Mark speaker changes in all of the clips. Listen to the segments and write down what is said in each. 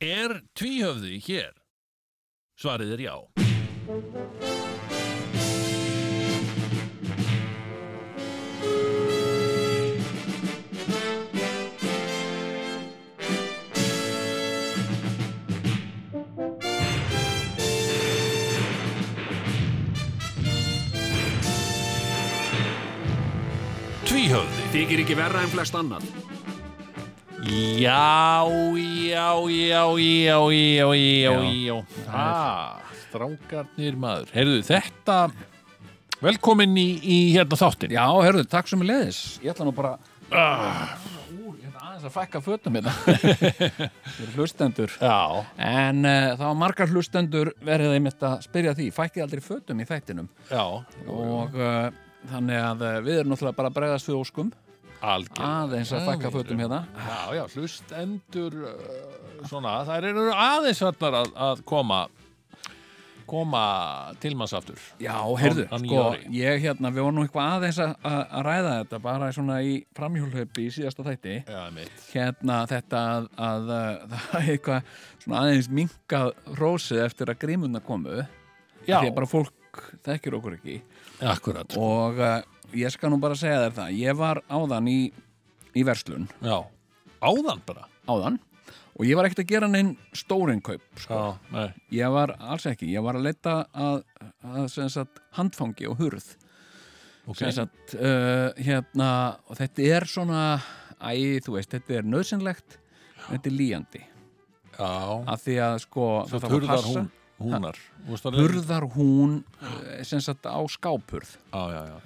Speaker 1: Er tvíhöfði hér? Svarið er já. Tvíhöfði.
Speaker 2: Þykir ekki verra en flest annan.
Speaker 1: Já, já, já, já, já, já, já. Ah, strákarnir maður. Heyrðu, þetta, velkomin í, í hérna þáttin.
Speaker 3: Já, herruðu, takk sem ég leiðis. Ég ætla nú bara
Speaker 2: Ah.
Speaker 3: úr, ég ætla aðeins að fækka fötum hérna. Fyrir hlustendur.
Speaker 1: Já.
Speaker 3: En uh, það var margar hlustendur verið einmitt að spyrja því. Fækkið aldrei fötum í þættinum.
Speaker 1: Já,
Speaker 3: Og uh, þannig að uh, við erum náttúrulega bara að bregðast við óskum.
Speaker 1: algjörn.
Speaker 3: Aðeins að fækka fötum hérna.
Speaker 1: Ah. Já, já, hlustendur, uh, svona, þær eru aðeins hérna að, að koma, koma til manns aftur.
Speaker 3: Já, heyrðu,
Speaker 1: Á- á nýju
Speaker 3: sko,
Speaker 1: ári.
Speaker 3: ég hérna, við vorum nú eitthvað aðeins að, að að ræða þetta bara svona í framhjólhaupi í síðasta þætti.
Speaker 1: Já, mitt.
Speaker 3: hérna þetta að, að, að það er eitthvað svona aðeins minkað rósið eftir að grímuna komu
Speaker 1: Já.
Speaker 3: því að bara fólk þekkir okkur ekki
Speaker 1: Akkurat.
Speaker 3: og uh, ég skal nú bara segja þér það ég var áðan í, í verslun
Speaker 1: Já, áðan bara.
Speaker 3: áðan og ég var ekkert að gera neinn stórin kaup sko.
Speaker 1: Já, nei.
Speaker 3: ég var alls ekki, ég var að leita að, að sem sagt, handfangi og hurð
Speaker 1: Ok.
Speaker 3: sem sagt, uh, hérna og þetta er svona, æ, þú veist þetta er nöðsynlegt, þetta er líjandi
Speaker 1: Já.
Speaker 3: að því að sko
Speaker 1: Svo
Speaker 3: það þarf að
Speaker 1: turðar
Speaker 3: passa-
Speaker 1: hún, húnar. Þú veist að-
Speaker 3: hurðar hún eh, sem sagt á skápurð
Speaker 1: Já, já, já. já.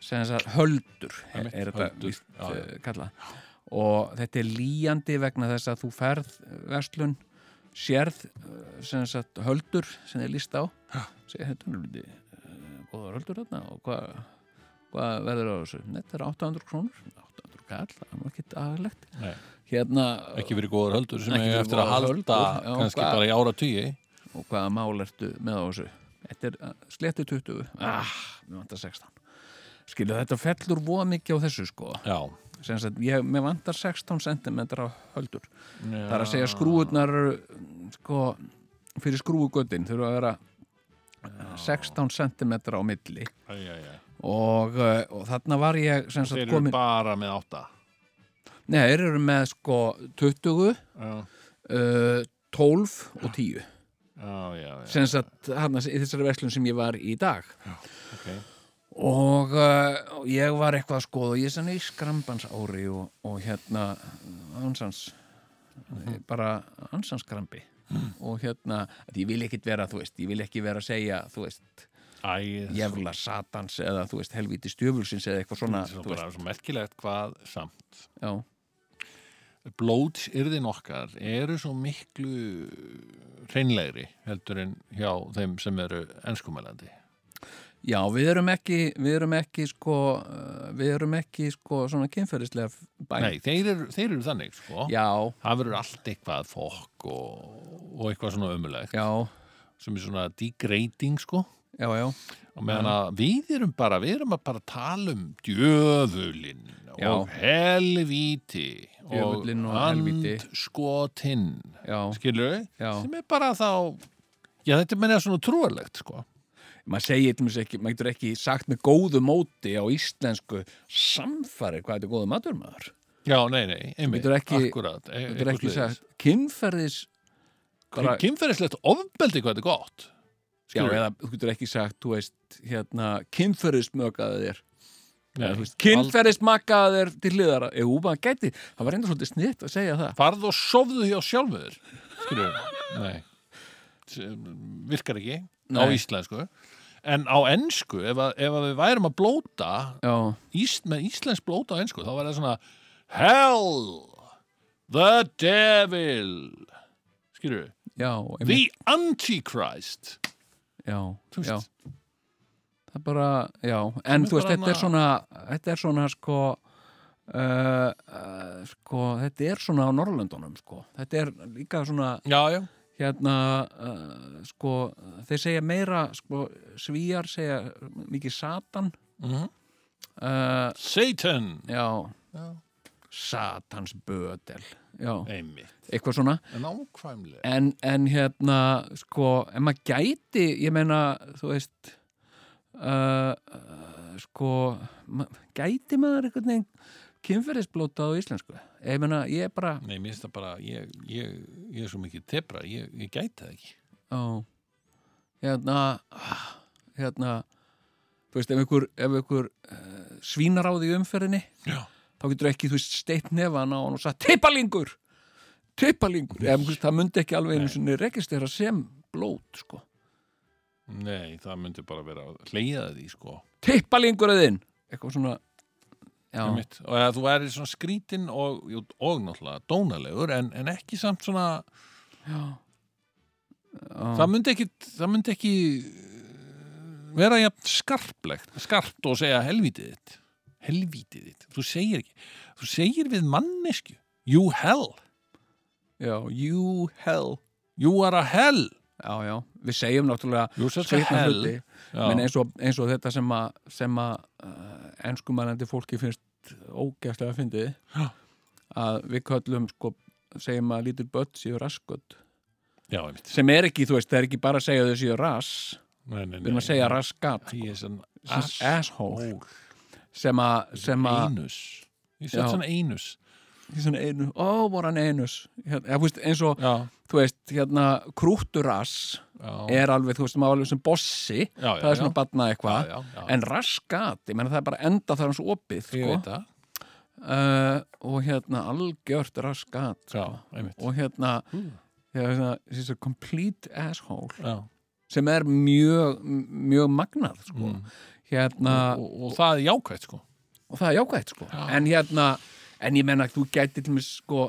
Speaker 3: sem sagt höldur er,
Speaker 1: Einmitt,
Speaker 3: er þetta
Speaker 1: höldur,
Speaker 3: víst
Speaker 1: já, já.
Speaker 3: eh, kallað og þetta er líjandi vegna þess að þú ferð eh, verslun sérð eh, sem sagt höldur sem þið líst á segja þetta er hluti góða höldur þarna og hvað hvað verður á þessu? Nei, þetta er 800 krónur 800 kall, það er nú ekki daglegt
Speaker 1: Nei.
Speaker 3: hérna,
Speaker 1: ekki verið góðar höldur sem
Speaker 3: Ekki
Speaker 1: ég
Speaker 3: verið
Speaker 1: eftir að
Speaker 3: góðar
Speaker 1: halda
Speaker 3: höldur, já,
Speaker 1: kannski
Speaker 3: hvað-
Speaker 1: bara í ára tugi
Speaker 3: og hvaða mál ertu með á þessu? Þetta er uh, slétti 20 ah, mér vantar 16 skilu þetta fellur voða mikið á þessu sko
Speaker 1: já,
Speaker 3: sem sagt, ég, mér vantar 16 cm af höldur það er að
Speaker 1: sko.
Speaker 3: segja skrúurnar mm, sko, fyrir skrúugötin þurfa að vera uh, 16 cm á milli
Speaker 1: þeir
Speaker 3: og, uh, og þarna var ég sem sagt
Speaker 1: eru
Speaker 3: komin,
Speaker 1: bara með átta
Speaker 3: nei, þeir eru með sko 20
Speaker 1: já,
Speaker 3: uh, 12 og 10
Speaker 1: já, já, já.
Speaker 3: sem sagt, hann, í þessari verslun sem ég var í dag
Speaker 1: ok
Speaker 3: og uh, ég var eitthvað að skoða og ég er sann í skrambans ári og, og hérna ansans
Speaker 1: Mhm.
Speaker 3: bara ansans skrambi
Speaker 1: Mm.
Speaker 3: og hérna, að ég vil ekkit vera þú veist, ég vil ekki vera að segja þú veist,
Speaker 1: Æ,
Speaker 3: jævla satans eða þú veist, helvíti stjöfulsins eða eitthvað svona,
Speaker 1: það sko. er
Speaker 3: þú veist,
Speaker 1: bara svo merkilegt hvað samt
Speaker 3: já
Speaker 1: blótsyrðin okkar eru svo miklu hreinlegri heldur en hjá þeim sem eru ennskumælandi
Speaker 3: Já, við erum ekki, við erum ekki sko, uh, við erum ekki sko svona kynferðislega bæn.
Speaker 1: nei, þeir eru, þeir eru þannig sko
Speaker 3: Já,
Speaker 1: það verður allt eitthvað fokk og, og eitthvað svona ömulegt
Speaker 3: já,
Speaker 1: sem er svona degrading sko
Speaker 3: já, já.
Speaker 1: og meðan að við erum bara við erum að bara tala um djöfulinn
Speaker 3: Já.
Speaker 1: og helvíti
Speaker 3: Djöfullinn og helvíti.
Speaker 1: andskotinn
Speaker 3: Já.
Speaker 1: skilur
Speaker 3: Já.
Speaker 1: sem er bara þá já þetta er meina svona trúarlegt sko
Speaker 3: maður segir til mér ekki, maður getur ekki sagt með góðu móti á íslensku samfari hvað þetta er góðu matur maður
Speaker 1: já nei nei einmitt
Speaker 3: Getur ekki-
Speaker 1: akkurat e
Speaker 3: þetta er ekki sagt kynferðis bara,
Speaker 1: kynferðislegt ofbeldi hvað þetta er gott
Speaker 3: já,
Speaker 1: skilurðu?
Speaker 3: eða þú getur ekki sagt, þú veist hérna, kynferðismökaði þér
Speaker 1: Nei,
Speaker 3: Þú veist, kynferðismakaði þér til hliðara jú, maður gæti, það var enda svolítið snitt að segja það
Speaker 1: farð og sofðu hjá sjálfur skilur nei Sem virkar ekki á
Speaker 3: Nei.
Speaker 1: íslensku en á ensku ef, að, ef að við værum að blóta
Speaker 3: já,
Speaker 1: íst, með íslensk blóta á ensku þá var það svona hell the devil skilur
Speaker 3: já,
Speaker 1: the
Speaker 3: einmitt,
Speaker 1: antichrist
Speaker 3: já,
Speaker 1: Þú veist.
Speaker 3: já það er bara, já en
Speaker 1: er
Speaker 3: þú veist,
Speaker 1: bara
Speaker 3: þetta er svona þetta er svona sko Uh, uh, sko, þetta er svona á Norrlöndunum sko. þetta er líka svona
Speaker 1: já, já,
Speaker 3: hérna uh, sko, þeir segja meira sko, svíjar segja mikið satan
Speaker 1: Mhm.
Speaker 3: uh,
Speaker 1: satan
Speaker 3: já,
Speaker 1: Já.
Speaker 3: satans bödel já,
Speaker 1: einmitt,
Speaker 3: eitthvað svona
Speaker 1: nákvæmlega
Speaker 3: en, en hérna, sko en maður gæti, ég meina þú veist uh, uh, sko ma gæti maður einhvern veginn kynferðisblóta á íslensku ég meina, ég er bara
Speaker 1: Nei, mér finnst það bara, ég, ég, ég er svo mikið tebra, ég, ég gæti það ekki
Speaker 3: á, hérna ah, hérna þú veist, ef einhver, ef einhver uh, svínar á því umferðinni
Speaker 1: Já,
Speaker 3: þá getur ekki, þú veist, steitt nefana og hann og sagt, tippalingur tippalingur, ef einhvers, það myndi ekki alveg einu
Speaker 1: Nei.
Speaker 3: sinni rekistera sem blót, sko
Speaker 1: nei, það myndi bara vera að hleyða því, sko
Speaker 3: tippalingur að þinn eitthvað svona já,
Speaker 1: Einmitt. og að þú erir svona skrítin og, jú, og náttúrulega dónalegur en, en ekki samt svona
Speaker 3: já. já.
Speaker 1: það myndi ekki, það myndi ekki eh, vera jafn skarplegt skarpt og segja helvítið þitt helvítið þitt, þú segir ekki þú segir við mannesku you hell,
Speaker 3: já, you hell
Speaker 1: you are a hell
Speaker 3: já, já, við segjum náttúrulega
Speaker 1: you are such a
Speaker 3: skrýtna
Speaker 1: hell
Speaker 3: hluti, menn eins og, eins og þetta sem að, sem að uh, enskumælandi fólki finnst ógæslega að fyndið
Speaker 1: Já.
Speaker 3: að við köllum sko, segjum að lítil börn séu raskött
Speaker 1: já, einmitt
Speaker 3: sem er ekki, þú veist, það er ekki bara að segja þau séu ras
Speaker 1: nei, nei, nei,
Speaker 3: við erum að segja raskat
Speaker 1: ég er svona
Speaker 3: Ass- asshole.
Speaker 1: asshole.
Speaker 3: sem að, sem að
Speaker 1: einus ég set
Speaker 3: Já.
Speaker 1: svona einus
Speaker 3: í svona einu, ó, voru hann einus hérna, eða, þú veist, eins og,
Speaker 1: já,
Speaker 3: þú veist, hérna krútturas
Speaker 1: já,
Speaker 3: er alveg, þú veist, maður alveg sem bossi
Speaker 1: já,
Speaker 3: það er svona batnað
Speaker 1: já,
Speaker 3: eitthvað
Speaker 1: já, já.
Speaker 3: en raskat, ég menna það er bara enda þar hans opið,
Speaker 1: ég
Speaker 3: sko
Speaker 1: veit það
Speaker 3: uh, og hérna algjört raskat
Speaker 1: já, einmitt
Speaker 3: og hérna,
Speaker 1: Mm.
Speaker 3: hérna þessi complete asshole
Speaker 1: já
Speaker 3: sem er mjög, mjög magnað, sko
Speaker 1: Mm.
Speaker 3: hérna,
Speaker 1: og, og, og það er jákvægt sko
Speaker 3: og það er jákvægt sko
Speaker 1: Já.
Speaker 3: en hérna, en ég menna þú gæti til mig sko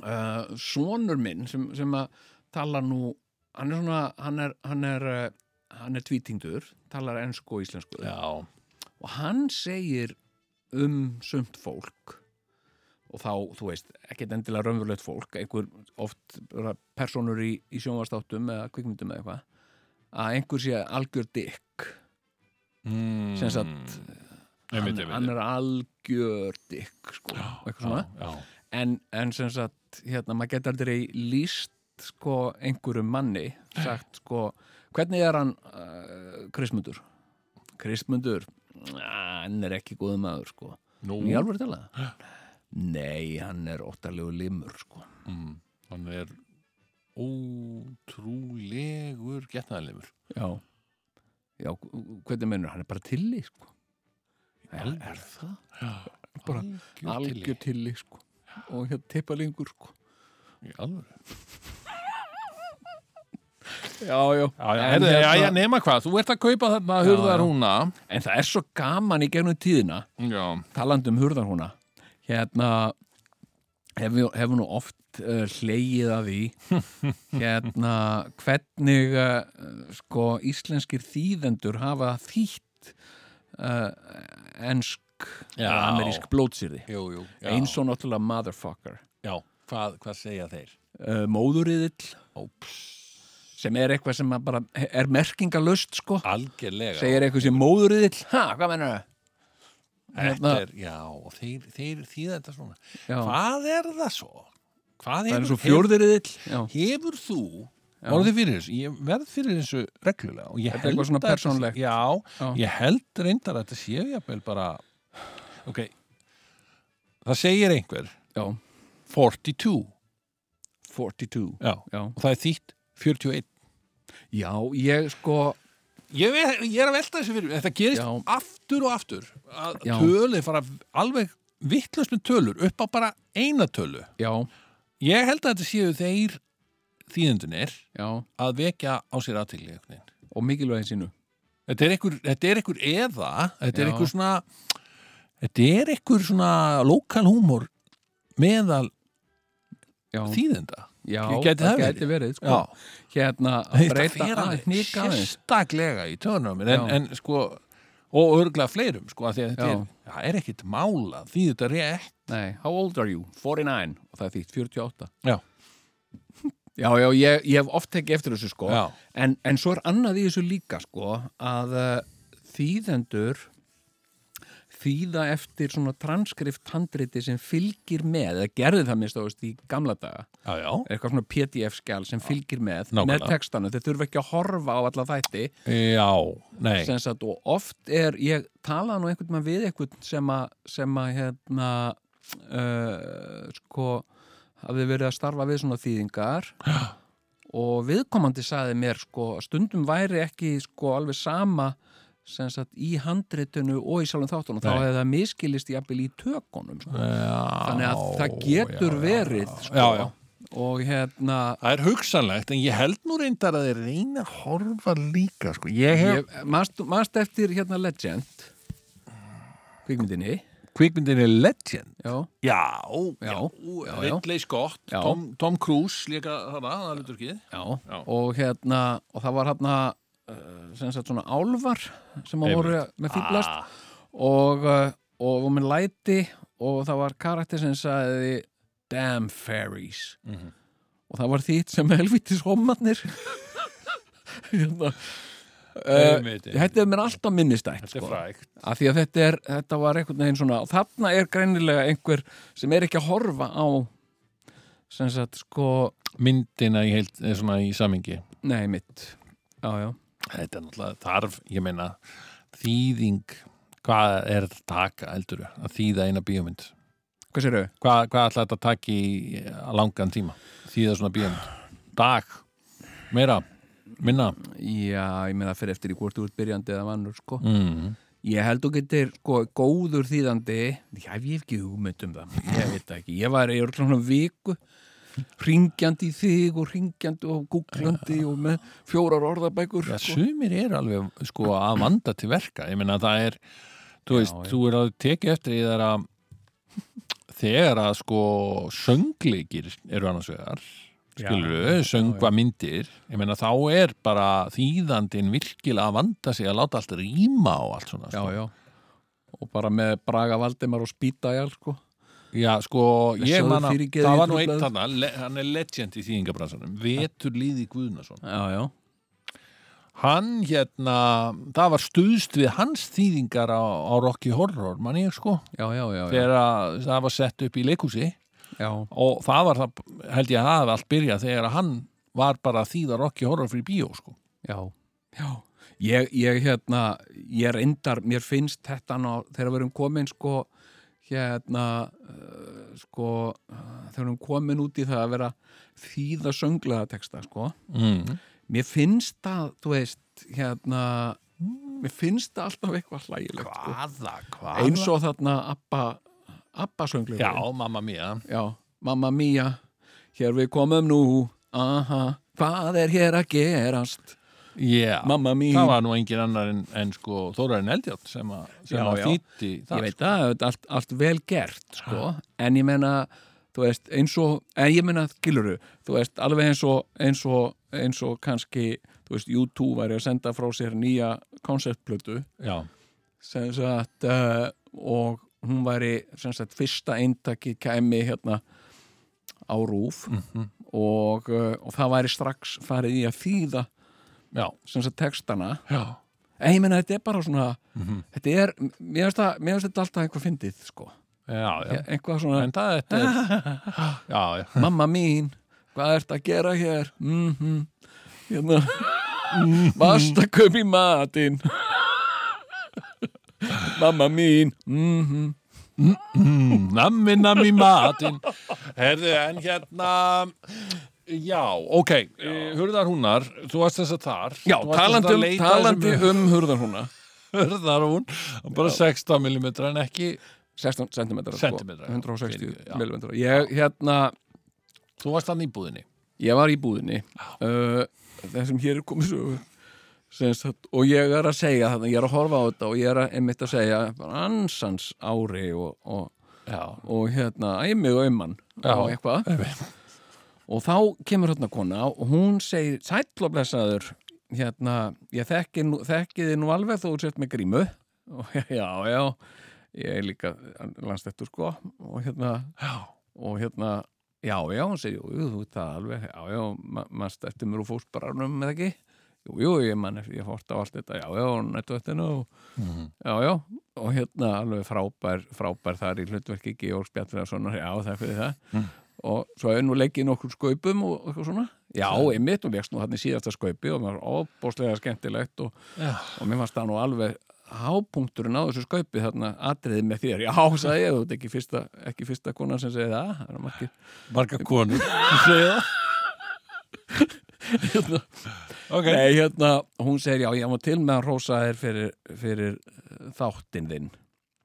Speaker 3: uh, sonur minn sem, sem að tala nú, hann er svona hann er, hann er, uh, hann er tvítingdur talar ensku og íslensku
Speaker 1: já,
Speaker 3: og hann segir um sumt fólk og þá, þú veist, ekkert endilega raunverulegt fólk, einhver oft bara personur í, í sjónvastáttum eða kvikmyndum eða eitthvað að einhver sé algjör dykk
Speaker 1: mm.
Speaker 3: Sem sagt, hann,
Speaker 1: einmitt, einmitt,
Speaker 3: hann er algjör dykk sko,
Speaker 1: já,
Speaker 3: og eitthvað svona
Speaker 1: já,
Speaker 3: en, en sem sagt, hérna, maður geta aldrei líst sko einhverju manni sagt sko, hvernig er hann uh, Kristmundur Kristmundur, ah, hann er ekki góð maður sko,
Speaker 1: já. Nú,
Speaker 3: í alveg talað nei, hann er óttalegu limur sko,
Speaker 1: mm, hann er ótrúlegur getnaðarlefur
Speaker 3: já já, hvernig mennur, hann er bara tilli sko er,
Speaker 1: alvöru?
Speaker 3: er það? Bara
Speaker 1: algjör
Speaker 3: algjör tilli sko og hérna tippalingur sko
Speaker 1: til í alvöru
Speaker 3: já,
Speaker 1: Já,
Speaker 3: já,
Speaker 1: já,
Speaker 3: En
Speaker 1: herðu,
Speaker 3: hérna-
Speaker 1: já, já, nema hvað, þú ert að kaupa þarna
Speaker 3: Já,
Speaker 1: hurðar
Speaker 3: já.
Speaker 1: húnna
Speaker 3: en það er svo gaman í gegnum tíðina
Speaker 1: Já,
Speaker 3: talandi um hurðarhúna hérna hefur hef nú oft uh, hleyið af því hérna hvernig uh, sko íslenskir þýðendur hafa þýtt uh, ensk
Speaker 1: Já.
Speaker 3: eða amerísk blótsýrði
Speaker 1: jú, jú já.
Speaker 3: eins og náttúrulega motherfucker
Speaker 1: Já, hvað, hvað segja þeir?
Speaker 3: uh, móðurriðill
Speaker 1: Óps
Speaker 3: sem er eitthvað sem að bara er merkingalöst sko
Speaker 1: Algjörlega
Speaker 3: segir eitthvað sem móðurriðill ha, hvað mennur það?
Speaker 1: Þetta er, já, og þeir, þeir þýða þetta svona
Speaker 3: Hérna- Já,
Speaker 1: Hvað er það svo? Hvað
Speaker 3: það er
Speaker 1: hefur,
Speaker 3: eins og fjórðurriðill já
Speaker 1: hefur þú orðið fyrir þessu, ég verð fyrir þessu reglulega og ég
Speaker 3: Þetta er
Speaker 1: held
Speaker 3: eitthvað svona
Speaker 1: að þetta sé-
Speaker 3: persónulegt.
Speaker 1: já,
Speaker 3: Já.
Speaker 1: ég held reyndar að þetta sé jafnvel bara ok, það segir einhver
Speaker 3: Já,
Speaker 1: 42,
Speaker 3: 42
Speaker 1: já,
Speaker 3: Já,
Speaker 1: og það er þýtt 41
Speaker 3: já ég sko
Speaker 1: ég, ve- ég er að velta þessu fyrir, mér. þetta gerist
Speaker 3: Já.
Speaker 1: aftur og aftur að
Speaker 3: Já.
Speaker 1: tölur fara alveg vittlust með tölur upp á bara eina tölu
Speaker 3: Já,
Speaker 1: ég held að þetta séu þeir þýðendunir
Speaker 3: já,
Speaker 1: að vekja á sér aðtigli einhvern veginn
Speaker 3: og mikilvægin sínu
Speaker 1: Þetta er einhver, þetta er einhver eða, þetta er
Speaker 3: Já.
Speaker 1: einhver svona, þetta er einhver svona lokal húmor meðal
Speaker 3: Já,
Speaker 1: þýðenda.
Speaker 3: já
Speaker 1: gæti það verið.
Speaker 3: gæti verið sko.
Speaker 1: Já,
Speaker 3: Hérna að
Speaker 1: þetta
Speaker 3: breyta
Speaker 1: fer
Speaker 3: að
Speaker 1: alveg
Speaker 3: hnika aðeins
Speaker 1: sérstaklega í törnum, en,
Speaker 3: Já.
Speaker 1: en sko, og örgla fleirum, sko, að því að þetta
Speaker 3: Já.
Speaker 1: er, það er ekkit mála, því þetta rétt.
Speaker 3: Nei, how old are you? 49 og það er þýtt 48
Speaker 1: Já.
Speaker 3: Já, já, ég, ég hef oft tekið eftir þessu sko
Speaker 1: Já,
Speaker 3: en, en eh, svo er annað í þessu líka sko að uh, þýðendur þýða eftir svona transkrift handriti sem fylgir með eða gerði það minnst ást í gamla daga
Speaker 1: já, já,
Speaker 3: eitthvað svona pdf-skjál sem fylgir með
Speaker 1: Nákvæmlega.
Speaker 3: með textanu, þeir þurfa ekki að horfa á alla þætti
Speaker 1: já, nei
Speaker 3: sem sagt, og oft er, ég talaði nú einhvern veginn við einhvern sem að sem að hérna uh, sko hafði verið að starfa við svona þýðingar og viðkomandi sagði mér sko að stundum væri ekki sko alveg sama sem sagt í handritinu og í sjálfum þáttunum þá
Speaker 1: Nei.
Speaker 3: hefði það miskilist jafnvel í tökunum sko. þannig
Speaker 1: Þannig
Speaker 3: að það getur verið sko.
Speaker 1: Já, já.
Speaker 3: og hérna
Speaker 1: Það er hugsanlegt, en ég held nú reyndar að þeir reyna að horfa líka, sko. Ég hef...
Speaker 3: ég- manstu manstu eftir hérna Legend kvikmyndinni
Speaker 1: Kvikmyndin er Legend.
Speaker 3: já
Speaker 1: Já,
Speaker 3: Já, já, já.
Speaker 1: Ridley Scott,
Speaker 3: Já.
Speaker 1: Tom, Tom Cruise, líka þarna, það er liturkið.
Speaker 3: Já,
Speaker 1: Já.
Speaker 3: og hérna og það var hérna uh, sem sagt svona álvar sem að
Speaker 1: Einmitt. Ah.
Speaker 3: voru með fýblast og, uh, og og með læti og það var karakter sem sagði Damn fairies
Speaker 1: Mhm.
Speaker 3: og það var þitt sem helvitis homarnir hérna
Speaker 1: Ah,
Speaker 3: Uh,
Speaker 1: einmitt, einmitt.
Speaker 3: þetta er mér alltaf minnistætt
Speaker 1: Þetta er
Speaker 3: sko.
Speaker 1: frægt.
Speaker 3: af því að þetta, er, þetta var einhvern veginn svona og þarna er greinilega einhver sem er ekki að horfa á sem sagt sko
Speaker 1: Myndina í heild, eh, svona í samingi.
Speaker 3: nei mitt já já
Speaker 1: Þetta er náttúrulega þarf, ég meina, þýðing, hvað er þetta að taka, heldur við, að þýða eina bíómynd?
Speaker 3: Hvað sér þau?
Speaker 1: Hvað, hvað ætla þetta að taka í eh, langan tíma? Þýða svona bíómynd? Dag, meira, minna?
Speaker 3: Já, ég meina það fyrir eftir í hvort þú ert byrjandi eða vannur, sko.
Speaker 1: Mm.
Speaker 3: Ég held þú getur, sko, góður þýðandi, já, ég hef ekki hugmynd um það, ég veit það ekki. Ég var í svona viku, ringjandi í þig og ringjandi og googlandi og með fjórar orðabækur,
Speaker 1: Já,
Speaker 3: sko.
Speaker 1: sumir er alveg sko að vanda til verka ég meina það er, þú
Speaker 3: Já,
Speaker 1: veist,
Speaker 3: já.
Speaker 1: þú er að tekið eftir í þeirra þegar að sko söngleikir eru annars vegar skilur, söngva myndir ég meina þá er bara þýðandin virkilega að vanda sig að láta allt rýma og allt svona
Speaker 3: Já,
Speaker 1: sko.
Speaker 3: já. Og bara með Braga Valdimar og Spítajal, sko.
Speaker 1: já, sko, ég
Speaker 3: Blessaður
Speaker 1: manna
Speaker 3: fyrirgeði
Speaker 1: það var
Speaker 3: ég
Speaker 1: nú einn
Speaker 3: truflaði.
Speaker 1: þarna, le, hann er legend í þýðingabransanum Vetur Líði Guðnason
Speaker 3: Já, já.
Speaker 1: hann hérna, það var stuðst við hans þýðingar á, á Rocky Horror, mann ég sko
Speaker 3: Já, já, já. Já,
Speaker 1: þegar að það var sett upp í leikhúsi
Speaker 3: já.
Speaker 1: og það var það, held ég að það hafi allt byrjað þegar að hann var bara að þýða Rocky Horror fyrir bíó sko.
Speaker 3: já. já. Ég, ég, hérna, ég reyndar, mér finnst þetta ná, þegar við erum komin, sko, hérna uh, sko uh, þegar hún komin út í það að vera þýða sönglega texta sko
Speaker 1: mm.
Speaker 3: mér finnst það, þú veist hérna, mér finnst það alltaf eitthvað hlægilegt sko.
Speaker 1: hvaða, hvaða
Speaker 3: eins og þarna Abba, Abba
Speaker 1: já,
Speaker 3: sönglega
Speaker 1: mamma mía
Speaker 3: Já, mamma mía, hér við komum nú aha, hvað er hér að gerast
Speaker 1: yeah.
Speaker 3: mamma mía,
Speaker 1: það var nú engin annar en, en sko, Þórarinn Eldjátt sem, a, sem
Speaker 3: Já,
Speaker 1: að
Speaker 3: já.
Speaker 1: þýtti
Speaker 3: ég
Speaker 1: það sko.
Speaker 3: veit að þetta er allt, allt vel gert sko, en ég meina þú veist, eins og, en ég meina giluru, þú veist, alveg eins og eins og, eins og kannski þú veist, U2 væri að senda frá sér nýja konceptplötu
Speaker 1: já,
Speaker 3: sem sagt uh, og hún væri sem sagt fyrsta eintaki kæmi hérna á rúf
Speaker 1: Mhm.
Speaker 3: og, uh, og það væri strax farið í að þýða
Speaker 1: já,
Speaker 3: sem sagt textana
Speaker 1: já. Mhm.
Speaker 3: en ég meina þetta er bara svona þetta er, mér finnst það- mér finnst þetta alltaf eitthvað fyndið sko,
Speaker 1: já, já.
Speaker 3: eitthvað svona
Speaker 1: en það þetta er já, já
Speaker 3: mamma mín, hvað ert að gera hér? Mm -hmm. hérna, varst að köpa í matinn mamma mín mm -hmm.
Speaker 1: Mm, nammi, nammi matinn Herðu, en hérna Já, ok já. Hurðar húnar, þú varst þess að þar
Speaker 3: Já,
Speaker 1: Þú varst
Speaker 3: talandi
Speaker 1: þess að
Speaker 3: um,
Speaker 1: leita
Speaker 3: talandi
Speaker 1: þessum
Speaker 3: um hurðarhúna
Speaker 1: Hurðar hún, bara 16 mm en ekki
Speaker 3: 16 cm
Speaker 1: Sentimetrar, já.
Speaker 3: 160
Speaker 1: Fyrir- já.
Speaker 3: mm ég, hérna,
Speaker 1: Þú varst þannig í búðinni
Speaker 3: ég var í búðinni uh, það sem hér er komið sögu sem sagt, og ég er að segja þarna, ég er að horfa á þetta og ég er að, einmitt að segja bara ansans ári og, og,
Speaker 1: Já,
Speaker 3: og hérna, æmig og auman
Speaker 1: Já.
Speaker 3: og eitthvað og þá kemur hérna kona og hún segir sætloblessaður hérna, ég þekki, nú- þekki þið nú alveg þú sett með grímu og já, já, ég er líka landstættur sko og hérna,
Speaker 1: já,
Speaker 3: og hérna já, já, hún segir, jú, jú, þú ert það alveg já, já, ma maður stættir mér úr fósbararnum eða ekki jú, jú, ég mann, ég fórt á allt þetta já, já, netvættinu og,
Speaker 1: Mhm.
Speaker 3: já, já, og hérna alveg frábær, frábær þar í hlutverki Georg Spjallraðssonar, já, það er fyrir það
Speaker 1: Mm.
Speaker 3: og svo er nú leggið nokkur skaupum og eitthvað svona, já,
Speaker 1: Það-
Speaker 3: einmitt og vekst nú þannig síðasta skaupi og maður óbóðslega skemmtilegt og,
Speaker 1: Já.
Speaker 3: og mér fannst það nú alveg hápunkturinn á þessu skaupi þarna atriðið með þér, já, sagði ég þú ert ekki fyrsta, ekki fyrsta konan sem segi það það er margir
Speaker 1: marga konur sem segja það
Speaker 3: hérna,
Speaker 1: ok,
Speaker 3: Nei, hérna, hún segir, já, ég má til með að rósa þér fyrir, fyrir eh, þáttinn þinn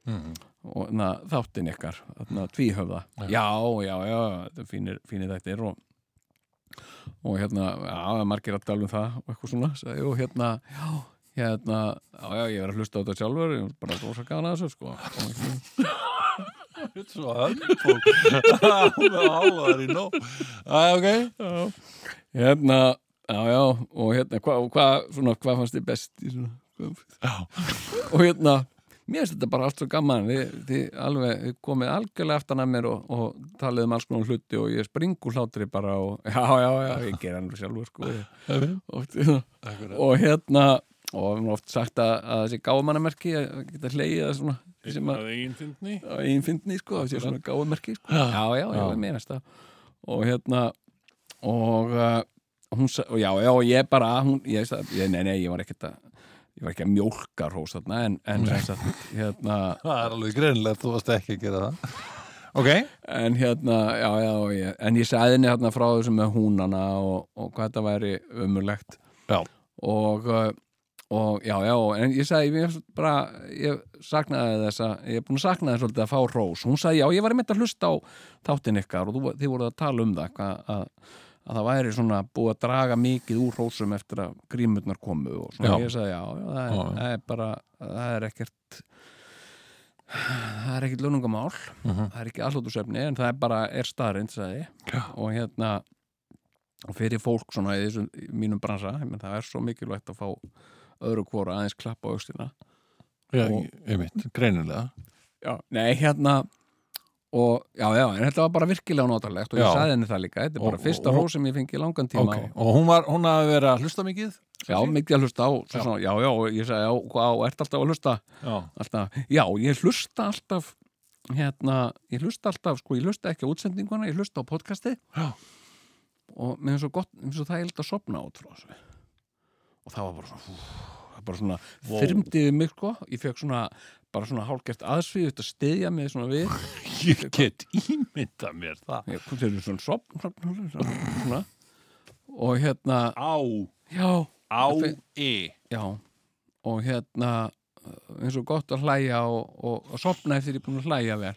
Speaker 1: Mhm.
Speaker 3: og na, þáttinn ykkar, na, tvíhöfða
Speaker 1: Já.
Speaker 3: já, já, já, þetta er fínir, fínir þetta er og, og hérna, já, það er margir að tala um það og eitthvað svona, sagði, og hérna já, hérna, já, já, ég verið að hlusta á þetta sjálfur, ég er bara að rosa gana þessu sko, og
Speaker 1: svo höndfólk hún er hálfaður í nóg Æ, ok
Speaker 3: já. hérna, já, já og hérna, hvað hva, svona, hvað fannst þið best í svona,
Speaker 1: já,
Speaker 3: og hérna, mér finnst þetta bara allt svo gaman þið, þið alveg þið komið algjörlega aftan að mér og, og talið um alls konar hluti og ég spring úr hlátri bara og já, já, já, ég ger hann alveg sjálfur sko
Speaker 1: það er
Speaker 3: og, og hérna og við erum oft sagt að, að þessi gáfumannamerki að geta hlegið að svona því sem að
Speaker 1: einn fyndni
Speaker 3: á einn fyndni sko, það sé svona gáðmerki sko.
Speaker 1: Já.
Speaker 3: já, já, já,
Speaker 1: Já.
Speaker 3: ég meina þetta og hérna og uh, hún sa- og já, já, og ég bara hún, ég, sa- ég, nei, nei, ég var ekkert að ég var ekki að mjólka rós þarna en, en sem sagt, hérna
Speaker 1: það er alveg greinlega, þú varst ekki að gera það ok,
Speaker 3: en hérna, já, já, og ég, en ég sagði henni hérna frá þessu með húnana og, og hvað þetta væri umurlegt
Speaker 1: já,
Speaker 3: og, uh, og já, já, en ég sagði ég bara, ég saknaði þessa ég er búin að sakna þess svolítið að fá rós hún sagði, já, ég var einmitt að hlusta á þáttinn ykkar og þú, þið voruð að tala um það hvað, að, að það væri svona búið að draga mikið úr rósum eftir að grímurnar komu og svona,
Speaker 1: Já.
Speaker 3: ég sagði, já, já, það er,
Speaker 1: Já.
Speaker 3: það er bara það er ekkert það er ekkert löningamál
Speaker 1: Mhm.
Speaker 3: það er ekki allótusefni, en það er bara er staðrind, sagði ég
Speaker 1: já.
Speaker 3: og hérna og fyrir fólk svona í þessum í mínum bransa, menn, það er svo mikilvægt að fá öðru hvora aðeins klappa á aukstina
Speaker 1: Já,
Speaker 3: Og-
Speaker 1: einmitt, greinilega
Speaker 3: já. nei, hérna og já, já, en þetta var bara virkilega notalegt og ég
Speaker 1: Já.
Speaker 3: sagði henni það líka, þetta er
Speaker 1: Og-
Speaker 3: bara fyrsta
Speaker 1: og-
Speaker 3: hrós sem ég fengi í langan tíma
Speaker 1: ok, og hún var, hún hafi verið að hlusta mikið
Speaker 3: og, já, mikið að hlusta á, svo
Speaker 1: Já.
Speaker 3: svona, já, já, og ég sagði já, hvað, ert alltaf að hlusta
Speaker 1: já,
Speaker 3: alltaf, já, ég hlusta alltaf hérna, ég hlusta alltaf sko, ég hlusta ekki á útsendinguna, ég hlusta á podcastið
Speaker 1: já,
Speaker 3: og mér finnst svo gott, mér finnst svo þægilegt að sopna út frá þessu og það var bara svona hú, það bara svona
Speaker 1: Vó.
Speaker 3: þyrmdiði mig sko, ég fekk svona bara svona hálgert aðsvið þetta stiðja mig svona við
Speaker 1: ég get ímynda mér það
Speaker 3: ég kom til svona sopn sopn- sopn- svona og hérna
Speaker 1: á,
Speaker 3: já,
Speaker 1: á,
Speaker 3: Þetta-
Speaker 1: e
Speaker 3: já og hérna eh, eins og gott að hlæja og, og, og sopna eftir ég er búin að hlæja vel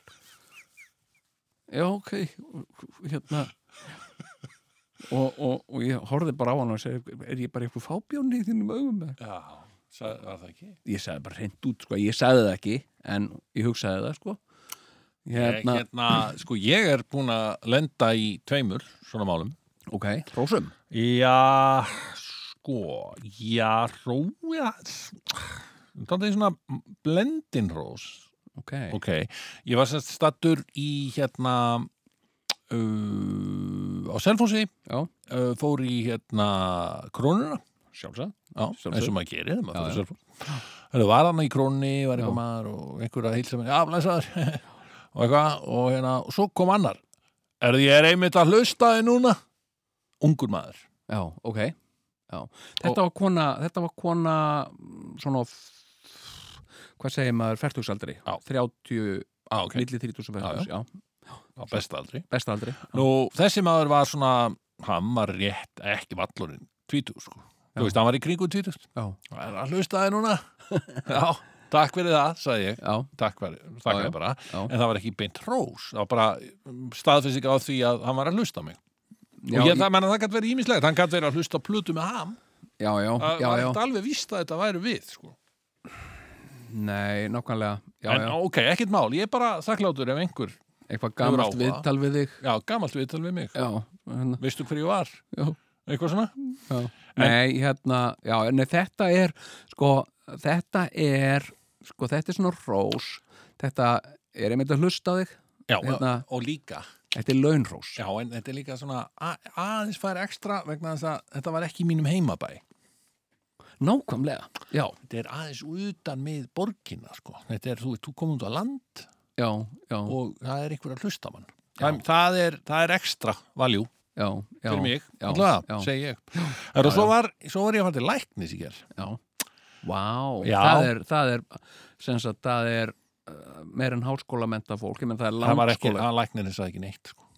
Speaker 3: já, ok hérna og, og, og ég horfði bara á hann og segi er ég bara eitthvað fábjóni í þínum augum eða?
Speaker 1: já, sagði- var það ekki
Speaker 3: ég sagði bara hreint út sko, ég sagði það ekki en ég hugsaði það sko
Speaker 1: hérna,
Speaker 3: hérna,
Speaker 1: hérna, sko ég er búin að lenda í tveimur svona málum
Speaker 3: ok, rósum
Speaker 1: já, sko já, rója þannig svona blendin rós
Speaker 3: ok,
Speaker 1: ok, ég var sérst stattur í hérna uh, á Selfossi
Speaker 3: já,
Speaker 1: uh, fór í hérna krónuna
Speaker 3: sjálfsagt
Speaker 1: Já,
Speaker 3: Sjálfsögðu.
Speaker 1: eins og maður gerir maður
Speaker 3: Já,
Speaker 1: fyrir Selfoss Það var hann í krónni, var
Speaker 3: Já.
Speaker 1: eitthvað maður og einhver að heilsa mér, já, blæsaður og eitthvað, og hérna, og svo kom annar Er því ég er einmitt að hlusta þið núna? Ungur maður
Speaker 3: já, ok já. Þetta, var kona, þetta var kona mm, svona f- hvað segir maður, fertugsaldri
Speaker 1: Já.
Speaker 3: 30,
Speaker 1: Á, ok,
Speaker 3: milli 30 og fertugs, já,
Speaker 1: á besta aldri
Speaker 3: besta aldri
Speaker 1: Nú, þessi maður var svona hann var rétt, ekki vallurinn tvítur, sko,
Speaker 3: Já.
Speaker 1: þú veist, hann var í kringu tvítur
Speaker 3: já,
Speaker 1: Er að hlusta þið núna? já, takk fyrir það, sagði ég
Speaker 3: já,
Speaker 1: Takk fyrir, takk
Speaker 3: Já, já.
Speaker 1: fyrir bara
Speaker 3: já,
Speaker 1: En það var ekki beint rós, það var bara mm, staðfesting á því að hann var að hlusta á mig
Speaker 3: já,
Speaker 1: og ég,
Speaker 3: ég-
Speaker 1: það, menna, það gæti verið ímislegt, hann gæti verið að hlusta á plötu með ham
Speaker 3: já, já,
Speaker 1: það
Speaker 3: já,
Speaker 1: var
Speaker 3: já
Speaker 1: ekkert alveg víst að þetta væri við sko.
Speaker 3: nei, nákvæmlega já,
Speaker 1: en
Speaker 3: já,
Speaker 1: ok, ekkert mál, ég er bara þakklátur ef einhver,
Speaker 3: eitthvað
Speaker 1: Hefur
Speaker 3: gamalt
Speaker 1: áhuga.
Speaker 3: viðtal við þig
Speaker 1: já, gamalt viðtal við mig
Speaker 3: já, hérna,
Speaker 1: veistu hver ég var,
Speaker 3: já
Speaker 1: eitthvað svona
Speaker 3: Já. Nei, hérna, já, nei, þetta er sko, þetta er sko, þetta er svona rós þetta er einmitt að hlusta á þig
Speaker 1: já,
Speaker 3: Hérna-
Speaker 1: og líka
Speaker 3: þetta er launrós
Speaker 1: já, en þetta er líka svona a- aðeins fær ekstra vegna þess að þetta var ekki í mínum heimabæ
Speaker 3: nákvæmlega, já,
Speaker 1: þetta er aðeins utan mið borginna sko. þetta er, þú veit, þú komum út á land
Speaker 3: já, já,
Speaker 1: og það er einhver að hlusta á mann það, það, er, það er ekstra valjú
Speaker 3: já, já,
Speaker 1: fyrir mig,
Speaker 3: já,
Speaker 1: alltaf,
Speaker 3: já.
Speaker 1: segi ég Heru, svo, var, svo var ég að fara til læknis í ger
Speaker 3: já. Vá,
Speaker 1: Já.
Speaker 3: það er, það er, sem sagt, það er uh, meir en háskólamenta fólk, ég menn það er
Speaker 1: það var ekki,
Speaker 3: langskóla.
Speaker 1: hann læknirinn sagði ekki neitt sko.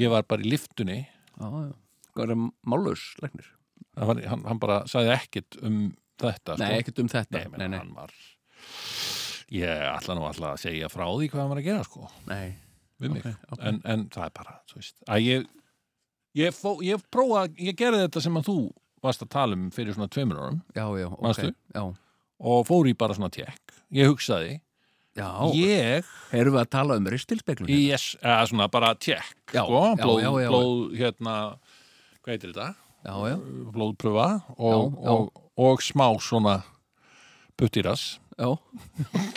Speaker 1: ég var bara í liftunni
Speaker 3: Já, já, það er málus, læknir.
Speaker 1: það var, hann, hann bara sagði ekkit um þetta
Speaker 3: Nei,
Speaker 1: sko.
Speaker 3: ekkert um þetta.
Speaker 1: nei, nei,
Speaker 3: Nei, nei,
Speaker 1: hann var ég ætla nú alltaf að segja frá því hvað hann var að gera sko,
Speaker 3: nei.
Speaker 1: við mig
Speaker 3: Ok, ok.
Speaker 1: en, en það er bara, þú veist að ég, ég, fó, ég prófa ég gerði þetta sem að þú varst að tala um fyrir svona tveimur árum
Speaker 3: Já, já, ok.
Speaker 1: Manstu?
Speaker 3: Já,
Speaker 1: og fór í bara svona tjekk ég hugsaði,
Speaker 3: já,
Speaker 1: ég
Speaker 3: erum við að tala um ristilspeglun?
Speaker 1: í yes, eða svona bara tjekk
Speaker 3: Já,
Speaker 1: sko,
Speaker 3: já,
Speaker 1: blóð,
Speaker 3: já, já.
Speaker 1: blóð hérna hvað heitir þetta?
Speaker 3: hérna? Já, já,
Speaker 1: blóðpröfa og,
Speaker 3: Já, já.
Speaker 1: Og, og smá svona puttýras
Speaker 3: já.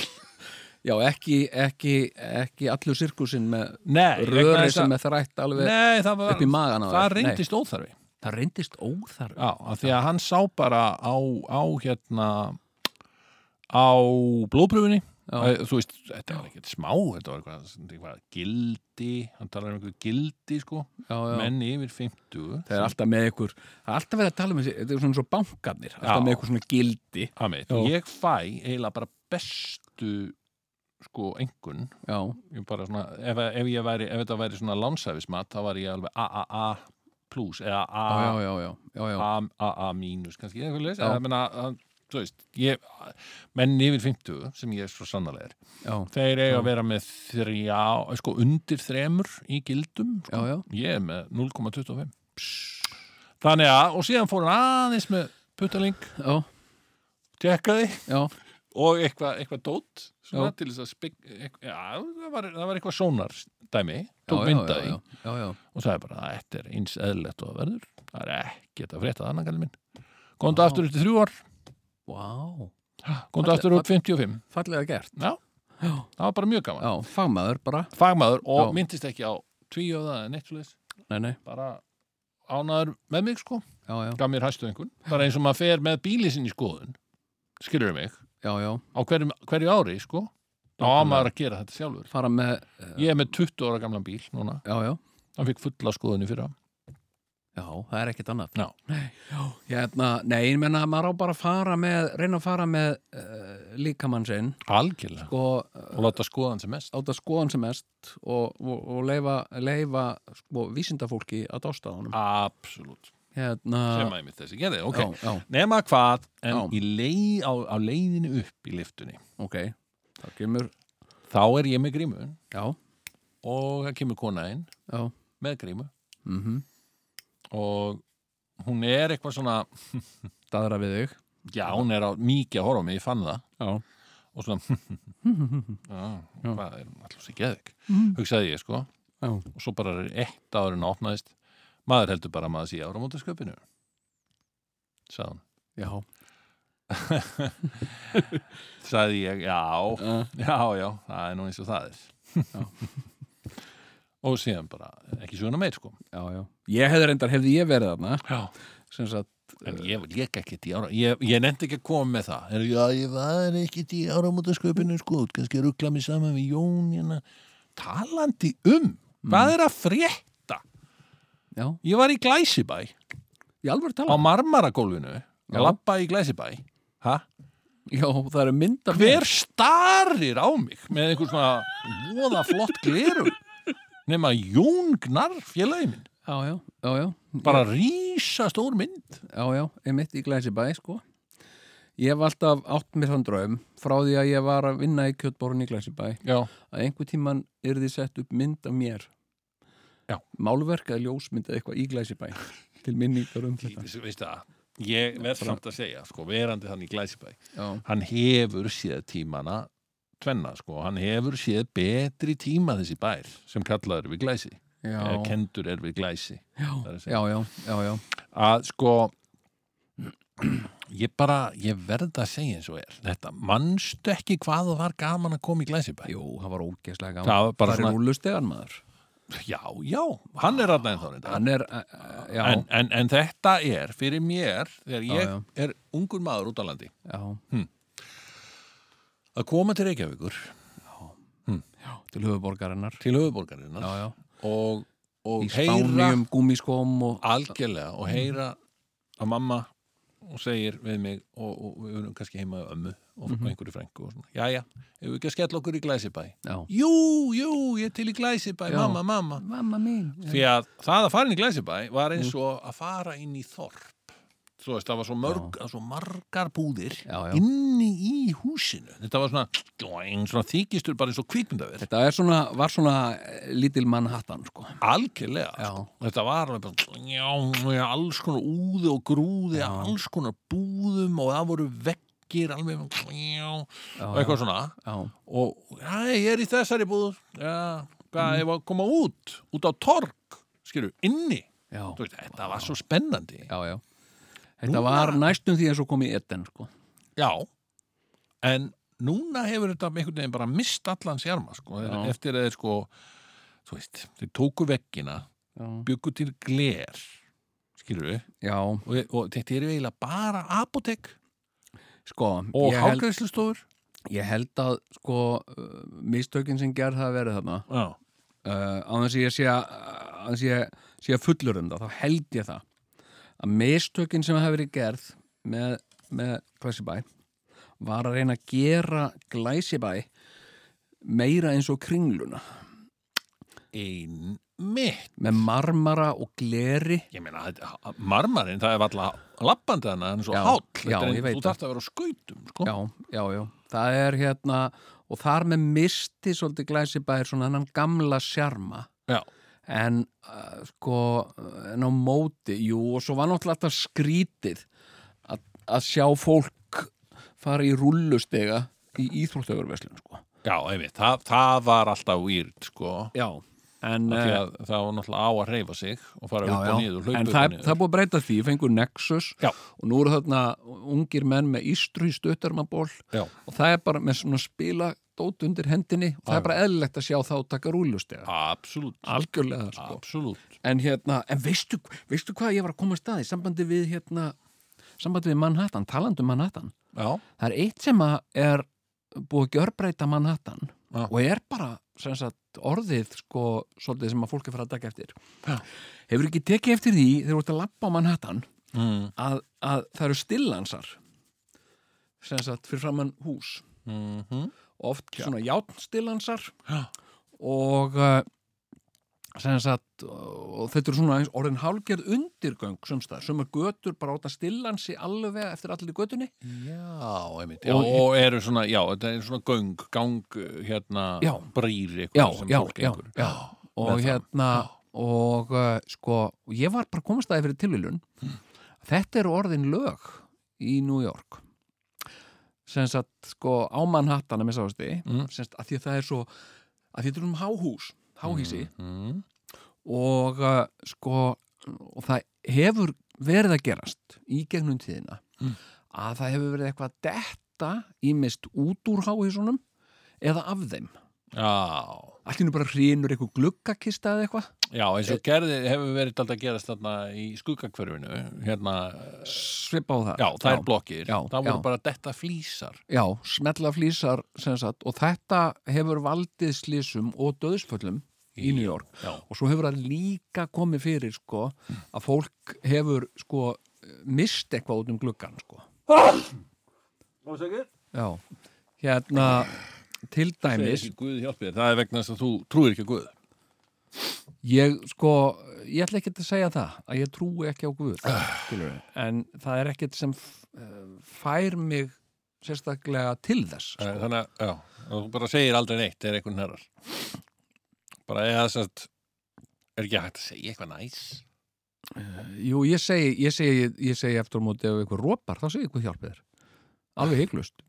Speaker 3: Já, ekki, ekki, ekki allur sirkusinn með
Speaker 1: Nei, vegna
Speaker 3: röri
Speaker 1: þess
Speaker 3: sem
Speaker 1: að-
Speaker 3: er þrætt alveg
Speaker 1: Nei, það var,
Speaker 3: upp í magan á
Speaker 1: það
Speaker 3: þér. Nei.
Speaker 1: reyndist óþarfi
Speaker 3: Það reyndist óþarf.
Speaker 1: Já, af því að hann sá bara á, á hérna á blóðpröfunni
Speaker 3: Já.
Speaker 1: þú veist, þetta var ekkert smá þetta var eitthvað, eitthvað gildi hann talar um eitthvað gildi sko
Speaker 3: Já, já.
Speaker 1: menn yfir 50
Speaker 3: Það er alltaf með ykkur, það er alltaf verið að tala um þessi, þetta er svona svo bankarnir, alltaf
Speaker 1: Já.
Speaker 3: með ykkur svona gildi.
Speaker 1: Amit,
Speaker 3: Já.
Speaker 1: ég fæ eiginlega bara bestu sko engun
Speaker 3: Já,
Speaker 1: Ég bara svona, ef, ef, ég væri, ef þetta væri svona lánshæfismat þá var ég alveg AAA plus eða
Speaker 3: já,
Speaker 1: AA-
Speaker 3: já, já, já, já, já,
Speaker 1: AA mínus kannski eða eitthvað leys
Speaker 3: Já.
Speaker 1: eða, menna, að, þú veist, ég, menn yfir 50 sem ég er svo sannlega er
Speaker 3: já,
Speaker 1: þeir eiga
Speaker 3: Já.
Speaker 1: að vera með þrjá, sko undir þremur í gildum sko.
Speaker 3: já, já,
Speaker 1: ég er með 0,25 þannig að, og síðan fór hann aðeins með puttaling,
Speaker 3: já,
Speaker 1: tjekkaði
Speaker 3: já,
Speaker 1: og eitthvað eitthva dót svona,
Speaker 3: Já.
Speaker 1: til þess að spik, eitthva, já, það, var, það var eitthvað sónar dæmi
Speaker 3: já,
Speaker 1: tók mynda
Speaker 3: já,
Speaker 1: í
Speaker 3: já, já, já,
Speaker 1: og sagði bara að þetta er eins eðlilegt og það verður það er ekkert að frétta þannig kallið minn komdu
Speaker 3: Vá.
Speaker 1: aftur út í þrjú ár
Speaker 3: vá,
Speaker 1: komdu
Speaker 3: Falleg-
Speaker 1: aftur út 55
Speaker 3: fallega gert.
Speaker 1: já,
Speaker 3: Já,
Speaker 1: það var bara mjög gaman
Speaker 3: já, fagmaður bara,
Speaker 1: fagmaður og
Speaker 3: Já.
Speaker 1: myndist ekki á tvíjóða eða neitt svoleiðis.
Speaker 3: nei, nei,
Speaker 1: bara ánaður með mig sko
Speaker 3: já, já,
Speaker 1: gaf mér hæstu einhvern bara eins og maður fer með bíli sinni í skoðun skilur mig
Speaker 3: já, já,
Speaker 1: á hverju, hverju ári sko þá á
Speaker 3: Nákvæmlega.
Speaker 1: maður að gera þetta sjálfur
Speaker 3: fara með, eh,
Speaker 1: Ég er með 20 ára gamlan bíl núna.
Speaker 3: já, já,
Speaker 1: Hann fikk fulla skoðunni fyrra.
Speaker 3: já, það er ekkert annað.
Speaker 1: Já.
Speaker 3: Nei, já, hérna, nei, ég menna að maður á bara að fara með, reyna að fara með uh, líkamann sinn
Speaker 1: Algjörlega.
Speaker 3: og eh,
Speaker 1: Og láta skoðan sem mest.
Speaker 3: átt að skoðan sem mest og, og, og leifa, leifa sko, vísindafólki að dásta á honum
Speaker 1: Absolutt.
Speaker 3: hérna,
Speaker 1: Ah, Sem að ég mitt þessi gerði. Ok.
Speaker 3: já, já,
Speaker 1: Nema hvað, en
Speaker 3: Já.
Speaker 1: í leið, á, á leiðinu upp í liftunni.
Speaker 3: ok það kemur,
Speaker 1: Þá er ég með grímu
Speaker 3: já,
Speaker 1: og það kemur kona inn
Speaker 3: já
Speaker 1: með grímu
Speaker 3: mm
Speaker 1: og hún er eitthvað svona,
Speaker 3: daðra við þig
Speaker 1: já hún er á mikið að horfa á mig, ég fann það
Speaker 3: já,
Speaker 1: og svona, já,
Speaker 3: Já.
Speaker 1: hvað er hún alls í geðvik?
Speaker 3: Mhm.
Speaker 1: Hugsaði ég sko
Speaker 3: já,
Speaker 1: og svo bara er eitt árið að opnaðist maður heldur bara að maður sé áramótasköpinu sagði hún
Speaker 3: já,
Speaker 1: sagði ég, já,
Speaker 3: já,
Speaker 1: já, já það er nú eins og það
Speaker 3: Já.
Speaker 1: er og síðan bara ekki söguna meir sko
Speaker 3: já, já. ég hefði reyndar, hefði ég verið þarna
Speaker 1: já.
Speaker 3: sem sagt,
Speaker 1: en ég var líka ekkert í ára ég, ég nefndi ekki að koma með það er, já, ég var ekkert í áramótasköpinu sko, kannski að ruggla mig saman við Jón hérna. talandi um hvað er að frétta
Speaker 3: já,
Speaker 1: ég var í Glæsibæ
Speaker 3: ég alveg
Speaker 1: á
Speaker 3: tala
Speaker 1: marmaragólfinu
Speaker 3: Já.
Speaker 1: að labba í Glæsibæ ha?
Speaker 3: já, það eru mynd af
Speaker 1: hver starir á mig með einhver svona voða flott glerum nema Jón Gnar félagi minn
Speaker 3: já, já, já, já,
Speaker 1: bara rísa stór mynd
Speaker 3: já, já, ég mitt í Glæsibæ sko ég hef alltaf átt mér þann draum frá því að ég var að vinna í kjötborun í Glæsibæ
Speaker 1: já,
Speaker 3: að einhver tíman er því sett upp mynd af mér
Speaker 1: Já.
Speaker 3: málverk eða ljósmynd eða eitthvað í glæsibæ til minningar um þetta
Speaker 1: veist það ég verð samt að segja, sko, verandi hann í Glæsibæ
Speaker 3: já,
Speaker 1: hann hefur séð tímana tvenna, sko, hann hefur séð betri tíma þessi bær sem kallaður við Glæsi,
Speaker 3: já,
Speaker 1: eða kendur er við Glæsi
Speaker 3: já,
Speaker 1: það er að segja.
Speaker 3: já, já, já, já.
Speaker 1: að sko ég bara, ég verð að segja eins og er þetta, mannstu ekki hvað það var gaman að koma í Glæsibæ
Speaker 3: Jú, það var ógeðslega gaman
Speaker 1: það var bara
Speaker 3: það er
Speaker 1: svona,
Speaker 3: rúlustegan maður
Speaker 1: já, já, hann er ræðna ennþá reyndar.
Speaker 3: hann er, uh, já,
Speaker 1: en, en, en þetta er fyrir mér þegar ég
Speaker 3: já.
Speaker 1: er ungur maður út á landi
Speaker 3: já,
Speaker 1: að koma til Reykjavíkur,
Speaker 3: til höfuborgarinnar
Speaker 1: til höfuborgarinnar
Speaker 3: já, já,
Speaker 1: og, og
Speaker 3: í um- spánjum, gúmiskóm og
Speaker 1: algjörlega og heyra að mamma og segir við mig og, og við erum kannski heima á ömmu og
Speaker 3: Mhm.
Speaker 1: mm einhverju frængu og svona, jæja, hefur við ekki að skella okkur í glæsibæ
Speaker 3: já.
Speaker 1: jú, jú, ég er til í glæsibæ
Speaker 3: Já.
Speaker 1: mamma, mamma Mm.
Speaker 3: mamma mín
Speaker 1: því að það að fara inn í Glæsibæ var eins og að fara inn í þorp þú veist, það var svo, mörg, það var svo margar búðir
Speaker 3: Já, já.
Speaker 1: inni í húsinu þetta var svona, dóing, svona þykistur bara eins og kvikmyndaver
Speaker 3: þetta er svona, var svona eh, lítil mann hattan sko.
Speaker 1: algjörlega,
Speaker 3: Já.
Speaker 1: sko. þetta var alveg bara, já, já, alls konar úði og grúði,
Speaker 3: Já.
Speaker 1: alls konar búðum og það voru veggir alveg, já,
Speaker 3: já,
Speaker 1: og eitthvað svona
Speaker 3: já,
Speaker 1: og já, ég er í þessari búð já, hvað, ég var að koma út út á torg, skilur, inni
Speaker 3: já,
Speaker 1: Þú veist, þetta var svo spennandi
Speaker 3: já, já. þetta
Speaker 1: Núna-
Speaker 3: var næstum því að svo kom í etten sko.
Speaker 1: Já, en núna hefur þetta einhvern veginn bara mist allan sjarma sko,
Speaker 3: Já.
Speaker 1: eftir að þeir sko þú veist, þeir tóku veggina
Speaker 3: já,
Speaker 1: byggu til gler skilur við,
Speaker 3: já
Speaker 1: og, og þetta eru eiginlega bara apotek
Speaker 3: sko,
Speaker 1: og
Speaker 3: ég held,
Speaker 1: hálgreislustofur
Speaker 3: ég held að sko, uh, mistökin sem gerð hafa verið þarna
Speaker 1: Já,
Speaker 3: uh, á þess að ég sé að á þess að ég sé að fullur um það þá held ég það að mistökin sem hafa verið gerð með, með Glæsibæ var að reyna að gera Glæsibæ meira eins og kringluna
Speaker 1: ein mitt
Speaker 3: með marmara og gleri
Speaker 1: ég meina, þetta- marmarinn, það er alltaf lappandi hana, hann er svo
Speaker 3: Já,
Speaker 1: háll
Speaker 3: já,
Speaker 1: Þetta er-
Speaker 3: ég veit
Speaker 1: þú
Speaker 3: það.
Speaker 1: þarft að vera á skautum sko.
Speaker 3: já, já, já, það er hérna og þar með misti svolítið Glæsibæ er svona hennan gamla sjarma
Speaker 1: Já.
Speaker 3: en uh, sko en á móti, jú, og svo var náttúrulega alltaf skrítið að, að sjá fólk fara í rullustega í íþróttöfurveslun sko.
Speaker 1: já einmitt, það, það var alltaf weird sko.
Speaker 3: já, en
Speaker 1: Af því
Speaker 3: eh,
Speaker 1: að það var náttúrulega á að reyfa sig og fara
Speaker 3: já,
Speaker 1: upp
Speaker 3: já,
Speaker 1: og niður, hlaupa
Speaker 3: en
Speaker 1: upp
Speaker 3: það,
Speaker 1: og
Speaker 3: er-
Speaker 1: niður
Speaker 3: það er búið að breyta því, fengur Nexus
Speaker 1: Já.
Speaker 3: og nú eru þarna ungir menn með ístru í stuttarmaból
Speaker 1: Já.
Speaker 3: og það er bara með svona spila dót undir hendinni og það
Speaker 1: Já.
Speaker 3: er bara eðlilegt að sjá þá taka rullustega
Speaker 1: Absolutt,
Speaker 3: algjörlega sko.
Speaker 1: absolutt
Speaker 3: en hérna, en veistu, veistu hvað ég var að koma í stað í sambandi við hérna sambandi við Manhattan, talandi um Manhattan
Speaker 1: Já,
Speaker 3: það er eitt sem að er búið að gjörbreyta Manhattan
Speaker 1: Já.
Speaker 3: og er bara sem sagt orðið sko, svolítið sem að fólk er fyrir að taka eftir
Speaker 1: Já.
Speaker 3: hefur ekki tekið eftir því þegar þú ert að lappa á Manhattan
Speaker 1: mm.
Speaker 3: að, að það eru stillansar sem sagt fyrir framann hús
Speaker 1: Mm
Speaker 3: oft svona játnstillansar
Speaker 1: Já.
Speaker 3: og uh, sem sagt og þetta eru svona eins orðin hálgerð undirgöng sumstað, sem er götur bara átta stillansi alveg eftir allir í götunni
Speaker 1: já einmitt já,
Speaker 3: Og-
Speaker 1: Og eru svona, já, þetta er svona göng gang, hérna,
Speaker 3: Já.
Speaker 1: brýr
Speaker 3: já,
Speaker 1: eitthvað sem
Speaker 3: já,
Speaker 1: fólk
Speaker 3: já,
Speaker 1: gengur.
Speaker 3: já og
Speaker 1: með það.
Speaker 3: hérna og uh, sko, og ég var bara komast aðeins fyrir tilvílun þetta eru orðin lög í New York sem sagt sko á Manhattan að mér sáðusti
Speaker 1: Mm.
Speaker 3: sem sagt að því að það er svo að því þetta er um háhús, háhísi
Speaker 1: mm.
Speaker 3: og uh, sko og það hefur verið að gerast í gegnum tíðina
Speaker 1: Mm.
Speaker 3: að það hefur verið eitthvað að detta ímist út úr háhísunum eða af þeim
Speaker 1: Já,
Speaker 3: allt í nú bara hrýnur eitthvað gluggakista eða eitthvað
Speaker 1: já, eins
Speaker 3: Eh,
Speaker 1: og gerði hefur verið alltaf að gerast þarna í skuggakverfinu hérna,
Speaker 3: svipa á það
Speaker 1: já, þær blokkir
Speaker 3: já,
Speaker 1: það voru
Speaker 3: já.
Speaker 1: bara detta flýsar
Speaker 3: já, smetla flýsar sem sagt og þetta hefur valdið slísum og döðsföllum í New York
Speaker 1: Já,
Speaker 3: og svo hefur það líka komið fyrir sko
Speaker 1: Mm.
Speaker 3: að fólk hefur sko mist eitthvað út um gluggan sko já, hérna til
Speaker 1: Segir
Speaker 3: dæmis
Speaker 1: ekki Guð hjálpi þér, það er vegna þess að þú trúir ekki að Guð
Speaker 3: ég sko, ég ætla ekkert að segja það að ég trúi ekki á Guð skilurðu. en það er ekkert sem f- eh, fær mig sérstaklega til þess sko.
Speaker 1: Eh, Þannig að, já, og þú bara segir aldrei neitt þegar einhvern herrar. Bara eða þess að, er ekki hægt að segja eitthvað næs?
Speaker 3: Jú, ég segi, ég segi, ég segi eftir á móti ef eitthvað rópar, þá segi ég hvað hjálpið þér. Alveg heiklust.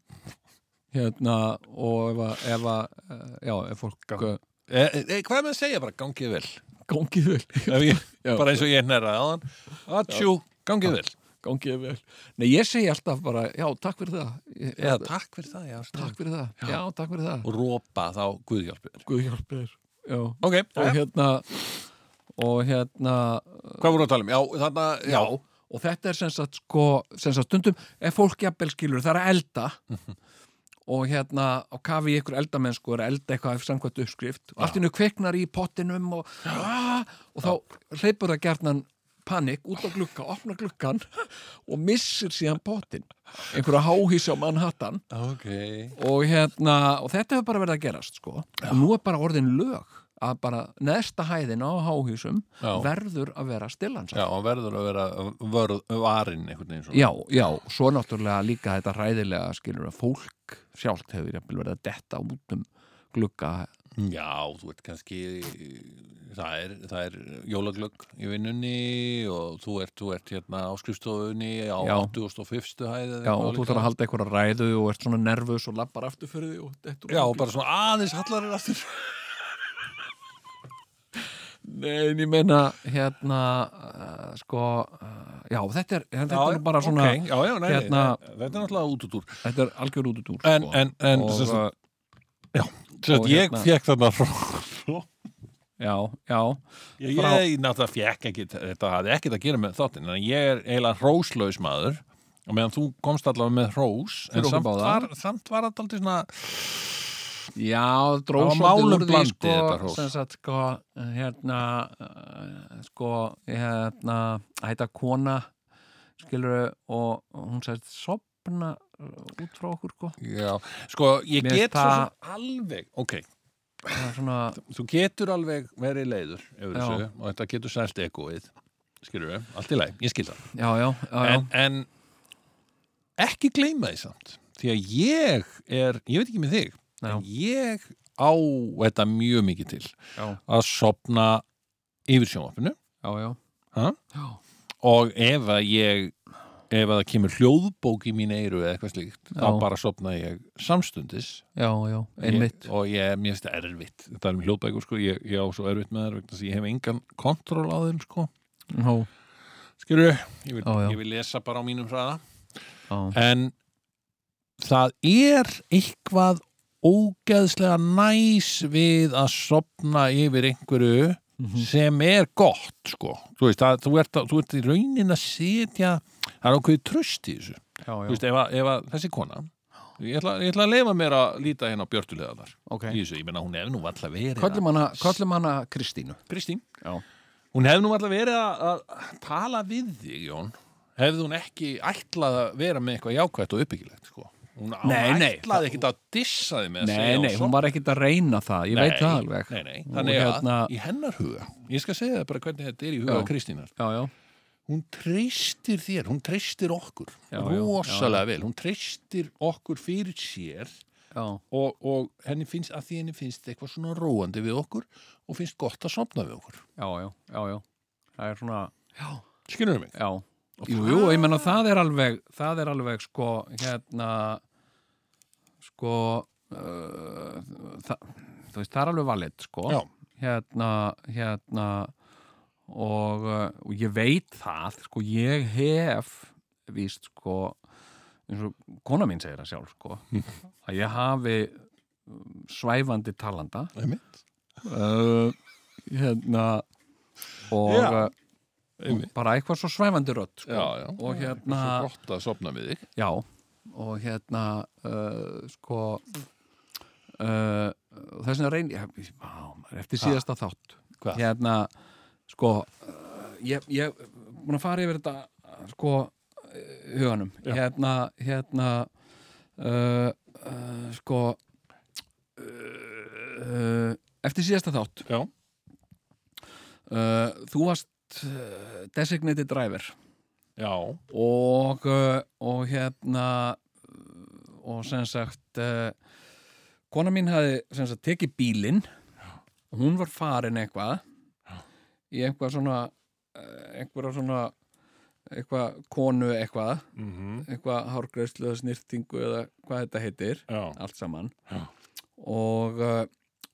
Speaker 3: Hérna, og ef að, ef að, eh, já, ef fólk eh,
Speaker 1: E, e, hvað er með að segja bara, gangið vel?
Speaker 3: gangið vel.
Speaker 1: Ef Ég,
Speaker 3: Já.
Speaker 1: bara eins og ég nærraði á þann, atsjú, gangið vel.
Speaker 3: Gangið vel. Nei, ég segi alltaf bara, já, takk fyrir það. Ég,
Speaker 1: Eða takk fyrir það, já.
Speaker 3: takk fyrir það. Já, takk fyrir það.
Speaker 1: Og rópa þá Guð hjálpi þér.
Speaker 3: Guð hjálpið þér. já.
Speaker 1: ok,
Speaker 3: og hérna og hérna
Speaker 1: hvað voru að tala um? Já, þarna, já,
Speaker 3: og þetta er sem sagt sko sem sagt stundum, ef fólk jafnvel skilur það er að elda og hérna á kafi í ykkur eldamenn sko er að elda eitthvað ef samkvæmt uppskrift og allt innu kveiknar í pottinum og, ah, og þá hleypur það gjarnan panik út á glukka, opna glukkan og missir síðan pottin einhverja háhísi á Manhattan
Speaker 1: ok
Speaker 3: og, hérna, og þetta hefur bara verið að gerast sko. og nú er bara orðin lög að bara neðsta hæðin á háhísum
Speaker 1: Já.
Speaker 3: verður að vera stillansar
Speaker 1: Já, hann verður að vera vörð, varinn einhvern veginn svona
Speaker 3: já, já, svo náttúrulega líka þetta hræðilega skilur að fólk sjálft hefur jafnvel verið að detta út um glugga
Speaker 1: Já, þú ert kannski það er, það er jólaglögg í vinnunni og þú ert, þú ert hérna á skrifstofunni á
Speaker 3: Já.
Speaker 1: 85. hæð eða
Speaker 3: já,
Speaker 1: eitthvað
Speaker 3: og þú
Speaker 1: álíka.
Speaker 3: þarf að halda einhverja ræðu og ert svona nervus og lappar aftur fyrir því og dettur úr
Speaker 1: Já,
Speaker 3: glugga.
Speaker 1: bara svona aðeins hallar er aftur
Speaker 3: Nei, en ég meina hérna, uh, sko uh, já, þetta er, þetta er nú bara svona
Speaker 1: ok, já, já, nei, hérna,
Speaker 3: hérna-
Speaker 1: þetta er náttúrulega út út úr
Speaker 3: þetta er algjör út út úr
Speaker 1: En,
Speaker 3: sko.
Speaker 1: en, en,
Speaker 3: og,
Speaker 1: sem sagt,
Speaker 3: uh,
Speaker 1: sem
Speaker 3: og
Speaker 1: sagt, ég
Speaker 3: hérna-
Speaker 1: fekk þarna frá
Speaker 3: eh, já, já
Speaker 1: Ég,
Speaker 3: Frá-
Speaker 1: ég náttúrulega fekk ekki, þetta hafði ekkert að gera með þáttinn, en ég er eiginlega hróslaus maður og meðan þú komst allavega með hrós,
Speaker 3: Fyrir
Speaker 1: en
Speaker 3: okkur
Speaker 1: samt
Speaker 3: báða.
Speaker 1: var, samt var þetta aldrei svona,
Speaker 3: Já,
Speaker 1: Það
Speaker 3: dróð
Speaker 1: var
Speaker 3: svolítið
Speaker 1: málum
Speaker 3: úr því
Speaker 1: blandið
Speaker 3: sko,
Speaker 1: þetta hrós.
Speaker 3: sem sagt, sko, hérna, eh, sko, hérna, hætta kona, skilur, og hún sagði, sopna eh, út frá okkur, sko,
Speaker 1: já, sko, ég
Speaker 3: Mér
Speaker 1: get svo
Speaker 3: það-
Speaker 1: sem alveg, ok,
Speaker 3: það er svona,
Speaker 1: þú getur alveg verið leiður yfir
Speaker 3: Já.
Speaker 1: þessu og þetta getur sælt egoið, skilur við, allt í lagi, ég skil það,
Speaker 3: já, já, já, já,
Speaker 1: en, en ekki gleyma því samt, því að ég er, ég veit ekki með þig,
Speaker 3: já,
Speaker 1: en ég á þetta mjög mikið til
Speaker 3: já,
Speaker 1: að sopna yfir sjónvarpinu
Speaker 3: já, já,
Speaker 1: Ha?
Speaker 3: já,
Speaker 1: og ef að ég ef að það kemur hljóðbók í mín eiru eða eitthvað slíkt, þá
Speaker 3: Já.
Speaker 1: bara sopna ég samstundis
Speaker 3: já, já, einmitt,
Speaker 1: ég, og ég er mjög erfitt þetta er um hljóðbækur sko, ég, ég á svo erfitt með þær vegna þess að ég hef engan kontról á þeim sko,
Speaker 3: já,
Speaker 1: skilur ég vil,
Speaker 3: Já, já.
Speaker 1: ég vil lesa bara á mínum hraða
Speaker 3: já,
Speaker 1: en það er eitthvað ógeðslega næs við að sopna yfir einhverju
Speaker 3: mhm,
Speaker 1: sem er gott sko. þú, veist, að, þú, ert, að, þú ert í raunin að setja það er okkur tröst í þessu
Speaker 3: já,
Speaker 1: Þú
Speaker 3: já,
Speaker 1: veist, ef, að, ef að þessi kona ég ætla, ég ætla að leifa mér að líta hérna á björtulegaðar
Speaker 3: ok.
Speaker 1: í þessu, ég menna hún hef nú alltaf verið að-
Speaker 3: Kollum hana, kollum hana Kristínu.
Speaker 1: Kristín,
Speaker 3: Já.
Speaker 1: hún hef nú alltaf verið að, að tala við þig Jón hefði hún ekki ætlað að vera með eitthvað jákvætt og uppbyggilegt sko. hún,
Speaker 3: Nei,
Speaker 1: hún
Speaker 3: nei.
Speaker 1: ætlaði ekkit að dissa þig með að
Speaker 3: Nei,
Speaker 1: segja
Speaker 3: nei,
Speaker 1: og
Speaker 3: hún
Speaker 1: svo-
Speaker 3: var ekkit að reyna það, ég veit
Speaker 1: Nei,
Speaker 3: það alveg.
Speaker 1: nei, nei.
Speaker 3: Og
Speaker 1: þannig að
Speaker 3: hérna-
Speaker 1: í hennar huga ég skal segja það bara hvernig þetta er í huga
Speaker 3: Já.
Speaker 1: Kristínar
Speaker 3: Já, já,
Speaker 1: hún treystir þér, hún treystir okkur
Speaker 3: Já, já,
Speaker 1: rosalega vel, hún treystir okkur fyrir sér
Speaker 3: já,
Speaker 1: og, og henni finnst, að því henni finnst eitthvað svona róandi við okkur og finnst gott að sopna við okkur
Speaker 3: já, já, já, já, það er svona, já,
Speaker 1: skilur mig?
Speaker 3: Já,
Speaker 1: Og
Speaker 3: jú,
Speaker 1: það-
Speaker 3: jú, ég menna það er alveg það er alveg sko hérna sko uh, það, þú veist, það er alveg valið sko
Speaker 1: Já.
Speaker 3: hérna, hérna og, uh, og ég veit það sko, ég hef víst sko eins og kona mín segir það sjálf sko að ég hafi um, svæfandi talanda
Speaker 1: Einmitt,
Speaker 3: uh, hérna og
Speaker 1: Já.
Speaker 3: uh, bara eitthvað svo svæfandi rödd sko.
Speaker 1: Já, já.
Speaker 3: og hérna
Speaker 1: Svo gott að sopna við þig
Speaker 3: já, og hérna uh, sko uh, þess vegna reyni ég, ég- á, maður, eftir síðasta þátt
Speaker 1: Hvað?
Speaker 3: hérna sko uh, ég, ég búin að fara yfir þetta uh, sko uh, huganum
Speaker 1: Já.
Speaker 3: hérna hérna uh, uh, sko uh, uh, eftir síðasta þátt
Speaker 1: Já,
Speaker 3: uh, þú varst uh, designated driver
Speaker 1: já,
Speaker 3: og, uh, og hérna uh, og sem sagt uh, kona mín hafi sem sagt tekið bílinn og hún var farin eitthvað í eitthvað svona uh, einhverja svona eitthvað konu eitthvað
Speaker 1: mm
Speaker 3: eitthvað hárgreislu eða snirtingu eða hvað þetta heitir
Speaker 1: já.
Speaker 3: allt saman
Speaker 1: Já.
Speaker 3: og, uh,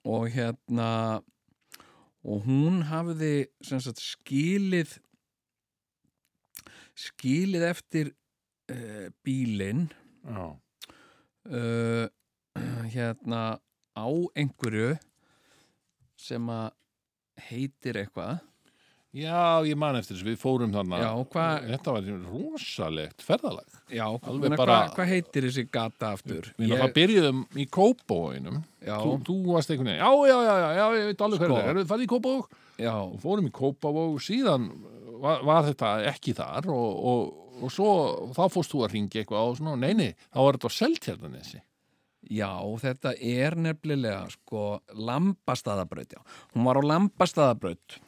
Speaker 3: og hérna og hún hafði sem sagt skilið skilið eftir uh, bílinn eh,
Speaker 1: já.
Speaker 3: uh, hérna á einhverju sem að heitir eitthvað
Speaker 1: Já, ég man eftir þessu, við fórum þannig
Speaker 3: Já, hvað-
Speaker 1: Þetta var rosalegt ferðalag
Speaker 3: Já,
Speaker 1: Alveg
Speaker 3: alveg bara
Speaker 1: bara-
Speaker 3: Hvað heitir þessi gata aftur?
Speaker 1: Við ég... náttúrulega byrjuðum í Kópóinum
Speaker 3: já,
Speaker 1: þú, þú varst einhvern veginn, já, já, já, já, já, ég veit alveg
Speaker 3: Sko.
Speaker 1: hverju Erum við farið í Kópavog?
Speaker 3: já,
Speaker 1: Og fórum í Kópavog, síðan var, var þetta ekki þar og, og, og svo, þá fórst þú að ringi eitthvað á svona, nei, nei, þá var þetta á Seltjarnanessi
Speaker 3: já, þetta er nefnilega sko Lambastaðabraut, já. Hún var á Lambastaðabraut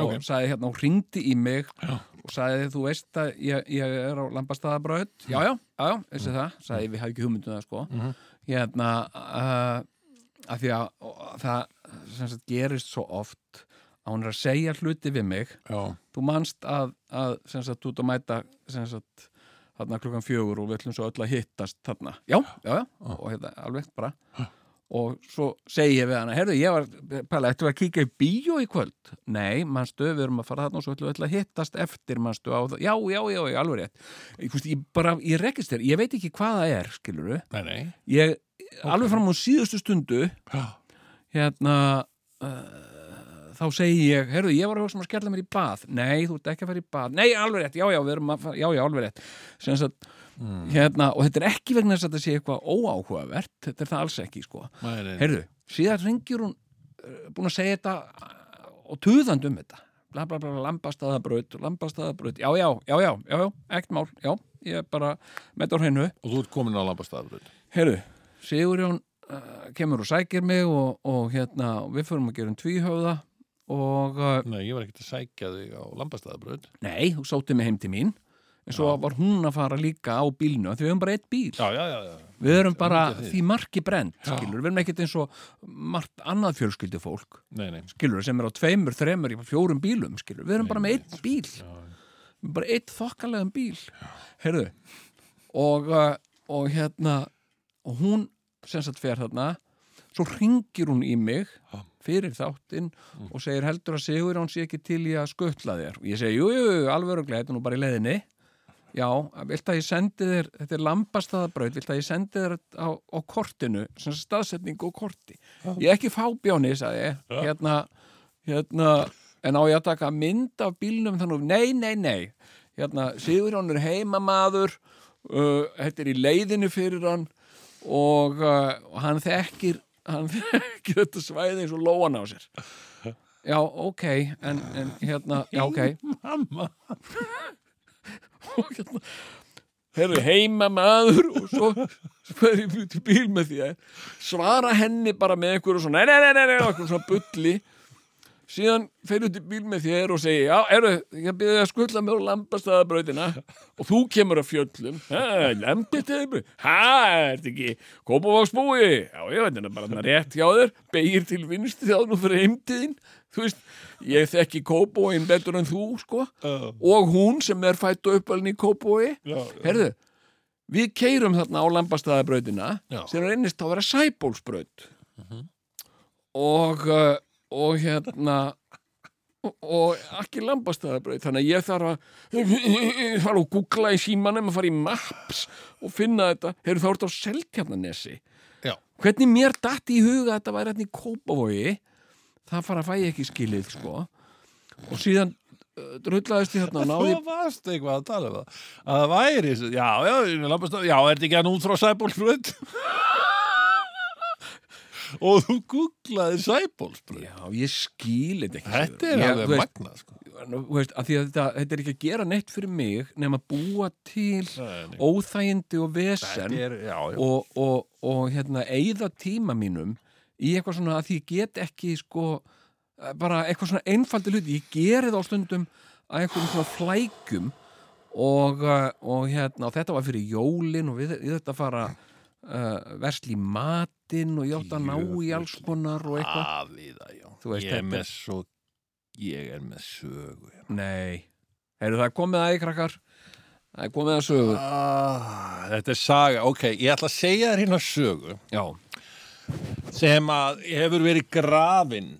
Speaker 3: og
Speaker 1: Ok.
Speaker 3: sagði hérna, hún ringdi í mig
Speaker 1: Já.
Speaker 3: og sagði þú veist að ég, ég er á Lambastaðabraut. Já, já, já, já, veistu það, sagði við hafði ekki hugmyndum það sko.
Speaker 1: Mhm.
Speaker 3: Hérna, uh, af því að og það sem sagt gerist svo oft að hún er að segja hluti við mig
Speaker 1: Já,
Speaker 3: þú manst að, að sem sagt, þú ert að mæta sem sagt, þarna klukkan fjögur og við ætlum svo öll að hittast þarna, já, já, já, og hérna alveg bara og svo segi ég við hana, heyrðu, ég var pæla, ættum við að kíka í bíó í kvöld nei, manstu, við erum að fara þarna og svo ætlum við öll að hittast eftir, manstu, á það já, já, já, já, alveg rétt ég, veist, ég bara, ég rekist þér, ég veit ekki hvað það er skilur við,
Speaker 1: nei, nei
Speaker 3: ég alveg fram á síðustu stundu
Speaker 1: Já,
Speaker 3: hérna uh, þá segi ég, heyrðu, ég var að hugsa um að skella mér í bað nei, þú ert ekki að fara í bað, nei, alveg rétt já, já, við erum að fara, já, já, alveg rétt Sens að, hérna, og þetta er ekki vegna þess að þetta sé eitthvað óáhugavert, þetta er það alls ekki, sko,
Speaker 1: nei, nei,
Speaker 3: heyrðu síðan ringir hún, uh, búin að segja þetta uh, og tuðandi um þetta bla, bla, bla, lambastaðabraut, lambastaðabraut já, já, já, já, já, já, ekkert mál já, ég er bara, með þetta á hreinu
Speaker 1: Og þú ert komin á Lambastafröð
Speaker 3: Heyrðu, Sigurjón uh, kemur og sækir mig og, og hérna, við förum að gera um tvíhöfða og uh,
Speaker 1: Nei, ég var ekkert að sækja þig á Lambastafröð
Speaker 3: nei, hún sótti mig heim til mín en svo var hún að fara líka á bílnu af því við erum bara eitt bíl
Speaker 1: Já, já, já, já
Speaker 3: við erum bara
Speaker 1: Undir því.
Speaker 3: því marki brend
Speaker 1: Já.
Speaker 3: skilur, við erum ekkert eins og margt annað fjölskyldi fólk
Speaker 1: Nei, nei,
Speaker 3: skilur, sem er á tveimur, þremur, jafnvel fjórum bílum skilur, við erum
Speaker 1: Nei,
Speaker 3: bara
Speaker 1: nei,
Speaker 3: með eitt bíl bara eitt þokkalegan bíl heyrðu og, uh, og hérna og hún sem sagt fer þarna svo ringir hún í mig
Speaker 1: Já.
Speaker 3: fyrir þáttinn og segir heldur að Sigur hún sé ekki til í að skuttla þér og ég segi, jú, jú, jú, alveg örugglega, þetta er nú bara í leiðinni já, vilt að ég sendi þér þetta er lambastaðabraut, vilt að ég sendi þér á, á kortinu, sem sagt staðsetningu á korti, ég er ekki fábjóni sagði ég,
Speaker 1: Já.
Speaker 3: hérna hérna, en á ég að taka mynd af bílnum þannig, nei, nei, nei hérna, Sigurjón er heimamaður uh, þetta er í leiðinu fyrir hann og uh, og hann þekkir hann þekkir þetta svæði eins og lóan á sér já, ok en, en hérna, já, ok
Speaker 1: Mamma
Speaker 3: og hérna Herru, heimamaður og svo spyr ég til bíl með því að svara henni bara með einhverju svona, nei, nei, nei, nei, nei, og einhverju svona bulli síðan fer út í bíl með þér og segi, já, eru, ég byrði að skulla mér á lambastaðabrautina og þú kemur að fjöllum, hæ, lambastaðabrautina, hæ, ertu ekki, koma á spúi, já, ég veit hérna bara hérna rétt hjá þér, beigir til vinstri þá nú fyrir heimtiðin, þú veist, ég þekki kópóin betur en þú, sko,
Speaker 1: Já.
Speaker 3: og hún sem er fætt og uppalinn í kópói, herðu, við keirum þarna á Lambastaðabrautina
Speaker 1: Já.
Speaker 3: sem er einnist að vera sæbólsbraut og uh, og hérna og, og ekki Lambastaðabraut þannig að ég þarf að fara og googla í símanum að fara í Maps og finna þetta, heyrðu þá ertu á Seltjarnanesi
Speaker 1: Já.
Speaker 3: hvernig mér datt í huga að þetta væri hérna í Kópavogi það fara að fæ ég ekki skilið sko og síðan uh, drullaðist ég hérna og náði
Speaker 1: Svo varst eitthvað að tala um það að það væri, já, já, lampastöð já, er þetta ekki hann út frá sæbólsbröð og þú googlaði sæbólsbröð
Speaker 3: Já, ég skil þetta ekki
Speaker 1: Þetta er
Speaker 3: Sigurður. Ég- þú
Speaker 1: alveg
Speaker 3: veist,
Speaker 1: magnað sko.
Speaker 3: nú, þú veist, af því að þetta, þetta er ekki að gera neitt fyrir mig nema að búa til
Speaker 1: Nei, nei.
Speaker 3: óþægindi og
Speaker 1: Þetta
Speaker 3: vesen
Speaker 1: er, já, já,
Speaker 3: og, og, og hérna, eigða tíma mínum í eitthvað svona að því ég get ekki sko, eh, bara eitthvað svona einfaldi hluti, ég geri það á stundum að einhverjum svona flækjum og, eh, og hérna og þetta var fyrir jólin og við, við þetta fara uh, versli í matinn og ég átt að ná í alls konar og eitthvað
Speaker 1: afiða, já
Speaker 3: Þú
Speaker 1: Ég
Speaker 3: veist,
Speaker 1: er
Speaker 3: þetta-
Speaker 1: með svo ég er með sögu hérna.
Speaker 3: Nei, heyrðu það er komið aðeins krakkar Það er komið að sögur
Speaker 1: ah, Þetta er saga, ok, ég ætla að segja þér hérna sögu
Speaker 3: Já,
Speaker 1: sem að hefur verið grafin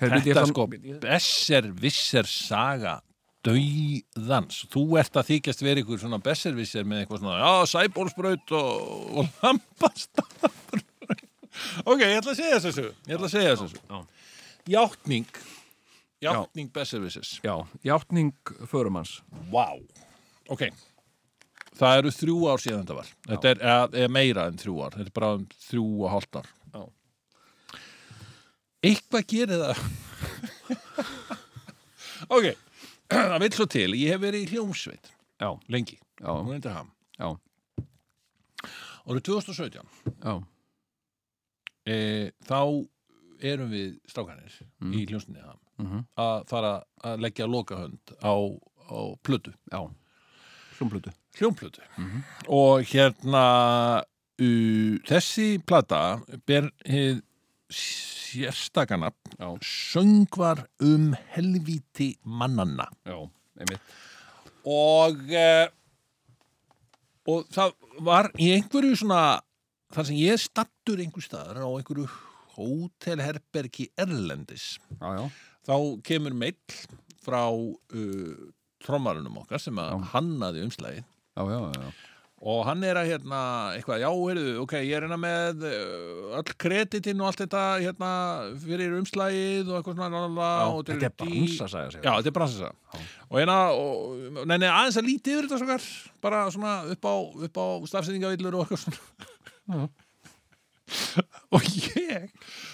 Speaker 3: heyrðu
Speaker 1: Þetta sko, besser visser saga dauðans. Þú ert að þykjast verið ykkur svona besser visser með eitthvað svona, já, sæbólsbraut og, og lampastaðabraut. ok, ég ætla að segja þessu ég ætla að segja þessu
Speaker 3: já.
Speaker 1: játning játning Besserwisses
Speaker 3: Já, játning förumanns
Speaker 1: wow. ok það eru þrjú ár síðan þetta var þetta er, eða, eða meira en þrjú ár þetta er bara um þrjú og hálft ár
Speaker 3: Já.
Speaker 1: eitthvað gerir það ok það vil svo til, ég hef verið í hljómsveit
Speaker 3: Já,
Speaker 1: lengi,
Speaker 3: já,
Speaker 1: hún endur ham
Speaker 3: já,
Speaker 1: árið 2017
Speaker 3: já,
Speaker 1: e, þá erum við strákanir
Speaker 3: Mm.
Speaker 1: í hljómsveitinni ham
Speaker 3: mhm,
Speaker 1: að fara að leggja lokahönd á, á plötu,
Speaker 3: já Hljómblötu
Speaker 1: hljómplötu og hérna u, þessi plata ber hið sérstakana
Speaker 3: Já.
Speaker 1: söngvar um helvíti mannanna
Speaker 3: Já, einmitt
Speaker 1: og eh, og það var í einhverju svona þar sem ég stattur einhver staðar á einhverju hótelherbergi Erlendis
Speaker 3: Já, já,
Speaker 1: þá kemur meill frá uh, trommarunum okkar sem að hannaði umslagi
Speaker 3: já, já, já, já.
Speaker 1: og hann er að hérna eitthvað, já, heyrðu, ok, ég er hérna með uh, öll kreditinn og allt þetta hérna fyrir umslagið og eitthvað svona lala, og
Speaker 3: Þetta er
Speaker 1: dí-
Speaker 3: bansa, sagði
Speaker 1: Já, þetta er bransasa og hérna, og, neina, aðeins að lítið yfir þetta svakar, bara svona upp á, upp á stafsendingavillur og eitthvað svona og ég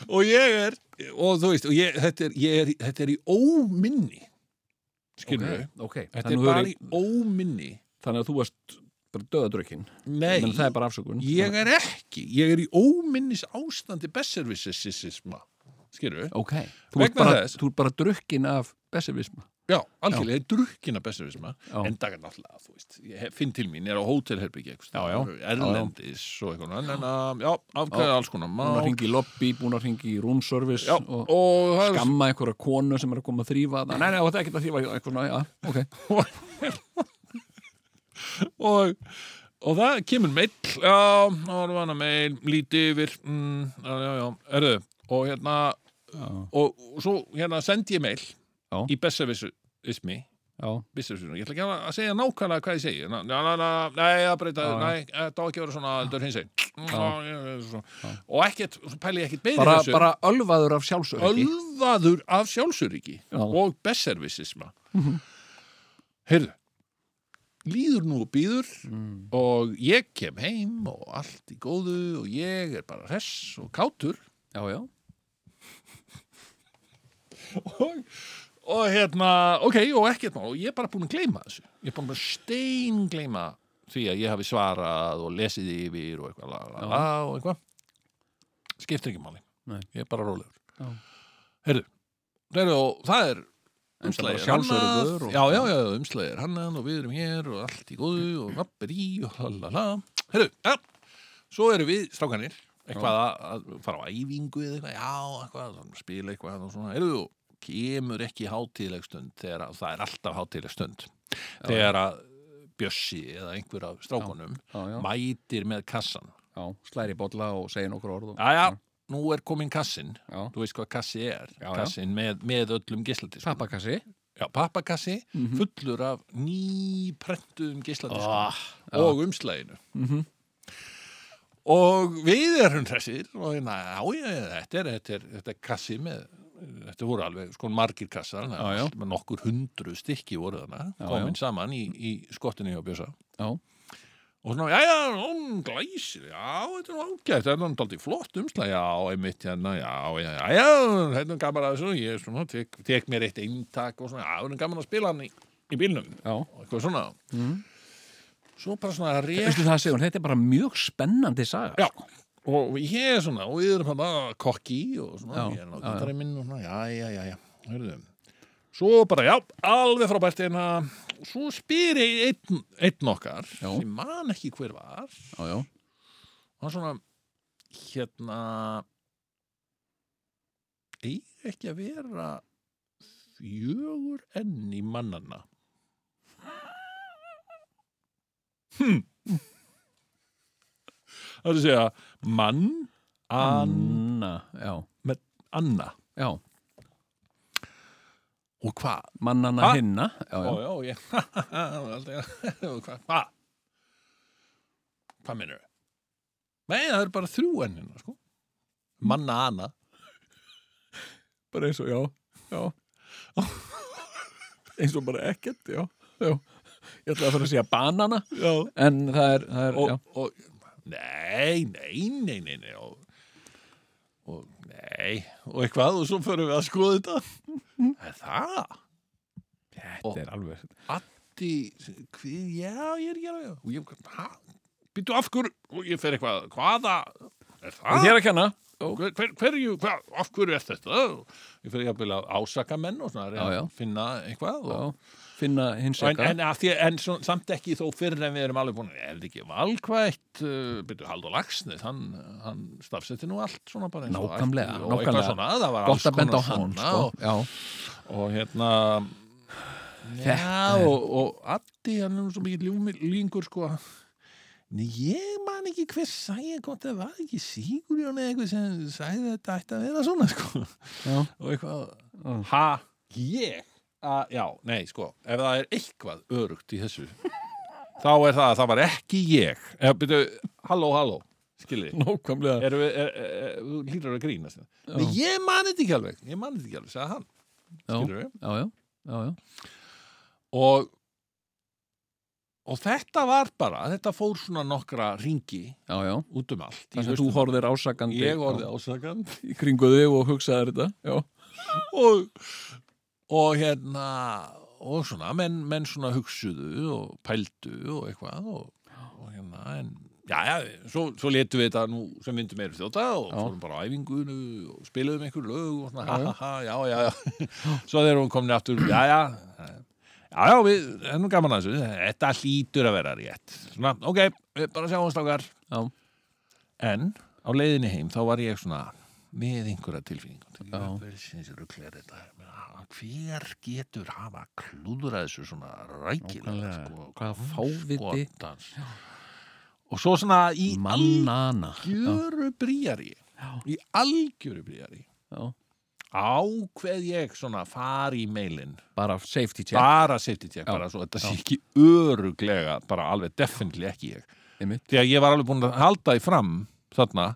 Speaker 1: og ég er, og þú veist og ég, þetta, er, ég er, þetta er í óminni skilur við
Speaker 3: Ok, okay.
Speaker 1: þetta er
Speaker 3: Þannig,
Speaker 1: bara
Speaker 3: bara...
Speaker 1: í óminni
Speaker 3: þannig að þú varst bara döðadrökin
Speaker 1: nei,
Speaker 3: Menn það er bara afsökun
Speaker 1: ég er ekki ég er í óminnis ástandi besservissisisma skilur við,
Speaker 3: Ok, þú ert
Speaker 1: Vegna
Speaker 3: bara,
Speaker 1: þess-
Speaker 3: þú ert bara drukkin af besservisma
Speaker 1: já, algjörlega, ég er drukkin af besservisma
Speaker 3: Já.
Speaker 1: en dagar náttúrulega, þú veist ég hef- finn til mín, ég er á hótelherbyggi
Speaker 3: Já, já.
Speaker 1: erlendis og eitthvað en, en, um, já, afkvæða alls konar
Speaker 3: Búin
Speaker 1: mál
Speaker 3: að ringi í lobby, búin að ringi í room service
Speaker 1: já,
Speaker 3: og,
Speaker 1: og, og það er
Speaker 3: skamma einhverja konu sem er að koma að þrýfa það. Nei, nei, þetta er ekkert að þrýfa eitthvað svona, já, ok.
Speaker 1: og, og það kemur meil já, þá erum hana meil, lítið yfir mm, já, já, já, erðu og hérna, og, og svo hérna sendi ég meil
Speaker 3: Já.
Speaker 1: í besservismi
Speaker 3: Já,
Speaker 1: Bissursunum, ég ætla ekki að segja nákvæmlega hvað ég segi Na- na- na- na- nei, það breyta
Speaker 3: Já, já.
Speaker 1: nei, þetta á ekki að vera svona, Mm, þetta er hins einn og ekkert, svo pæli ég ekkert meira í
Speaker 3: bara,
Speaker 1: þessu.
Speaker 3: bara ölvaður af sjálfsöryggi.
Speaker 1: ölvaður af sjálfsöryggi
Speaker 3: Já. Mhm.
Speaker 1: og besservisisma heyrðu líður nú og býður
Speaker 3: Mm.
Speaker 1: og ég kem heim og allt í góðu og ég er bara hress og kátur
Speaker 3: Já, já.
Speaker 1: og, og hérna, ok, og ekkert mál og ég er bara búin að gleyma þessu ég er bara búin að stein gleyma því að ég hafi svarað og lesið yfir og eitthvað, la, la, la, og eitthvað skiptir ekki máli
Speaker 3: Nei.
Speaker 1: ég er bara rólegur
Speaker 3: Já.
Speaker 1: heyrðu, heyrðu, og það er umslægir
Speaker 3: bara sjálfsöruggur og-
Speaker 1: já, já, já, umslægir hannan uh, og við erum hér og allt í góðu og vappir í og lalala heyrðu, já, svo erum við strákanir eitthvað að, að fara á æfingu eða eitthvað, já, eitthvað, svona, spila eitthvað og svona, heyrðu, og kemur ekki hátíðleg stund þegar að, það er alltaf hátíðleg stund þegar að Bjössi eða einhver af strákunum
Speaker 3: Já, já.
Speaker 1: mætir með kassan
Speaker 3: já. Slæri í bolla og segja nokkur orð og...
Speaker 1: Jæja, nú er komin kassin
Speaker 3: Já.
Speaker 1: þú veist hvað kassi er
Speaker 3: Já, já.
Speaker 1: kassin með, með öllum geisladisk
Speaker 3: Pappakassi.
Speaker 1: já, pappakassi
Speaker 3: Mhm.
Speaker 1: fullur af nýprentuðum geisladiskum
Speaker 3: Ah, já. Mhm.
Speaker 1: og umslæginu og við erum þessir og hérna, já, já, já, þetta er, þetta er, þetta er kassi með þetta voru alveg sko margir kassar þannig að
Speaker 3: Já, já.
Speaker 1: allt með nokkur hundru stykki voru þarna
Speaker 3: Já,
Speaker 1: komin saman í, í skottinu hjá Bjösa
Speaker 3: Já.
Speaker 1: og svona, já, já, hún glæsir, já, þetta er nú ágætt, þetta er nú aldrei flott umslag, já, einmitt, hérna, já, já, já, já, þetta er gaman að þessu, ég svona, tek, tek mér eitt eintak og svona, já, þetta er gaman að spila hann í, í bílnum,
Speaker 3: Já.
Speaker 1: og eitthvað svona. Mm. Svo bara svona rétt,
Speaker 3: Veistu það, Sigur, þetta er bara mjög spennandi saga.
Speaker 1: já, og ég er svona, og við erum hann að kokki og svona,
Speaker 3: Já,
Speaker 1: ég er
Speaker 3: já,
Speaker 1: hann á
Speaker 3: já.
Speaker 1: gítarinn minn og svona, já, já, já, já, hörðum. Svo bara, já, alveg frábært, en að, svo spyr ég einn, einn okkar,
Speaker 3: Já.
Speaker 1: sem man ekki hver var,
Speaker 3: Já, já.
Speaker 1: hann svona hérna eiga ekki að vera fjögur enn í mannanna hm það er að segja mann an,
Speaker 3: Anna. Já.
Speaker 1: anna
Speaker 3: Já.
Speaker 1: og hvað
Speaker 3: Mannana
Speaker 1: Ha?
Speaker 3: hinna. Já, já.
Speaker 1: já, já, ég og hvað hva? hvað minnur nei, það eru bara þrjú ennina sko manna hana
Speaker 3: bara eins og, já, já eins og bara ekkert, já, já ég ætla að fara að segja banana
Speaker 1: já.
Speaker 3: en það er, það er
Speaker 1: Og,
Speaker 3: já,
Speaker 1: og nei, nei, nei, nei, nei og, og nei og eitthvað og svo förum við að skoða þetta er það
Speaker 3: þetta er alveg
Speaker 1: Addi, hví, já, ég er ekki alveg og ég, hæ, býttu af hverju og ég fer eitthvað, hvaða er það?
Speaker 3: þér að kenna
Speaker 1: hver, hver, hverju, hva, af hverju er þetta ég fyrir jafnvel að ásaka menn og svona,
Speaker 3: Já,
Speaker 1: reyna
Speaker 3: já.
Speaker 1: að finna eitthvað og,
Speaker 3: já, finna hins
Speaker 1: en,
Speaker 3: ekka
Speaker 1: en, að því, en svo, samt ekki þó fyrr en við erum alveg búin er þetta ekki valkvætt uh, byrju Haldur Lagsnes, hann, hann stafsetti nú allt svona bara eins og
Speaker 3: Nákvæmlega,
Speaker 1: ætti og eitthvað
Speaker 3: nákvæmlega.
Speaker 1: svona, það var
Speaker 3: gott
Speaker 1: alls
Speaker 3: að benda á
Speaker 1: konar svona
Speaker 3: hann sko.
Speaker 1: og,
Speaker 3: já,
Speaker 1: og hérna
Speaker 3: Þetta
Speaker 1: já
Speaker 3: er-
Speaker 1: og, og Addi hann er nú svo mikið língur sko Nei, ég man ekki hver sagði gott að var ekki Sigurjón eða eitthvað sem sagði þetta ætti að vera svona sko
Speaker 3: já,
Speaker 1: og eitthvað
Speaker 3: Mm.
Speaker 1: ha, ég a, já, nei, sko, ef það er eitthvað örugt í þessu þá er það að það var ekki ég eða byrju, halló, halló, skilji
Speaker 3: nákvæmlega
Speaker 1: erum við, er, er, er, þú hlýtur að grínast hérna. nei, ég mani þetta ekki alveg, ég mani þetta ekki alveg sagði hann,
Speaker 3: já,
Speaker 1: skilur við
Speaker 3: já, já, já, já.
Speaker 1: og og þetta var bara, þetta fór svona nokkra ringi
Speaker 3: Já, já,
Speaker 1: út um allt í
Speaker 3: það sem þú
Speaker 1: hausnum.
Speaker 3: horfðir ásakandi
Speaker 1: ég orði ásakand
Speaker 3: í kringu þig og hugsaðir þetta Já,
Speaker 1: og, og hérna og svona, menn, menn svona hugsuðu og pældu og eitthvað og, og hérna, en já, já, svo, svo letum við þetta nú sem myndum meira þjóta og
Speaker 3: Já.
Speaker 1: fórum bara á æfingunu og spiluðum einhver lög og svona,
Speaker 3: Já,
Speaker 1: ha,
Speaker 3: já.
Speaker 1: ha, ha, já, já, já svo þegar hún komin aftur, já, já já, já, við, það er nú gaman að þessu þetta hlýtur að vera rétt svona, ok, við bara sjáum slákar
Speaker 3: já,
Speaker 1: en á leiðinni heim þá var ég svona með einhverja tilfinningum
Speaker 3: Já.
Speaker 1: Jöfnvelsins rugl er þetta. Ég meina, hver getur hafa klúðrað þessu svona rækilega
Speaker 3: Nákvæmlega.
Speaker 1: sko,
Speaker 3: Hvaða fáviti.
Speaker 1: skotans. og svo svona í
Speaker 3: mannana Já,
Speaker 1: algjöru brýjari
Speaker 3: Já.
Speaker 1: í algjöru brýjari
Speaker 3: já,
Speaker 1: ákveð ég svona fari í meilin
Speaker 3: bara safety check
Speaker 1: bara safety check
Speaker 3: Já.
Speaker 1: bara svo þetta sé
Speaker 3: Já.
Speaker 1: ekki öruglega bara alveg definitely ekki ég
Speaker 3: einmitt.
Speaker 1: því að ég var alveg búin að halda því fram þarna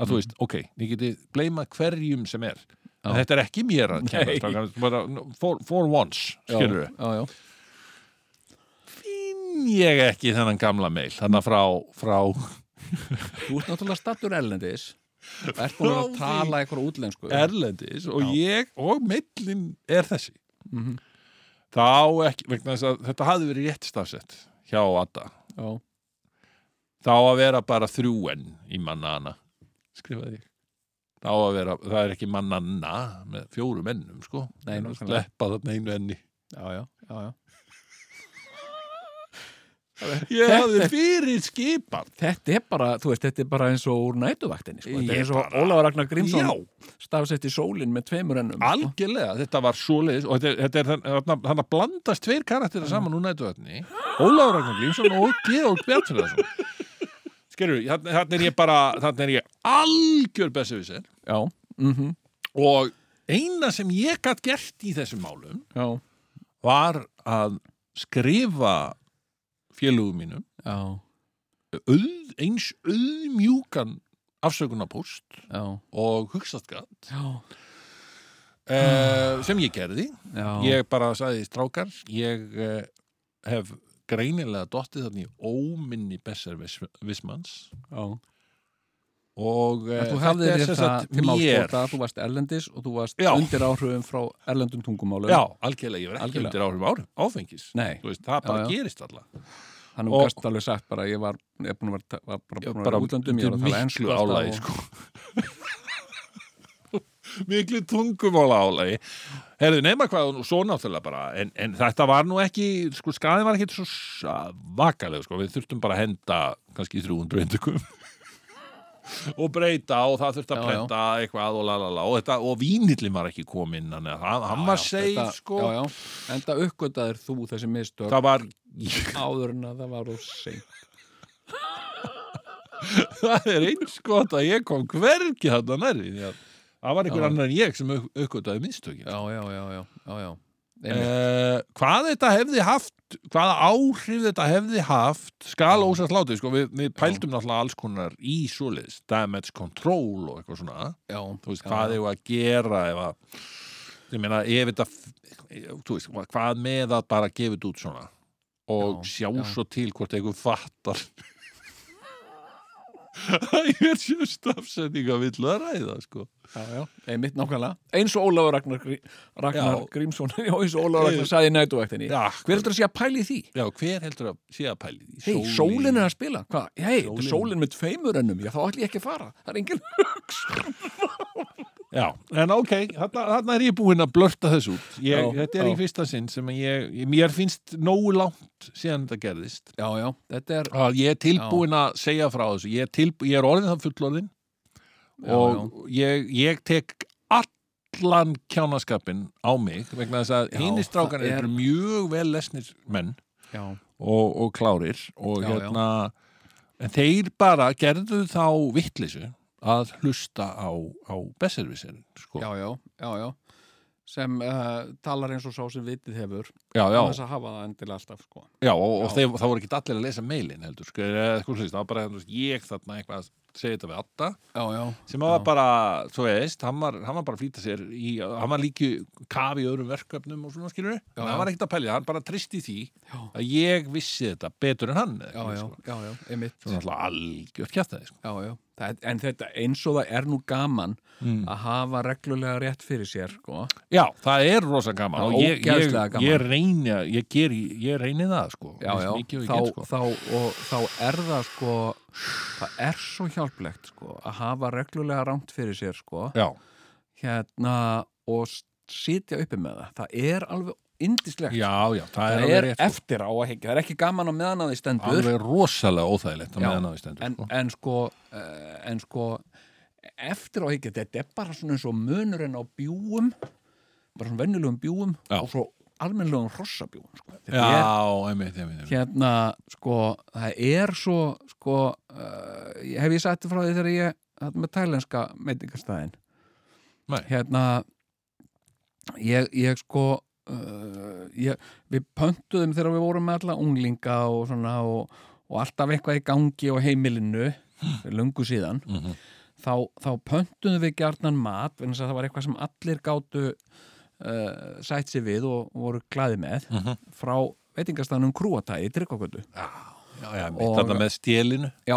Speaker 1: að þú veist, ok, ég geti bleima hverjum sem er en
Speaker 3: Já.
Speaker 1: þetta er ekki mér að kenna
Speaker 3: Nei.
Speaker 1: strákar, bara, for, for once, skilur við
Speaker 3: Já, já,
Speaker 1: finn ég ekki þennan gamla meil þannig frá, frá
Speaker 3: þú ert náttúrulega stattur erlendis og ert búin að vera að
Speaker 1: Frá því-
Speaker 3: tala eitthvað útlensku
Speaker 1: Erlendis og
Speaker 3: Já.
Speaker 1: ég og meillin er þessi
Speaker 3: Mhm.
Speaker 1: þá ekki, vegna þess að þetta hafði verið rétt stafsett hjá Adda
Speaker 3: Já,
Speaker 1: þá að vera bara þrjúen í mannana skrifaði ég þá að vera, það er ekki mannanna með fjórum ennum sko Það er
Speaker 3: Nei,
Speaker 1: að
Speaker 3: nákvæmlega.
Speaker 1: sleppa þarna einu enni
Speaker 3: já, já, já, já.
Speaker 1: ég
Speaker 3: Þetta
Speaker 1: hafði
Speaker 3: er-
Speaker 1: fyrir skipað
Speaker 3: Þetta er bara, þú veist, þetta er bara eins og úr nætuvaktinni, sko. Þetta
Speaker 1: Ég
Speaker 3: er eins og
Speaker 1: bara-
Speaker 3: Ólafur Ragnar
Speaker 1: já,
Speaker 3: Grímsson stafsett í sólinn með tveimur ennum. sko.
Speaker 1: algjörlega, þetta var svoleiðis og þetta, er- þetta er þann- þarna, þarna blandast tveir karakterar saman úr nættuðatni Ólafur Ragnar Grímsson og Georg Bjartfjörðarsson skerur, þannig er ég bara þannig er ég algjör besefisir
Speaker 3: Já, mhm,
Speaker 1: og eina sem ég gætt gert í þessum málum
Speaker 3: já,
Speaker 1: var að skrifa félugum mínum
Speaker 3: já,
Speaker 1: auð, eins auðmjúkan afsökunarpóst
Speaker 3: já,
Speaker 1: og hugsaðgat
Speaker 3: já,
Speaker 1: uh, sem ég gerði
Speaker 3: já.
Speaker 1: ég bara sagði strákar ég uh, hef greinilega dottið þarna í óminni Besser Vis- Vismans
Speaker 3: já.
Speaker 1: og eh,
Speaker 3: En Þú hafðir
Speaker 1: þetta er
Speaker 3: þér
Speaker 1: sem
Speaker 3: það
Speaker 1: sagt
Speaker 3: til
Speaker 1: mér
Speaker 3: málskota, þú varst erlendis og þú varst
Speaker 1: Já.
Speaker 3: undir áhrifum frá erlendum tungumálum.
Speaker 1: já, algjörlega, ég var ekki
Speaker 3: Algjörlega.
Speaker 1: undir áhrifum áhrif, áfengis
Speaker 3: Nei.
Speaker 1: Þú veist, það bara
Speaker 3: já.
Speaker 1: gerist alla
Speaker 3: Þannig
Speaker 1: Og-
Speaker 3: og... gast alveg sagt bara, ég var, ég er búin að vera, ta- var bara
Speaker 1: Ég
Speaker 3: búin
Speaker 1: var
Speaker 3: að vera
Speaker 1: bara
Speaker 3: í útlandum, ég var að tala ensku.
Speaker 1: miklu
Speaker 3: alltaf
Speaker 1: álægi
Speaker 3: og-
Speaker 1: sko miklu tungumála álægi herðu nema hvað og svo náttúrulega bara en, en þetta var nú ekki, sko skaðin var ekki svo vakaleg sko, við þurftum bara að henda kannski 300 endurkum og breyta og það þurfti að
Speaker 3: Já, já.
Speaker 1: breyta eitthvað og lalala og, þetta, og vínillin var ekki kominn hann, hann, hann
Speaker 3: Já,
Speaker 1: var
Speaker 3: já,
Speaker 1: safe
Speaker 3: þetta-
Speaker 1: sko
Speaker 3: Já, já, enda uppgötaðir þú þessi mistök
Speaker 1: það var
Speaker 3: áður en að það var úr seint.
Speaker 1: það er eins gott að ég kom hvergi þarna nærri því að það var einhver
Speaker 3: Já.
Speaker 1: annar en ég sem aukvitaði minnstökin
Speaker 3: Já, já, já, já, já, já.
Speaker 1: Uh, hvað þetta hefði haft hvaða áhrif þetta hefði haft skal ósast látið, sko, við, við pældum náttúrulega alls konar í svoleiðis damage control og eitthvað svona
Speaker 3: já,
Speaker 1: þú veist,
Speaker 3: já,
Speaker 1: hvað hefur að gera ef að, ég meina, ef þetta þú veist, hvað með að bara gefa þetta út svona og
Speaker 3: Já,
Speaker 1: sjá
Speaker 3: já.
Speaker 1: svo til hvort einhver fattar ég er sjöstafsending að villu að ræða, sko
Speaker 3: já, já, einmitt nákvæmlega eins og Ólafur Ragnar, Grí- Ragnar
Speaker 1: Já.
Speaker 3: Grímsson já, eins og Ólafur Ragnar saði í nætuvæktinni
Speaker 1: Já,
Speaker 3: hver heldur að sé að pæli því?
Speaker 1: já, hver heldur að sé að pæli því?
Speaker 3: Hei, sólin. sólin er að spila, hvað? Hei, þetta er
Speaker 1: Sólin.
Speaker 3: sólin með tveimur ennum, já þá ætlum ég ekki að fara það er engin
Speaker 1: Já, en ok, þarna, þarna er ég búinn að blörta þess út. Ég,
Speaker 3: Já,
Speaker 1: þetta er
Speaker 3: já.
Speaker 1: í fyrsta sinn sem ég, ég, mér finnst nógu langt síðan þetta gerðist.
Speaker 3: Já, já, þetta er
Speaker 1: Að ég er tilbúinn að segja frá þessu. Ég er, tilb, ég er orðin það fullorðin
Speaker 3: Já,
Speaker 1: og Ég, ég tek allan kjánaskapin á mig vegna þess að
Speaker 3: Já,
Speaker 1: hinni strákan
Speaker 3: það er-
Speaker 1: er... eru mjög vel lesnir menn
Speaker 3: já,
Speaker 1: og, og klárir og
Speaker 3: Já, já.
Speaker 1: hérna, en þeir bara gerðu þá vitleysu að hlusta á, á besserviserin, sko.
Speaker 3: já, já, já, já. sem uh, talar eins og sá sem vitið hefur
Speaker 1: já, já.
Speaker 3: þess að hafa það endilega alltaf sko.
Speaker 1: Já, og, og
Speaker 3: Já.
Speaker 1: þeir, það voru ekki allir að lesa meilin heldur, sko, eða eitthvað slíkt, það var bara þú veist, ég þarna eitthvað að segja þetta við Atta
Speaker 3: Já, já,
Speaker 1: sem var bara, þú veist, hann var, hann var bara að flýta sér í, hann var líki kafi í öðrum verkefnum og svona skilur
Speaker 3: Já,
Speaker 1: hann
Speaker 3: já.
Speaker 1: var ekkert að pælja, hann bara tristi því
Speaker 3: Já.
Speaker 1: að ég vissi þetta betur en hann eða
Speaker 3: já,
Speaker 1: eitthvað,
Speaker 3: já,
Speaker 1: sko.
Speaker 3: já, já, einmitt
Speaker 1: Svona alltaf algjört kjátt það, sko
Speaker 3: Já, já, það, en þetta eins og það er nú gaman
Speaker 1: mm.
Speaker 3: að hafa reglulega rétt fyrir sér sko.
Speaker 1: Já, það er rosa gaman
Speaker 3: Það er
Speaker 1: og ég, ég,
Speaker 3: ógeðslega gaman.
Speaker 1: ég reyni að- ég, geri, ég reyni það, sko
Speaker 3: já,
Speaker 1: Eins
Speaker 3: já,
Speaker 1: mikið og ég
Speaker 3: þá,
Speaker 1: get, sko.
Speaker 3: þá, og, þá er það sko, það er svo hjálplegt sko, að hafa reglulega rámt fyrir sér sko,
Speaker 1: Já,
Speaker 3: hérna og s- sitja uppi með það, það er alveg indislegt,
Speaker 1: já, já, það,
Speaker 3: það,
Speaker 1: er, alveg
Speaker 3: er
Speaker 1: rétt, sko.
Speaker 3: eftir á að hengja, það er ekki gaman á meðan að því stendur
Speaker 1: alveg rosalega óþægilegt að
Speaker 3: Já,
Speaker 1: meðan á því stendur,
Speaker 3: en,
Speaker 1: sko
Speaker 3: en sko eh, en sko eftir á að hengja, þetta er bara svona eins og munurinn á bjúum bara svona venjulegum bjúum
Speaker 1: Já.
Speaker 3: og svo almennlegum hrossabjúum sko. þetta er
Speaker 1: Já, einmitt, einmitt, einmitt.
Speaker 3: hérna, sko, það er svo, sko, uh, hef ég sagt frá því þegar ég, þetta með tælenska meitingastæðin,
Speaker 1: Nei.
Speaker 3: hérna, ég, ég sko, uh, ég, við pöntuðum þegar við vorum með alla unglinga og svona og, og alltaf eitthvað í gangi og heimilinu, fyrir löngu síðan,
Speaker 1: Mm -hmm.
Speaker 3: þá, þá pöntuðum við gjarnan mat, vegna þess að það var eitthvað sem allir gátu uh, sætt sér við og, og voru glaði með,
Speaker 1: Mhm.
Speaker 3: frá veitingastæðanum krúatæði í Tryggvakvöldu.
Speaker 1: Já, já, mitt
Speaker 3: Og-
Speaker 1: þarna með stélinu.
Speaker 3: Já,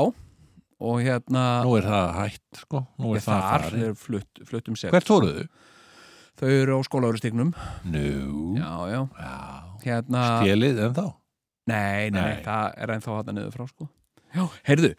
Speaker 3: og hérna
Speaker 1: Nú er það hætt, sko. Nú er
Speaker 3: ég
Speaker 1: það
Speaker 3: þar
Speaker 1: farið.
Speaker 3: er flutt, flutt um sér
Speaker 1: Hvert fóruðu?
Speaker 3: Þau eru á skólaugurstignum
Speaker 1: Nú.
Speaker 3: Já, já,
Speaker 1: Já.
Speaker 3: hérna
Speaker 1: Stélið en þá.
Speaker 3: nei, nei, nei,
Speaker 1: Nei.
Speaker 3: það er ennþá hann niður frá sko Já, heyrðu,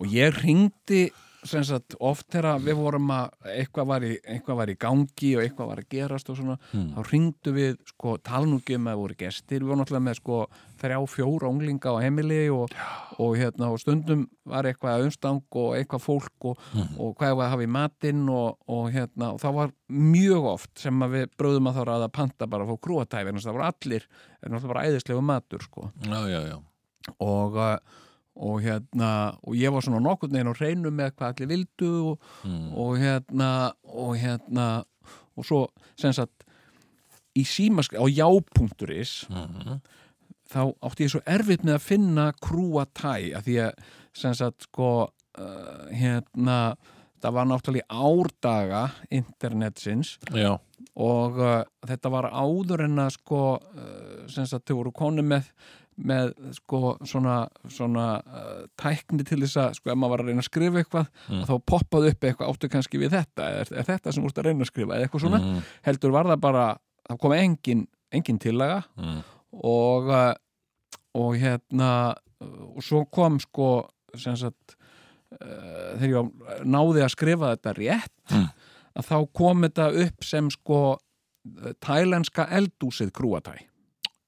Speaker 3: og ég ringdi sem sagt oft þegar við vorum að eitthvað var, í, eitthvað var í gangi og eitthvað var að gerast og svona
Speaker 1: Hmm.
Speaker 3: þá ringdu við, sko, talnúkjum að voru gestir, við vorum alltaf með sko þrjá, fjóra unglinga á heimili og, og hérna, og stundum var eitthvað umstang og eitthvað fólk og, og hvað var að hafa í matinn og, og hérna, og það var mjög oft sem að við bröðum að þá ráða að panta bara að fá krúatæfi, en það voru allir en alltaf bara æðislegu matur, sko
Speaker 1: Já, já, já.
Speaker 3: og, eh, og hérna, og ég var svona nokkurn veginn á hreinu með hvað allir vildu og,
Speaker 1: Mm.
Speaker 3: og hérna og hérna og svo sem sagt í símask á já.is
Speaker 1: Mm.
Speaker 3: þá átti ég svo erfitt með að finna krúa tæ að því að sem sagt sko uh, hérna það var náttúrulega í árdaga internetsins
Speaker 1: Já,
Speaker 3: og uh, þetta var áður en að sko uh, sem sagt þau voru konu með með sko svona, svona uh, tækni til þess að sko ef maður var að reyna að skrifa eitthvað
Speaker 1: Mm.
Speaker 3: þá poppaði upp eitthvað áttu kannski við þetta er, er þetta sem úrst að reyna að skrifa eða eitthvað svona
Speaker 1: Mm.
Speaker 3: heldur var það bara, það kom engin, engin tillaga
Speaker 1: Mm.
Speaker 3: og uh, og hérna uh, og svo kom sko sem sagt uh, þegar ég var- náði að skrifa þetta rétt
Speaker 1: Mm.
Speaker 3: að þá kom þetta upp sem sko uh, tælenska eldúsið krúatæ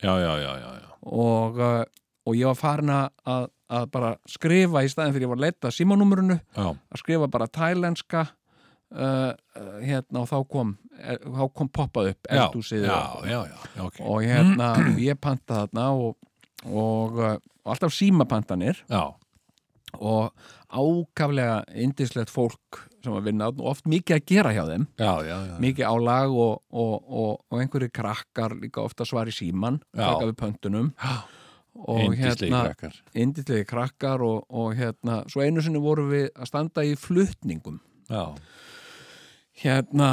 Speaker 1: Já, já, já, já, já.
Speaker 3: og, uh, og ég var farin að, að- að bara skrifa í staðin fyrir ég var að leita að símanúmerinu
Speaker 1: Já,
Speaker 3: að skrifa bara tælenska uh, uh, hérna og þá kom er, þá kom poppað upp
Speaker 1: já,
Speaker 3: eldúsið
Speaker 1: já,
Speaker 3: og,
Speaker 1: já, já, já, ok.
Speaker 3: og hérna og ég pantaði þarna og, og, uh, og alltaf símapantanir
Speaker 1: Já,
Speaker 3: og ákaflega indislegt fólk sem að vinna þarna og oft mikið að gera hjá þeim
Speaker 1: já, já, já.
Speaker 3: mikið álag og, og, og, og einhverju krakkar líka ofta svar í síman
Speaker 1: Já.
Speaker 3: taka við pöntunum og
Speaker 1: Indislegir
Speaker 3: hérna,
Speaker 1: krakkar
Speaker 3: indislegi krakkar og, og hérna, svo einu sinni vorum við að standa í flutningum
Speaker 1: já,
Speaker 3: hérna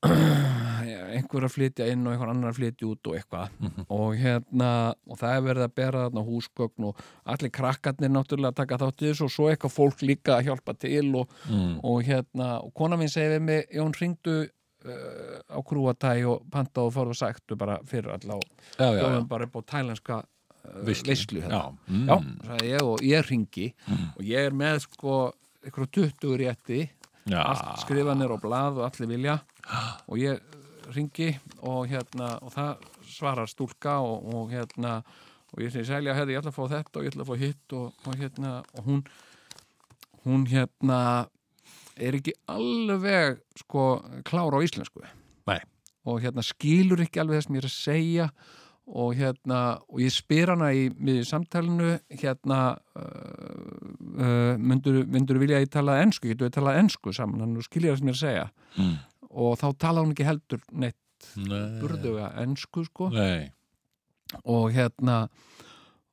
Speaker 3: einhver að flytja inn og einhver annar að flytja út og eitthvað
Speaker 1: Mhm.
Speaker 3: og hérna og það er verið að bera þarna húsgögn og allir krakkarnir náttúrulega taka þátt í þessu og svo eitthvað fólk líka að hjálpa til og,
Speaker 1: mm.
Speaker 3: og hérna og kona mín segi við mig, Jón hringdu uh, á krúatæ og panta og farðu sæktu bara fyrir allá
Speaker 1: já, já, já.
Speaker 3: bjóðum bara upp á tælenska uh, veislu hérna.
Speaker 1: já. Mm.
Speaker 3: Já, sagði ég og ég ringi og ég er með sko eitthvað 20 rétti
Speaker 1: já.
Speaker 3: allt skrifanir og blað og allir vilja og ég ringi og hérna og það svarar stúlka og, og hérna og ég segi sælja herri ég ætla að fá þetta og ég ætla að fá hitt og, og hérna og hún hún hérna er ekki alveg sko klára á íslensku
Speaker 1: Nei.
Speaker 3: og hérna skilur ekki alveg það sem ég er að segja og hérna og ég spyr hana í miðju samtalinu hérna uh, uh, myndur, myndur vilja að ég tala ensku, getur við talað ensku saman hann skilja það sem ég er að segja
Speaker 1: Mm.
Speaker 3: og þá tala hún ekki heldur neitt
Speaker 1: Nei.
Speaker 3: burðuga ensku sko
Speaker 1: Nei.
Speaker 3: og hérna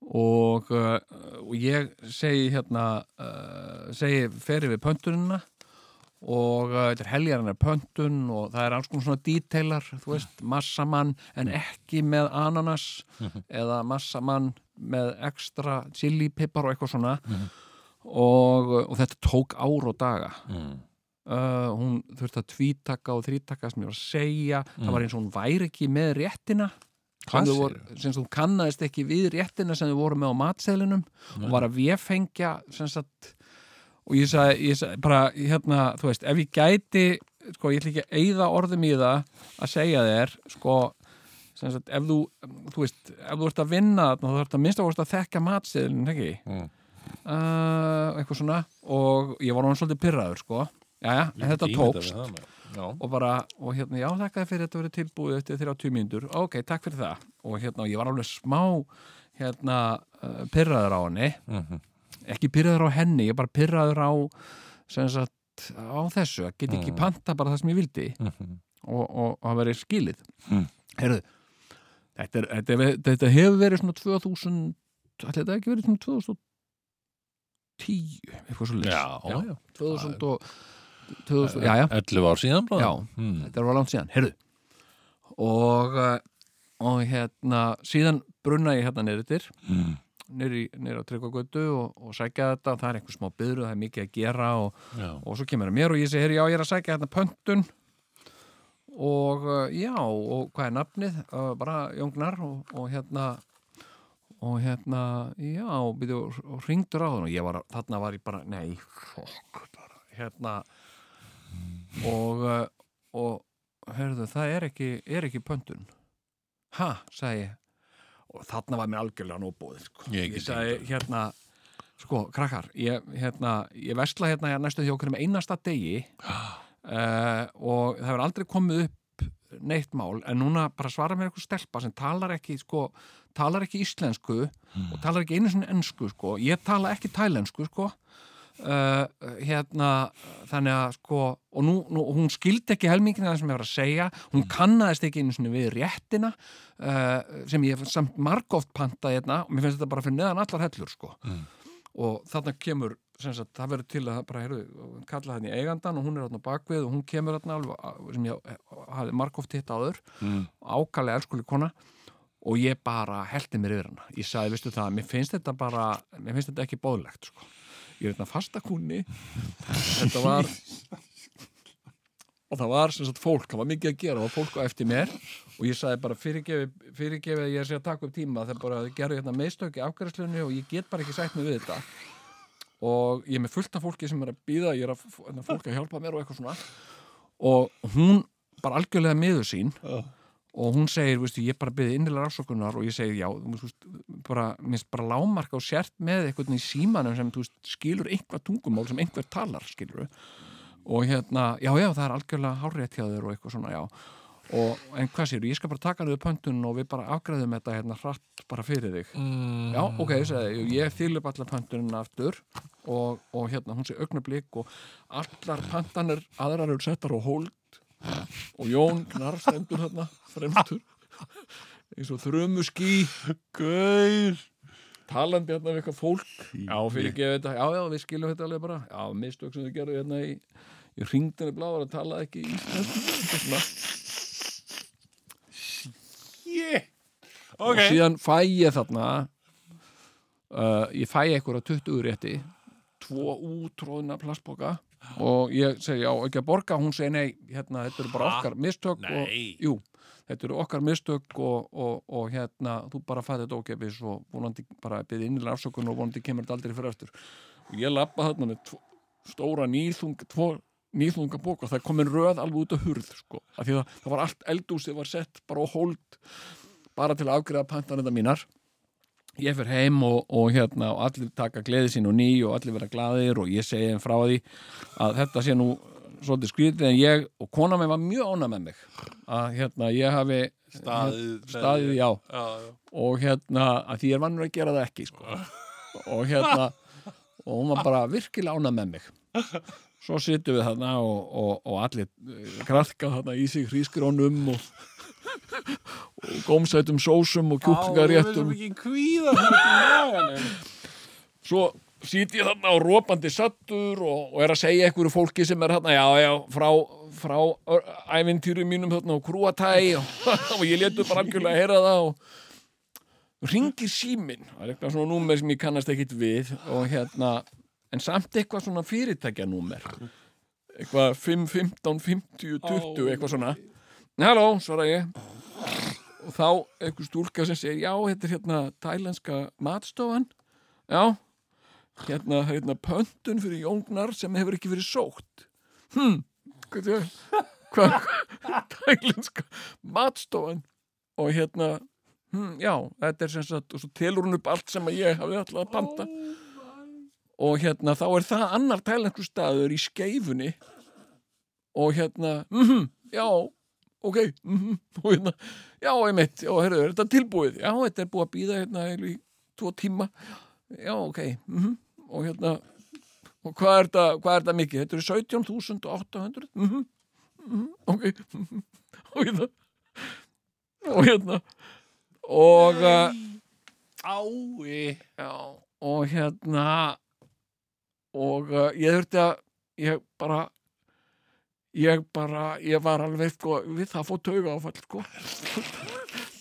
Speaker 3: og, uh, og ég segi hérna uh, segi fyrir við pöntunina og uh, þetta er heljarinnar pöntun og það er alls konar svona detailar þú veist, massamann en ekki með ananas eða massamann með ekstra chili, pipar og eitthvað svona
Speaker 1: Mhm.
Speaker 3: og, uh, og þetta tók ár og daga
Speaker 1: Mm.
Speaker 3: uh, hún þurfti að tvítaka og þrítaka sem ég var að segja
Speaker 1: Mm.
Speaker 3: það var eins og hún væri ekki með réttina
Speaker 1: Hvað
Speaker 3: sem þau
Speaker 1: segirðu?
Speaker 3: voru, sem þú kannaðist ekki við réttina sem þau voru með á matseðlinum og var að vefengja sem sagt og ég sagði, ég sagði bara hérna, þú veist, ef ég gæti sko, ég ætla ekki að eyða orðum í það að segja þér, sko sem sagt, ef þú, þú veist ef þú ert að vinna, þarna, þá þarf að minnst að að þekka matseðlin, ekki?
Speaker 1: Mm.
Speaker 3: Uh, eitthvað svona og ég var hann svolítið pyrraður, sko Jæja, en þetta
Speaker 1: Ég
Speaker 3: tókst
Speaker 1: ímynda mér það, maður.
Speaker 3: og bara, og hérna, já, þakka þér fyrir þetta verið tilbúið eftir 30 mínútur, ok, takk fyrir það og hérna, og ég var alveg smá hérna, uh, pyrraður á henni
Speaker 1: Já. Mhm.
Speaker 3: ekki pyrraður á henni, ég bara pyrraður á sem sagt, á þessu að geta ekki
Speaker 1: Mm.
Speaker 3: panta bara það sem ég vildi
Speaker 1: Mhm.
Speaker 3: og, og, og að vera skilið
Speaker 1: Mm.
Speaker 3: heyrðu, þetta, er, þetta, er, þetta hefur verið svona 2000 ætli þetta ekki verið svona 2010 eitthvað svo
Speaker 1: Já, já.
Speaker 3: 2000 og 2000, já, já,
Speaker 1: 11 ár síðan bara.
Speaker 3: Já.
Speaker 1: Mm.
Speaker 3: þetta var langt síðan, heyrðu og, eh, og hérna síðan brunna ég hérna neyrir
Speaker 1: Mm.
Speaker 3: neyrir á tryggvagötu og, og sækja þetta það er einhver smá byrðu, það er mikið að gera og,
Speaker 1: Já.
Speaker 3: og svo kemur það mér og ég segi, heyrðu, já, ég er að sækja hérna pöntun og eh, já, og hvað er nafnið Eh, bara Jóngnar og, og hérna og hérna, já, byrju, og, og ringdur á þann og ég var, þarna var ég bara, nei fokk, bara, hérna og eh, og herðu, það er ekki, er ekki pöntun ha, sagði ég og þarna var mér algjörlega nóbúð sko.
Speaker 1: Ég get
Speaker 3: sagði, hérna sko, krakkar, ég, hérna, ég vesla hérna næstu því okkur um einasta degi uh, og það hefur aldrei komið upp neitt mál en núna bara svara mér eitthvað stelpa sem talar ekki, sko, talar ekki íslensku
Speaker 1: Hmm.
Speaker 3: og talar ekki einu sinni ennsku, sko ég tala ekki tælensku, sko uh, hérna þannig að, sko, og nú, nú og hún skildi ekki helmingin að það sem ég var að segja hún
Speaker 1: Mm.
Speaker 3: kannaðist ekki einu sinni við réttina uh, sem ég hef samt margóft pantaði hérna, og mér finnst þetta bara fyrir neðan allar hellur, sko
Speaker 1: Mm.
Speaker 3: og þarna kemur, sem sagt, það verður til að bara, heyrðu, kalla hann í eigandan og hún er hérna á bakvið og hún kemur hérna alveg, að- sem ég hafði margóft hitt áður
Speaker 1: Mm.
Speaker 3: ákallega elskuleg kona og ég bara heldi mér yfir hana ég sagði, veistu það, mér finnst þetta bara mér finnst þetta ekki bóðlegt sko. ég er þetta fastakúni þetta var og það var sem sagt fólk, það var mikið að gera það var fólk á eftir mér og ég sagði bara fyrirgefi, fyrirgefi að ég sé að taka upp tíma það er bara að gera hérna meðstök í afgæðslunni og ég get bara ekki sætt mig við þetta og ég er með fullt af fólki sem er að býða ég er að hérna, fólk að hjálpa mér og eitthvað svona og hún bara algjörlega miður sín og hún segir, veistu, ég bara byrði innilega afsökunar og ég segi, já, þú veist, bara, minnst bara lámarka og sért með eitthvað í símanum sem, þú veist, skilur einhvað tungumál sem einhver talar, skilur og hérna, já, já, það er algjörlega hárétt hjá þér og eitthvað svona, já og, en hvað séru, ég skal bara taka niður pöntun og við bara afgræðum þetta hérna hratt bara fyrir þig
Speaker 1: Mm.
Speaker 3: já, ok, sagði, ég, ég fyll upp allar pöntunum aftur og, og hérna, hún sé augnablík og allar pöntanir aðrar eru settar og hóld og Jón knarfstendur hérna fremstur eins og þrömu ský
Speaker 1: Gauð
Speaker 3: talandi hérna við eitthvað fólk já, fyrir ekki þetta, já, já, við skiljum þetta alveg bara já, mistök sem þið gerðu hérna í í ringdinu bláður að tala ekki í íslensku Svona.
Speaker 1: yeah.
Speaker 3: og
Speaker 1: Ok,
Speaker 3: síðan fæ ég þarna uh, ég fæ eitthvað 20 rétti tvo útróðna plastboka og ég segi, já, ekki að borga hún segi, nei, hérna, þetta eru bara
Speaker 1: Ha?
Speaker 3: okkar mistök og,
Speaker 1: Nei.
Speaker 3: jú, þetta eru okkar mistök og, og, og hérna, þú bara fæði þetta ókefis og vonandi bara byrði innilega afsökun og vonandi kemur þetta aldrei fyrir aftur og ég lappa þarna með tvo, stóra nýþung, tvo nýþunga bók og það kom en röð alveg út á hurð sko. af því að það var allt eldúsið var sett bara á hold bara til að afgreða pantanenda mínar ég fyrir heim og, og hérna og allir taka gleði sín og ný og allir vera glaðir og ég segi þeim frá því að þetta sé nú svolítið skrítið en ég og kona mér var mjög ána með mig að hérna ég hafi
Speaker 1: Staðið-
Speaker 3: staðið já
Speaker 1: já, já.
Speaker 3: og hérna að því ég er vannur að gera það ekki sko. og hérna og hún var bara virkilega ána með mig svo sittum við þarna og, og, og allir eh, krafka þarna í sig hrískrónum og, og gómsætum sósum og kjúklingaréttum
Speaker 1: ekki kvíða þetta
Speaker 3: svo sýt ég þarna á rópandi sattur og, og er að segja einhverju fólki sem er þarna, já, já, frá, frá ör- ævintýrum mínum þarna á krúatæ og, og ég letu bara algjörlega að heyra það og ringir símin, það er eitthvað svona númer sem ég kannast ekkit við og hérna, en samt eitthvað svona fyrirtækja númer, eitthvað 5, 15, 50, 20, eitthvað svona. Halló, svara ég og þá einhver stúlka sem segir, já, þetta er hérna tælenska matstofan Já, hérna, hérna pöntun fyrir jóngnar sem hefur ekki verið sótt. Hm, hvað er Hvað, tælinska matstofan og hérna, hm, já, þetta er sem sagt, og svo telur hún upp allt sem að ég hafði alltaf að panta og hérna, þá er það annar tælensku staður í skeifunni og hérna, mhm, já, ok, mhm, og hérna, já, einmitt, já, herrðu, er þetta tilbúið? Já, þetta er búið að býða hérna í tvo tíma já, ok, mm og hérna og hvað er þetta, hvað er þetta mikið? Þetta eru 17.800 mm -hmm. ok mm og hérna og hérna og uh,
Speaker 1: Ái
Speaker 3: já, og hérna og uh, ég þurfti að ég bara ég bara, ég var alveg sko, við það fótt tauga áfall sko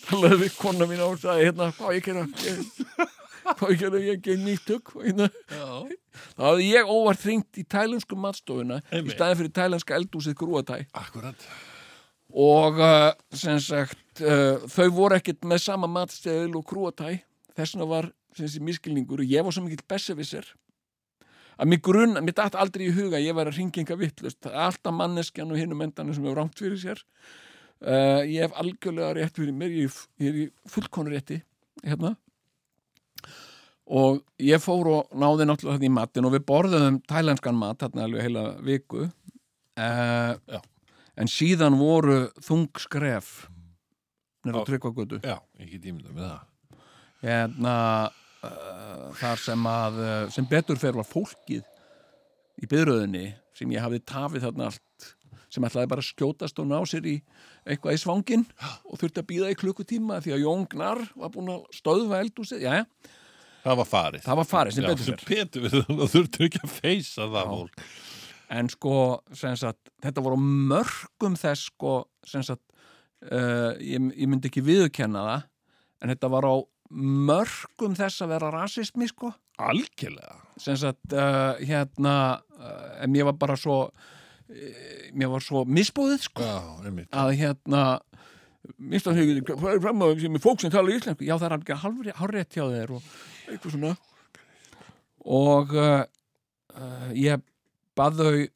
Speaker 3: talaði við kona mín á og sagði hérna, hvað á ég gera ég, hvað á ég gera, ég gei nýtt tök hérna
Speaker 1: Já,
Speaker 3: Þá hafði ég óvart hringt í tælensku matstofuna í
Speaker 1: Einmitt.
Speaker 3: staðin fyrir tælenska eldúsið grúatæ
Speaker 1: akkurat
Speaker 3: og uh, sem sagt uh, þau voru ekkert með sama matstofil og grúatæ þess vegna var sem sé miskilningur og ég var svo mikill bessevisser að mér grunna, mér datt aldrei í huga að ég var að hringa enga vittlust það er alltaf manneskjan og hinum endanum sem hefur rangt fyrir sér uh, ég hef algjörlega rétt fyrir mér ég, er í- ég er í fullkonur rétti hérna og ég fór og náði náttúrulega þetta í matin og við borðum tælenskan mat þarna alveg heila viku uh, en síðan voru þung skref nefnir
Speaker 1: Já.
Speaker 3: að tryggva götu
Speaker 1: Já, ekki tímina með það
Speaker 3: hérna uh, þar sem að uh, sem betur fer var fólkið í byröðinni sem ég hafði tafið þarna allt sem ætlaði bara að skjótast og ná sér í eitthvað í svangin og þurfti að býða í klukkutíma því að Jón Gnar var búin að stöðva eldúsið, já,
Speaker 1: Það var farið
Speaker 3: það var farið sem
Speaker 1: Já,
Speaker 3: betur fer
Speaker 1: sem betur við það þurftur ekki að feysa það fólk
Speaker 3: en sko, sem sagt, þetta voru mörgum þess sko, sem sagt uh, ég, ég myndi ekki viðurkenna það en þetta var á mörgum þess að vera rasismi sko
Speaker 1: Algjörlega
Speaker 3: sem sagt, uh, hérna uh, en mér var bara svo uh, mér var svo misbúðið sko
Speaker 1: Já, einmitt
Speaker 3: að hérna mista hugið, hvað er fram að sem er fólk sem tala íslensku, já það er alveg hálfri- hárrétt hjá þeir og eitthvað svona og uh, uh, ég bað þau öll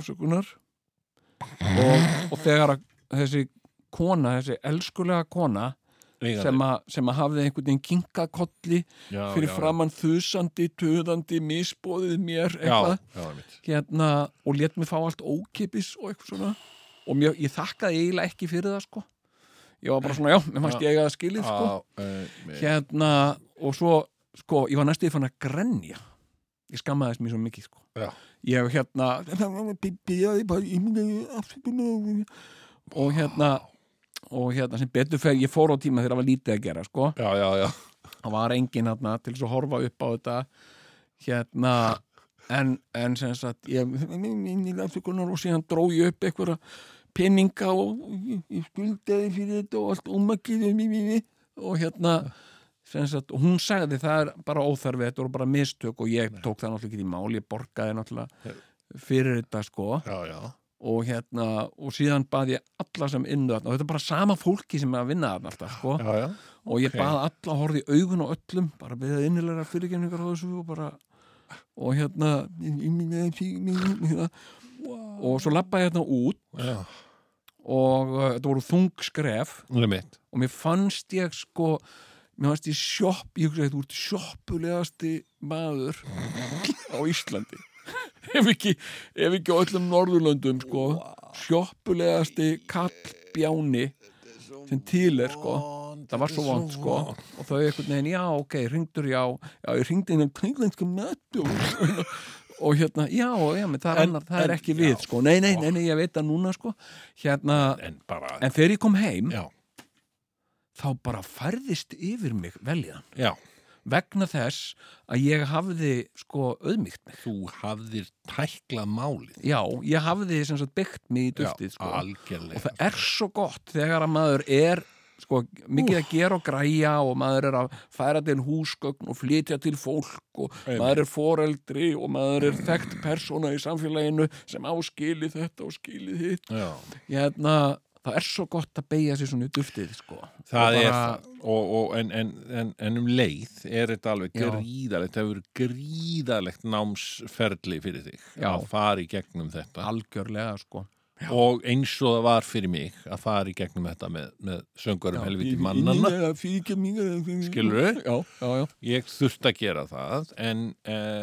Speaker 3: afsökunar og, og þegar að þessi kona, þessi elskulega kona sem, a, sem að hafði einhvern veginn kinkakolli
Speaker 1: já,
Speaker 3: fyrir
Speaker 1: já,
Speaker 3: framann þusandi, töðandi, misbóðið mér
Speaker 1: Já,
Speaker 3: eitthvað
Speaker 1: já, einmitt
Speaker 3: hérna, og let mér fá allt ókipis og eitthvað svona og mjög, ég þakkaði eiginlega ekki fyrir það sko ég var bara svona, já, mér fannst ég að skilið sko
Speaker 1: sko
Speaker 3: hérna, og svo sko, ég var næstu í fann að grenja ég skammaðist mér svo mikið sko
Speaker 1: Já.
Speaker 3: ég hérna og hérna og hérna sem betur fyrir ég fór á tíma þegar það var lítið að gera sko
Speaker 1: Já, já, já
Speaker 3: það var engin hérna til þess að horfa upp á þetta hérna en, en sem sagt ég afsökunar og síðan dró ég upp einhverja peninga og ég, ég skuldaði fyrir þetta og allt ómakið og, mí, mí, mí. og hérna sem sagt, og hún sagði það er bara óþarfi þetta voru bara mistök og ég tók það náttúrulega ekki í mál, ég borgaði náttúrulega fyrir þetta sko
Speaker 1: Já, já,
Speaker 3: og hérna, og síðan bað ég alla sem innu þarna, og þetta er bara sama fólki sem er að vinna þarna alltaf sko
Speaker 1: já, já.
Speaker 3: og ég
Speaker 1: Ok.
Speaker 3: okay. bað alla að horfa í augun á öllum bara beðið innilega fyrirgenningar á þessu og bara og hérna og svo lappa ég hérna út
Speaker 1: já.
Speaker 3: og uh, þetta voru þung skref
Speaker 1: Það er mitt
Speaker 3: og mér fannst ég sko mér fannst ég sjopp, ég hugsaði þú ert sjoppulegasti maður á Íslandi ef ekki, ef ekki á öllum Norðurlöndum sko, sjoppulegasti kallbjáni sem til er sko það var svo vond sko og þau einhvern veginn, já ok, ringdur já já, ég ringdi inn um kringlensku möttu og hérna, já, já menn, það, er
Speaker 1: En-
Speaker 3: annar, það er
Speaker 1: en-
Speaker 3: ekki
Speaker 1: já.
Speaker 3: við sko, nei, nei, nei, nei, ég veit það núna sko hérna,
Speaker 1: En bara
Speaker 3: en þegar ég kom heim
Speaker 1: Já,
Speaker 3: þá bara færðist yfir mig veljan
Speaker 1: já
Speaker 3: vegna þess að ég hafði sko auðmygt mig
Speaker 1: Þú hafðir tæklað málið
Speaker 3: já, ég hafði sem sagt byggt mig í duftið
Speaker 1: Já,
Speaker 3: sko.
Speaker 1: algjörlega
Speaker 3: og það er svo gott þegar að maður er sko, mikið að gera og græja og maður er að færa til húsgögn og flytja til fólk og
Speaker 1: Einmitt.
Speaker 3: maður er foreldri og maður er þekkt persóna í samfélaginu sem áskili þetta og skili þitt
Speaker 1: Já,
Speaker 3: hérna, það er svo gott að beigja sér svona í duftið sko.
Speaker 1: það
Speaker 3: Og
Speaker 1: er
Speaker 3: bara-
Speaker 1: það og, og, en, en, en, en um leið er þetta alveg
Speaker 3: Já.
Speaker 1: gríðalegt það hefur verið gríðalegt námsferli fyrir þig
Speaker 3: Já.
Speaker 1: að fara í gegnum þetta
Speaker 3: algjörlega sko
Speaker 1: og eins og það var fyrir mig að fara í gegnum þetta með, með um söngurum helviti mannana
Speaker 3: mannana
Speaker 1: skilur
Speaker 3: já, já, já,
Speaker 1: ég þurfti að gera það en eh,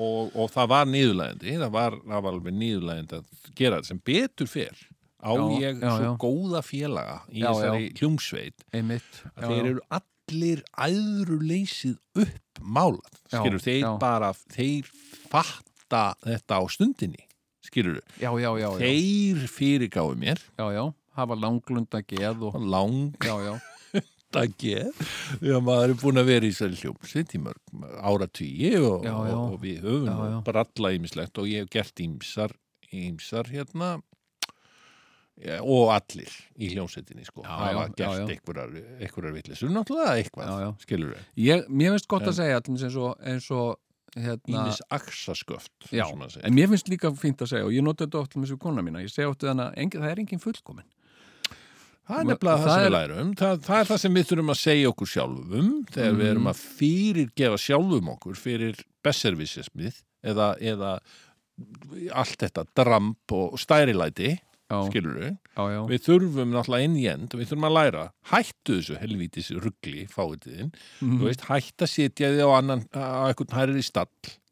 Speaker 1: og, og það var nýðulægandi það var, það var alveg nýðulægandi að gera þetta sem betur fyrr á
Speaker 3: Já,
Speaker 1: ég
Speaker 3: já,
Speaker 1: svo
Speaker 3: já.
Speaker 1: góða félaga í
Speaker 3: Já,
Speaker 1: þessari hljómsveit
Speaker 3: einmitt
Speaker 1: að þeir eru allir æðruleysið upp málað
Speaker 3: Já,
Speaker 1: skilur, þeir
Speaker 3: já.
Speaker 1: bara þeir fatta þetta á stundinni skilur,
Speaker 3: já, já, já, já,
Speaker 1: þeir fyrirgáðu mér
Speaker 3: já, já, hafa langlunda geð og,
Speaker 1: langa
Speaker 3: já, já,
Speaker 1: geð því að maður er búin að vera í þessari hljómsveit í mörg áratvíi og,
Speaker 3: Já, já.
Speaker 1: og, og við höfum
Speaker 3: Já,
Speaker 1: já,
Speaker 3: já.
Speaker 1: bralla ýmislegt og ég hef gert ýmsar ýmsar hérna ja, og allir í hljómsveitinni sko,
Speaker 3: Já,
Speaker 1: hafa
Speaker 3: já, já,
Speaker 1: gert
Speaker 3: já.
Speaker 1: einhverjar, einhverjar vitlisur náttúrulega eitthvað,
Speaker 3: Já, já.
Speaker 1: skilur við
Speaker 3: ég, mér finnst gott
Speaker 1: En-
Speaker 3: að segja allir eins og, eins og hérna,
Speaker 1: Ímis aksasköft
Speaker 3: já,
Speaker 1: sem maður segir.
Speaker 3: en mér finnst líka fínt að segja og ég nota þetta oft með svo kona mína, ég segja oft við hana engin, það er engin fullkomin,
Speaker 1: Það er nefnilega það,
Speaker 3: það
Speaker 1: sem við
Speaker 3: er-
Speaker 1: lærum það, það er það sem við þurfum að segja okkur sjálfum þegar
Speaker 3: Mhm.
Speaker 1: við erum að fyrirgefa sjálfum okkur fyrir besservisismið eða, eða allt þetta dramp og stærilæti
Speaker 3: já,
Speaker 1: skilur við,
Speaker 3: já, já,
Speaker 1: við þurfum náttúrulega innjend, við þurfum að læra hættu þessu helvítis ruggli fáiðin,
Speaker 3: Mhm.
Speaker 1: þú veist, hætt að sitja þig á annan, á einhvern hærri stall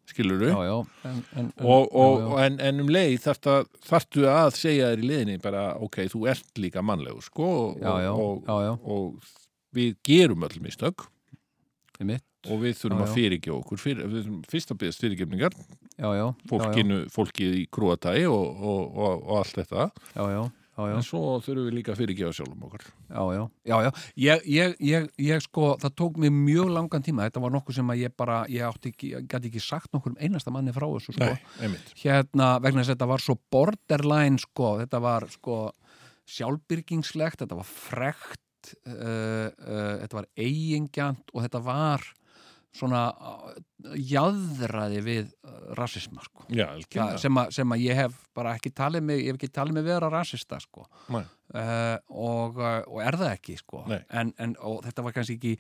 Speaker 1: skilur við,
Speaker 3: já, já, en, en, en-
Speaker 1: og, og,
Speaker 3: já,
Speaker 1: og en, en um leið þarft að, þarftu að segja þér í leiðinni bara ok, þú ert líka mannlegur sko og,
Speaker 3: já, já,
Speaker 1: og,
Speaker 3: já, já,
Speaker 1: og, við gerum öll mistök
Speaker 3: einmitt,
Speaker 1: og við þurfum
Speaker 3: Já,
Speaker 1: að
Speaker 3: já.
Speaker 1: fyrirgefa okkur fyrir, við þurfum fyrst að byggðast fyrirgefningar
Speaker 3: já, já,
Speaker 1: fólkinu, fólkið í krúatæi og, og, og, og allt þetta
Speaker 3: já, já, já, já,
Speaker 1: en svo þurfum við líka að fyrirgefa sjálfum okkur
Speaker 3: já, já, já, já. Ég, ég, ég, ég sko, það tók mig mjög langan tíma, þetta var nokkuð sem að ég bara, ég átti ekki, ég gæti ekki sagt nokkur um einasta manni frá þessu, sko.
Speaker 1: einmitt
Speaker 3: Hérna, vegna þess að þetta var svo borderline, sko, þetta var, sko, sjálfbyrgingslegt, þetta var frekt, uh, uh, þetta var eigingjant og þetta var svona uh, jaðraði við uh, rasisma, sko.
Speaker 1: Já,
Speaker 3: Það,
Speaker 1: algjörlega.
Speaker 3: sem, að, sem að ég hef bara ekki talið mig, ég hef ekki talið mig vera rasista, sko
Speaker 1: Nei.
Speaker 3: uh, og, uh, og er það ekki sko.
Speaker 1: Nei.
Speaker 3: en, en og þetta var kannski ekki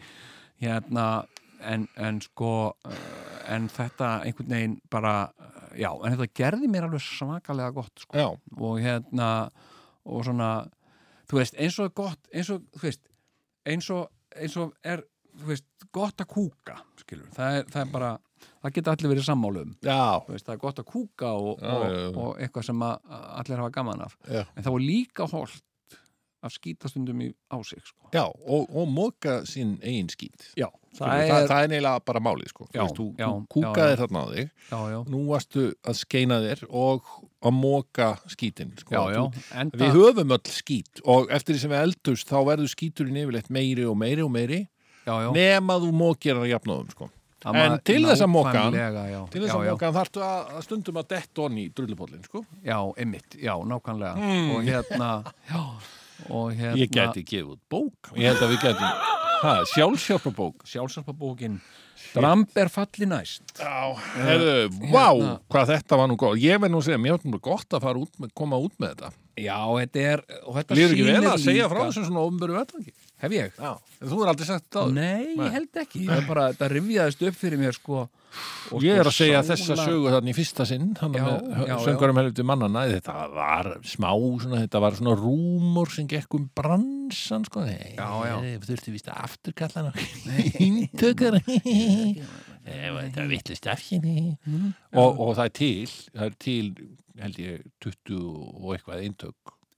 Speaker 3: hérna en, en sko uh, en þetta einhvern veginn bara uh, já, en þetta gerði mér alveg svakalega gott sko.
Speaker 1: Já,
Speaker 3: og hérna og svona, þú veist, eins og er gott eins og, þú veist eins og, eins og er, þú veist, gott að kúka skilur, það er, það er bara það geta allir verið sammálu um
Speaker 1: já,
Speaker 3: Þú veist, það er gott að kúka og,
Speaker 1: Já,
Speaker 3: og,
Speaker 1: já, já.
Speaker 3: og eitthvað sem að að allir hafa gaman af
Speaker 1: Já.
Speaker 3: en það var líka holdt að skýta stundum í, á sig sko.
Speaker 1: já og, og móka sín eigin skýt
Speaker 3: já,
Speaker 1: það,
Speaker 3: það
Speaker 1: það,
Speaker 3: er
Speaker 1: það er neila bara málið sko.
Speaker 3: Já,
Speaker 1: þú, veist, þú,
Speaker 3: já,
Speaker 1: þú kúkaðir
Speaker 3: já,
Speaker 1: þarna á þig
Speaker 3: já, já,
Speaker 1: nú varstu að skeina þér og að móka skítin sko.
Speaker 3: já, já.
Speaker 1: Þú-
Speaker 3: Enda,
Speaker 1: Við höfum öll skít og eftir því sem við eldust þá verður skíturinn yfirleitt meiri og meiri og meiri
Speaker 3: já, já,
Speaker 1: nema þú mókir hann jafnóðum sko.
Speaker 3: það
Speaker 1: en
Speaker 3: maður-
Speaker 1: til þess að moka hann-
Speaker 3: nákvæmlega, já,
Speaker 1: Til þess
Speaker 3: já,
Speaker 1: að
Speaker 3: já,
Speaker 1: móka hann þarftu að, að stundum að detta honni í drullupollin sko.
Speaker 3: já, einmitt, já, nákvæmlega og hérna já, og hérna
Speaker 1: Hmm. Ég gæti gefið út bók Ég held að við gætum Sjálfsjálpa bók
Speaker 3: sjálfsarpabókin Dramb er falli næst
Speaker 1: Já, hefðu,
Speaker 3: Hérna-
Speaker 1: vá, hvað þetta var nú góð Ég verð nú að segja, mér var nú gott að fara út með, koma út með þetta
Speaker 3: já, þetta er og þetta
Speaker 1: Lýður ekki
Speaker 3: sýnir
Speaker 1: vel að segja frá
Speaker 3: líka-
Speaker 1: þessum svona ofnböru vettvangi
Speaker 3: hef ég?
Speaker 1: Já, en þú er aldrei sagt þetta áður
Speaker 3: Nei,
Speaker 1: Nei.
Speaker 3: ég held ekki Það er bara, það rifjaðist upp fyrir mér sko og
Speaker 1: Ég er
Speaker 3: sko
Speaker 1: að segja
Speaker 3: sálar-
Speaker 1: þessa sögu þarna í fyrsta sinn hann
Speaker 3: Já,
Speaker 1: með
Speaker 3: já, já.
Speaker 1: söngarum helviti mannana þetta var smá, svona, þetta var svona rúmur sem gekk um bransan sko, Nei,
Speaker 3: Já, já.
Speaker 1: ég þurfti víst að afturkalla hann íntökar Eh, var þetta vitlu stafsinn
Speaker 3: Mhm.
Speaker 1: og, og það er til það er til, held ég, 20 og eitthvað eintök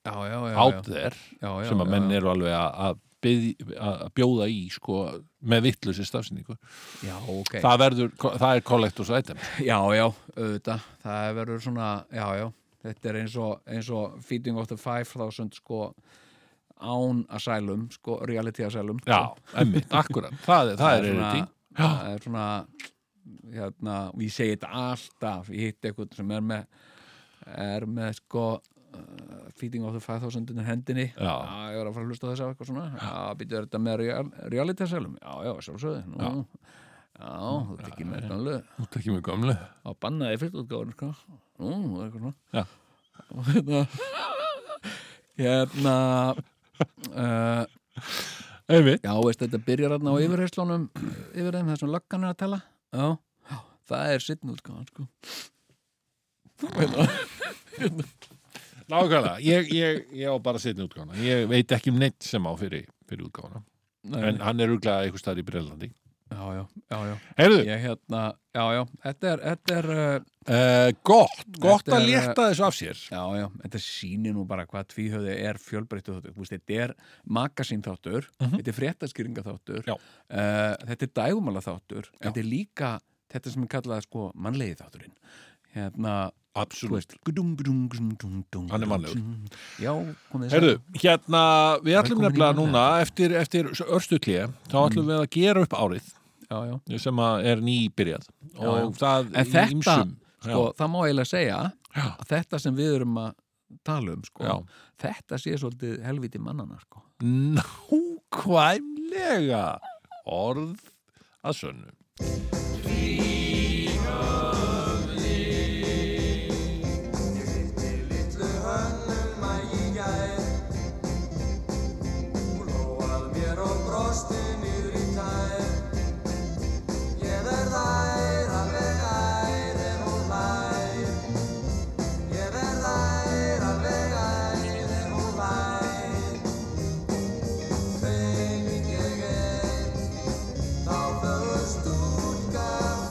Speaker 3: Já, já, já,
Speaker 1: out
Speaker 3: já,
Speaker 1: there
Speaker 3: já, já
Speaker 1: sem að
Speaker 3: já,
Speaker 1: menn
Speaker 3: já.
Speaker 1: eru alveg að- að byð- að að bjóða í sko, með vitlu sér stafsynningu
Speaker 3: Já, ok
Speaker 1: það, verður, það er collectors item
Speaker 3: Já, já, auðvitað Það verður svona, já, já Þetta er eins og, eins og Feeding of the 5000 sko án asylum, sko, reality asylum
Speaker 1: Já, emmitt, akkurat Það er, það er
Speaker 3: svona-
Speaker 1: reality
Speaker 3: það er svona hérna, og ég segi þetta alltaf ég hitt eitthvað sem er með er með sko uh, feeding of the 5000 undir hendinni já. ég var að fara að hlusta á þess að eitthvað svona já, býttu þetta með real, realitasælum já, já, sjálfsögði nú, já. þú ert ekki með þetta alveg
Speaker 1: Þú ert ekki með gömlu
Speaker 3: á bannaði fyrst útgáður sko. nú, það er eitthvað svona
Speaker 1: Já.
Speaker 3: og hérna hérna uh,
Speaker 1: Einmitt
Speaker 3: Já, veist, þetta byrjar hérna á yfirheyslunum yfir þeim þessum löggan er að tala Já, já það er sittn útgáðan sko
Speaker 1: Nákvæmlega, ég, ég, ég á bara setni útgána Ég veit ekki um neitt sem á fyrir, fyrir útgána En hann er rúglega eitthvað staðar í Brelandi
Speaker 3: Já, já, já, já
Speaker 1: Heyrðu,
Speaker 3: Ég hérna, já, já, þetta er, þetta er uh,
Speaker 1: uh, gott, gott
Speaker 3: Þetta
Speaker 1: að
Speaker 3: er-
Speaker 1: létta þessu af sér
Speaker 3: Já, já, þetta sýnir nú bara hvað tvíhöði er fjölbreyttu þáttur Þú veist, Þetta er magasínþáttur Þetta er fréttaskýringaþáttur
Speaker 1: Já.
Speaker 3: uh, Þetta er dægumála þáttur Þetta er líka, þetta sem er kallað sko mannlegi þátturinn Hérna, þú
Speaker 1: Absolutt
Speaker 3: veist gudung, gudung, gudung, gudung, gudung,
Speaker 1: Hann er mannlegur.
Speaker 3: Já, komið
Speaker 1: Heyrðu, hérna, við ætlum
Speaker 3: Velkomin í Mm.
Speaker 1: nefnilega
Speaker 3: mannlega.
Speaker 1: núna eftir, eftir örstutlíði, þá ætlum við að gera upp árið
Speaker 3: Já, já
Speaker 1: sem að er nýbyrjað og
Speaker 3: já.
Speaker 1: það í
Speaker 3: En þetta,
Speaker 1: ýmsum- Já.
Speaker 3: sko, það má eiginlega segja
Speaker 1: Já.
Speaker 3: að þetta sem við erum að tala um sko,
Speaker 1: Já.
Speaker 3: þetta sé svolítið helviti mannana sko.
Speaker 1: Nákvæmlega orð að sönnu
Speaker 2: Þá föðust þú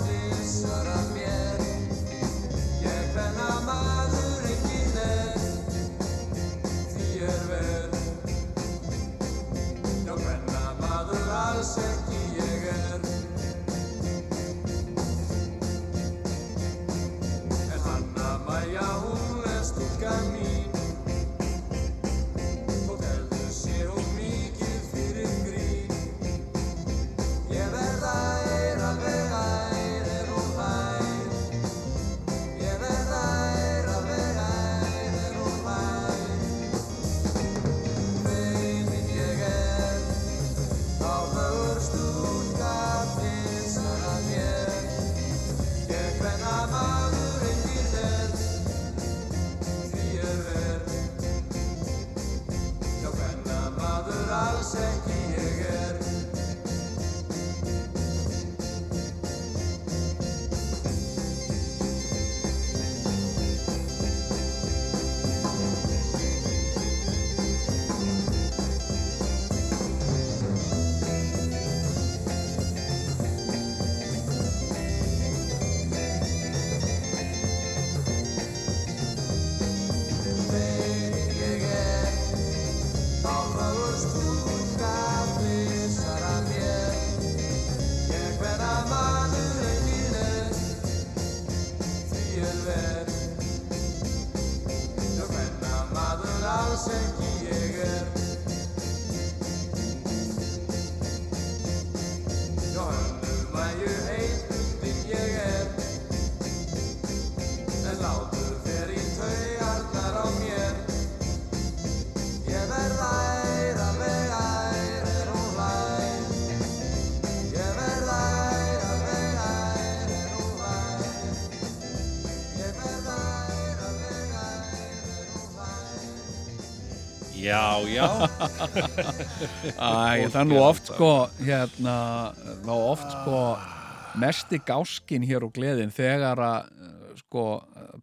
Speaker 2: Já, já
Speaker 3: Æ, það er nú oft sko hérna, þá oft sko mesti gáskin hér og gleðin þegar að eh, sko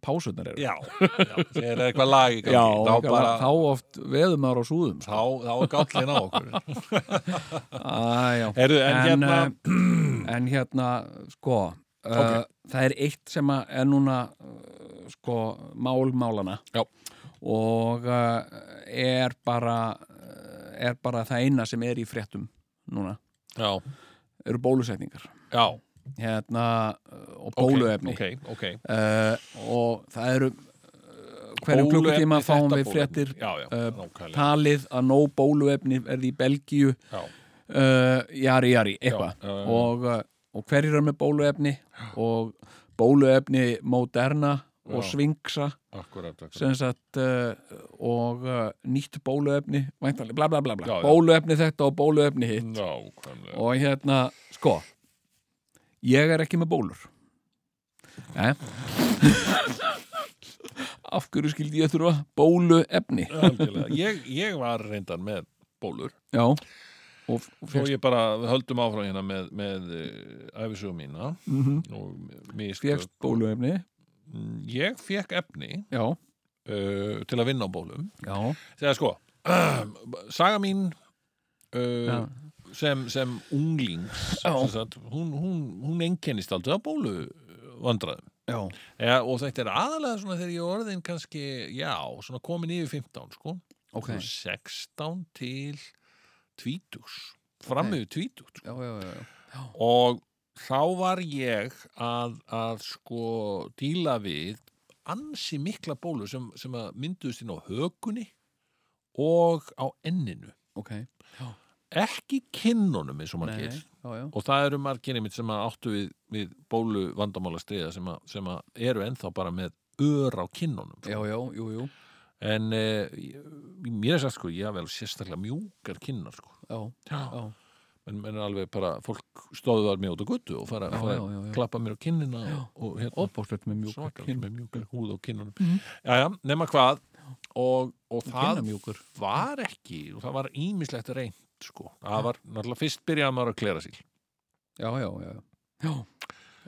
Speaker 3: pásunar eru
Speaker 2: Já, já Þegar er eitthvað lag í gangi
Speaker 3: þá,
Speaker 2: þá bara
Speaker 3: þá oft veðum maður á súðum sko.
Speaker 2: Þá, þá er gállin á okkur
Speaker 3: Æ, Ah, já.
Speaker 2: Heyrðu, en hérna-
Speaker 3: eh, en hérna sko okay. það er eitt sem að er núna eh, sko málmálana
Speaker 1: Já.
Speaker 3: og uh, er bara eh, er bara það eina sem er í fréttum núna,
Speaker 1: já,
Speaker 3: eru bólusetningar
Speaker 1: já,
Speaker 3: hérna eh, og
Speaker 1: ok,
Speaker 3: bóluefni
Speaker 1: ok, ok
Speaker 3: uh, og það eru uh, hverjum
Speaker 1: Bóluefni,
Speaker 3: klukkutíma fáum
Speaker 1: þetta
Speaker 3: við
Speaker 1: bóluefni.
Speaker 3: fréttir
Speaker 1: já, já,
Speaker 3: eh,
Speaker 1: nákvæmlega.
Speaker 3: talið að nóg bóluefni verði í Belgíu
Speaker 1: Já.
Speaker 3: uh, jari jari, eitthvað
Speaker 1: Já, já, já.
Speaker 3: og, uh, og hverjir er með bóluefni og bóluefni Moderna og
Speaker 1: Já.
Speaker 3: Svingsa
Speaker 1: Akkurat, akkurat.
Speaker 3: sem sagt uh, og uh, nýtt bóluefni væntanlega, bla bla bla, bla.
Speaker 1: Já, já.
Speaker 3: bóluefni þetta og bóluefni hitt
Speaker 1: Nákvæmlega.
Speaker 3: og hérna, sko ég er ekki með bólur Nei af hverju skildi ég þurfa bólu efni
Speaker 1: Algjörlega. Ég, ég var reyndar með bólur
Speaker 3: já og
Speaker 1: svo
Speaker 3: fegst,
Speaker 1: ég bara við höldum áfram hérna með, með æfisugum mína
Speaker 3: mm
Speaker 1: og mistök
Speaker 3: fegst bólu efni
Speaker 1: Mm, ég fekk efni
Speaker 3: já,
Speaker 1: uh, til að vinna á bólum
Speaker 3: já,
Speaker 1: þegar sko, saga mín uh, sem, sem unglings
Speaker 3: Já.
Speaker 1: sem sagt, hún, hún, hún einkennist aldrei að bólu vandraðum
Speaker 3: já.
Speaker 1: Ja, og þetta er aðalega svona þegar ég er orðin kannski, já, svona komin yfir 15 sko,
Speaker 3: ok
Speaker 1: frá 16 til 20 framöðu 20 sko.
Speaker 3: já, já, já, já.
Speaker 1: og þá var ég að, að sko díla við ansi mikla bólu sem, sem að mynduðust inn á hökunni og á enninu
Speaker 3: ok
Speaker 1: ekki kinnunum eins og
Speaker 3: Nei,
Speaker 1: margir
Speaker 3: já, já.
Speaker 1: og það eru margir einmitt sem að áttu við, við bólu vandamála stríða sem, að, sem að eru ennþá bara með ör á kinnunum sko.
Speaker 3: já, já, jú, jú
Speaker 1: en eh, ég- mér er sagt sko, ég hafði alveg sérstaklega mjúkar kinnar sko
Speaker 3: já, já,
Speaker 1: en, en alveg bara, fólk stóðu þar mig út á guttu og fara,
Speaker 3: Já,
Speaker 1: fara
Speaker 3: já, já, já.
Speaker 1: klappa mér á kinnina og, og hérna,
Speaker 3: opáslegt með mjúkur Mhm.
Speaker 1: svakar með mjúkar húð á kinnunum Jæja, nema hvað og, og það
Speaker 3: kinnamjúkur
Speaker 1: var ekki og það var ímislegt reynd sko. það var náttúrulega fyrst byrjaði maður að klera síl
Speaker 3: já, já, já, já. já.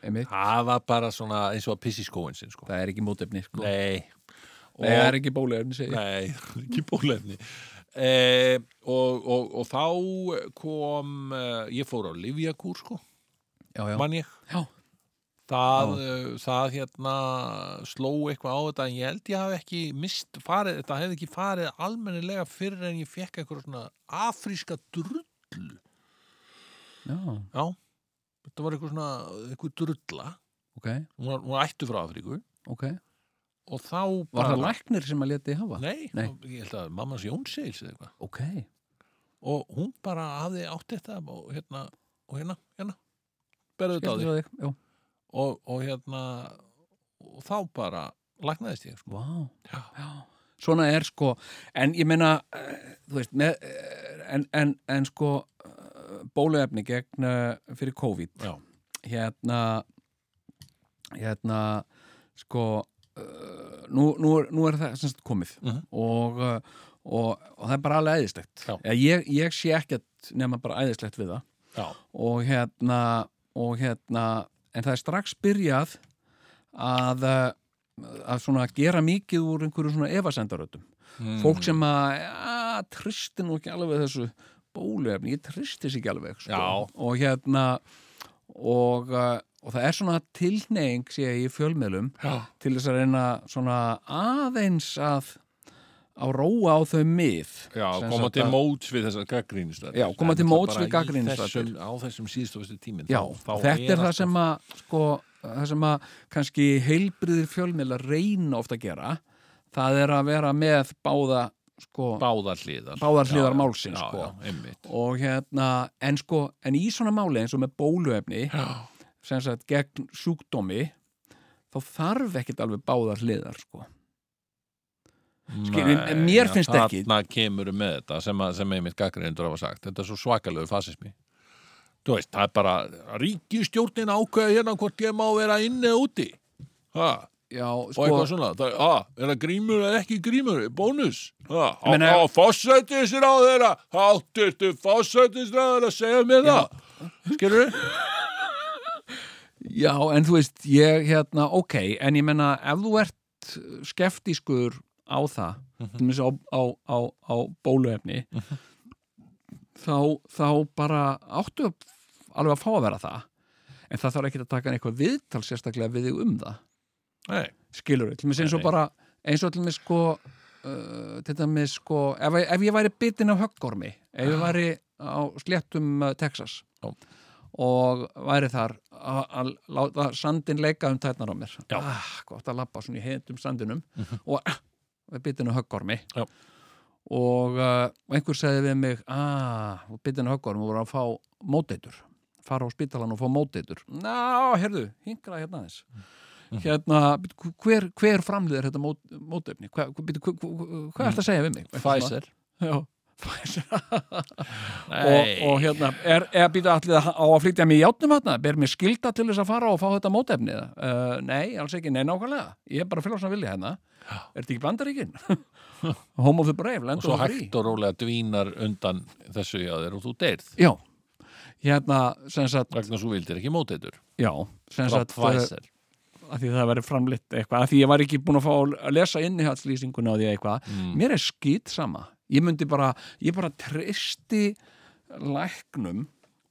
Speaker 3: Einmitt.
Speaker 1: það var bara svona eins og að pissi skóin sinn sko.
Speaker 3: það er ekki mótefni sko.
Speaker 1: nei og,
Speaker 3: Nei, það er ekki bólu efni segi ég.
Speaker 1: Nei, ekki bólefni e, og, og, og þá kom eh, ég fór á Livjakúr sko,
Speaker 3: já, já,
Speaker 1: mann ég
Speaker 3: já,
Speaker 1: það, uh, það hérna sló eitthvað á þetta en ég held ég hafi ekki mist farið, þetta hefði ekki farið almennilega fyrir en ég fekk eitthvað svona afríska drull
Speaker 3: já,
Speaker 1: já, þetta var eitthvað svona eitthvað drulla,
Speaker 3: ok,
Speaker 1: hún var, hún var ættu frá Afríku
Speaker 3: ok
Speaker 1: og þá
Speaker 3: Var
Speaker 1: bara,
Speaker 3: það læknir sem að leti hafa?
Speaker 1: Nei,
Speaker 3: Nei.
Speaker 1: ég held að mammas Jónsseils eða eitthvað
Speaker 3: Ok.
Speaker 1: og hún bara hafði átt þetta og hérna, og hérna, hérna berðu þetta á
Speaker 3: Skelltu
Speaker 1: því
Speaker 3: á þig. Já.
Speaker 1: og, og hérna og þá bara lagnaðist ég sko.
Speaker 3: Vá.
Speaker 1: Já.
Speaker 3: Já. Svona er sko, en ég meina, eh, þú veist, með, eh, en, en, en sko, eh, bóluefni gegn eh, fyrir COVID,
Speaker 1: Já,
Speaker 3: hérna, hérna, sko, eh, nú, nú, er, nú er það sem sagt komið
Speaker 1: Mhm.
Speaker 3: og, eh, og, og það er bara alveg æðislegt.
Speaker 1: Já.
Speaker 3: Eða Ég, ég sé ekkert nema bara æðislegt við það.
Speaker 1: já,
Speaker 3: og hérna og hérna, en það er strax byrjað að eh, að svona gera mikið úr einhverju svona efasendaröldum
Speaker 1: Mm.
Speaker 3: fólk sem að, ja, tristi nú ekki alveg þessu bóluefni ég tristi sér ekki alveg sko.
Speaker 1: Já.
Speaker 3: og hérna og, eh, og það er svona tilneying sé ég í fjölmiðlum
Speaker 1: já.
Speaker 3: til þess að reyna svona aðeins að að róa á þau mið
Speaker 1: Já,
Speaker 3: Sem
Speaker 1: koma
Speaker 3: sagt
Speaker 1: til
Speaker 3: að-
Speaker 1: móts við þessar gaggrínislættir.
Speaker 3: Já, koma til móts við gagnrýnisraddir.
Speaker 1: Á þessum síðstofustu tíminn.
Speaker 3: Já,
Speaker 1: þá, þá
Speaker 3: þetta er það
Speaker 1: alltaf-
Speaker 3: sem að sko, það sem að kannski heilbriðir fjölmiðla reyna ofta að gera það er að vera með báða sko,
Speaker 1: Báðar hliðar.
Speaker 3: Báðar
Speaker 1: Já,
Speaker 3: hliðar
Speaker 1: já,
Speaker 3: málsins,
Speaker 1: já,
Speaker 3: sko.
Speaker 1: Já, einmitt.
Speaker 3: og hérna en sko, en í svona máli eins og með bóluefni sem sagt gegn sjúkdómi þá þarf ekkit alveg báðar hliðar sko. Skil, en mér
Speaker 1: Nei,
Speaker 3: finnst
Speaker 1: þarna
Speaker 3: ekki.
Speaker 1: Þarna kemur með þetta sem, að, sem einmitt gaggrínindur hafa sagt. Þetta er svo svakalegu fasismi. Þú veist, það er bara ríkistjórnin ákveða hérna hvort ég má vera inni eða úti. Ha,
Speaker 3: já,
Speaker 2: og
Speaker 3: sko,
Speaker 2: eitthvað svona, það, á, er það grímur eða ekki grímur, bónus á, á,
Speaker 3: meina-
Speaker 2: á fósættisir á þeirra háttustu fósættisir á þeirra segja mér það, skilur við
Speaker 3: já, en þú veist, ég hérna, ok, en ég menna ef þú ert skeftískur á það, til minnst á, á, á, á bóluefni, þá, þá bara áttu alveg að fá að vera það, en það þarf ekki að taka eitthvað viðtal sérstaklega við þig um það.
Speaker 2: Nei,
Speaker 3: skilur við, til dæmis eins og
Speaker 1: Nei.
Speaker 3: bara eins og til dæmis sko uh, til dæmis sko, ef, ef ég væri bitin af höggormi, ef ég væri á sléttum uh, Texas
Speaker 1: Ah. Já.
Speaker 3: og væri þar að að láta sandin leika um tætnar á mér
Speaker 1: Já. Mhm.
Speaker 3: ah, gott að lappa svona í heitum sandinum og ah, við bitin af höggormi
Speaker 1: Já.
Speaker 3: og uh, og einhver sagði við mig ah, bitin af höggormi og voru að fá móteitur fara á spítalan og fá móteitur ná, herðu, hingra hérna aðeins
Speaker 1: Mhm.
Speaker 3: hérna, bíddu, hv- hver, hver framlýðir þetta mót, mótefni? Hva, hva, bíddu, hva, hva, hvað er þetta að segja við mig? Eitthvað
Speaker 1: Mm.
Speaker 3: svona.
Speaker 1: Pfizer
Speaker 3: Já, Pfizer. og,
Speaker 1: Nei.
Speaker 3: og hérna, er, er býtu allir á að flytja mig í játnum hérna? Ber mér skilda til þess að fara og fá þetta mótefni? Uh, nei, alls ekki, nei nákvæmlega. Ég er bara að fylgja svona vilja hérna. Er þetta ekki bandaríkin? Home of the brave,
Speaker 1: og
Speaker 3: land
Speaker 1: svo
Speaker 3: of the free.
Speaker 1: hægt og rólega dvínar undan þessu hjá þér og þú deyrð
Speaker 3: Já, hérna, sem sagt,
Speaker 1: vegna svo vildir ekki móteitur
Speaker 3: já, sem
Speaker 1: frá
Speaker 3: sagt,
Speaker 1: Pfizer
Speaker 3: uh, að því það væri framlitt eitthvað að því ég var ekki búin að fá að lesa innihaldslýsinguna á því eitthvað, mér er skýt sama ég myndi bara, ég bara treysti læknum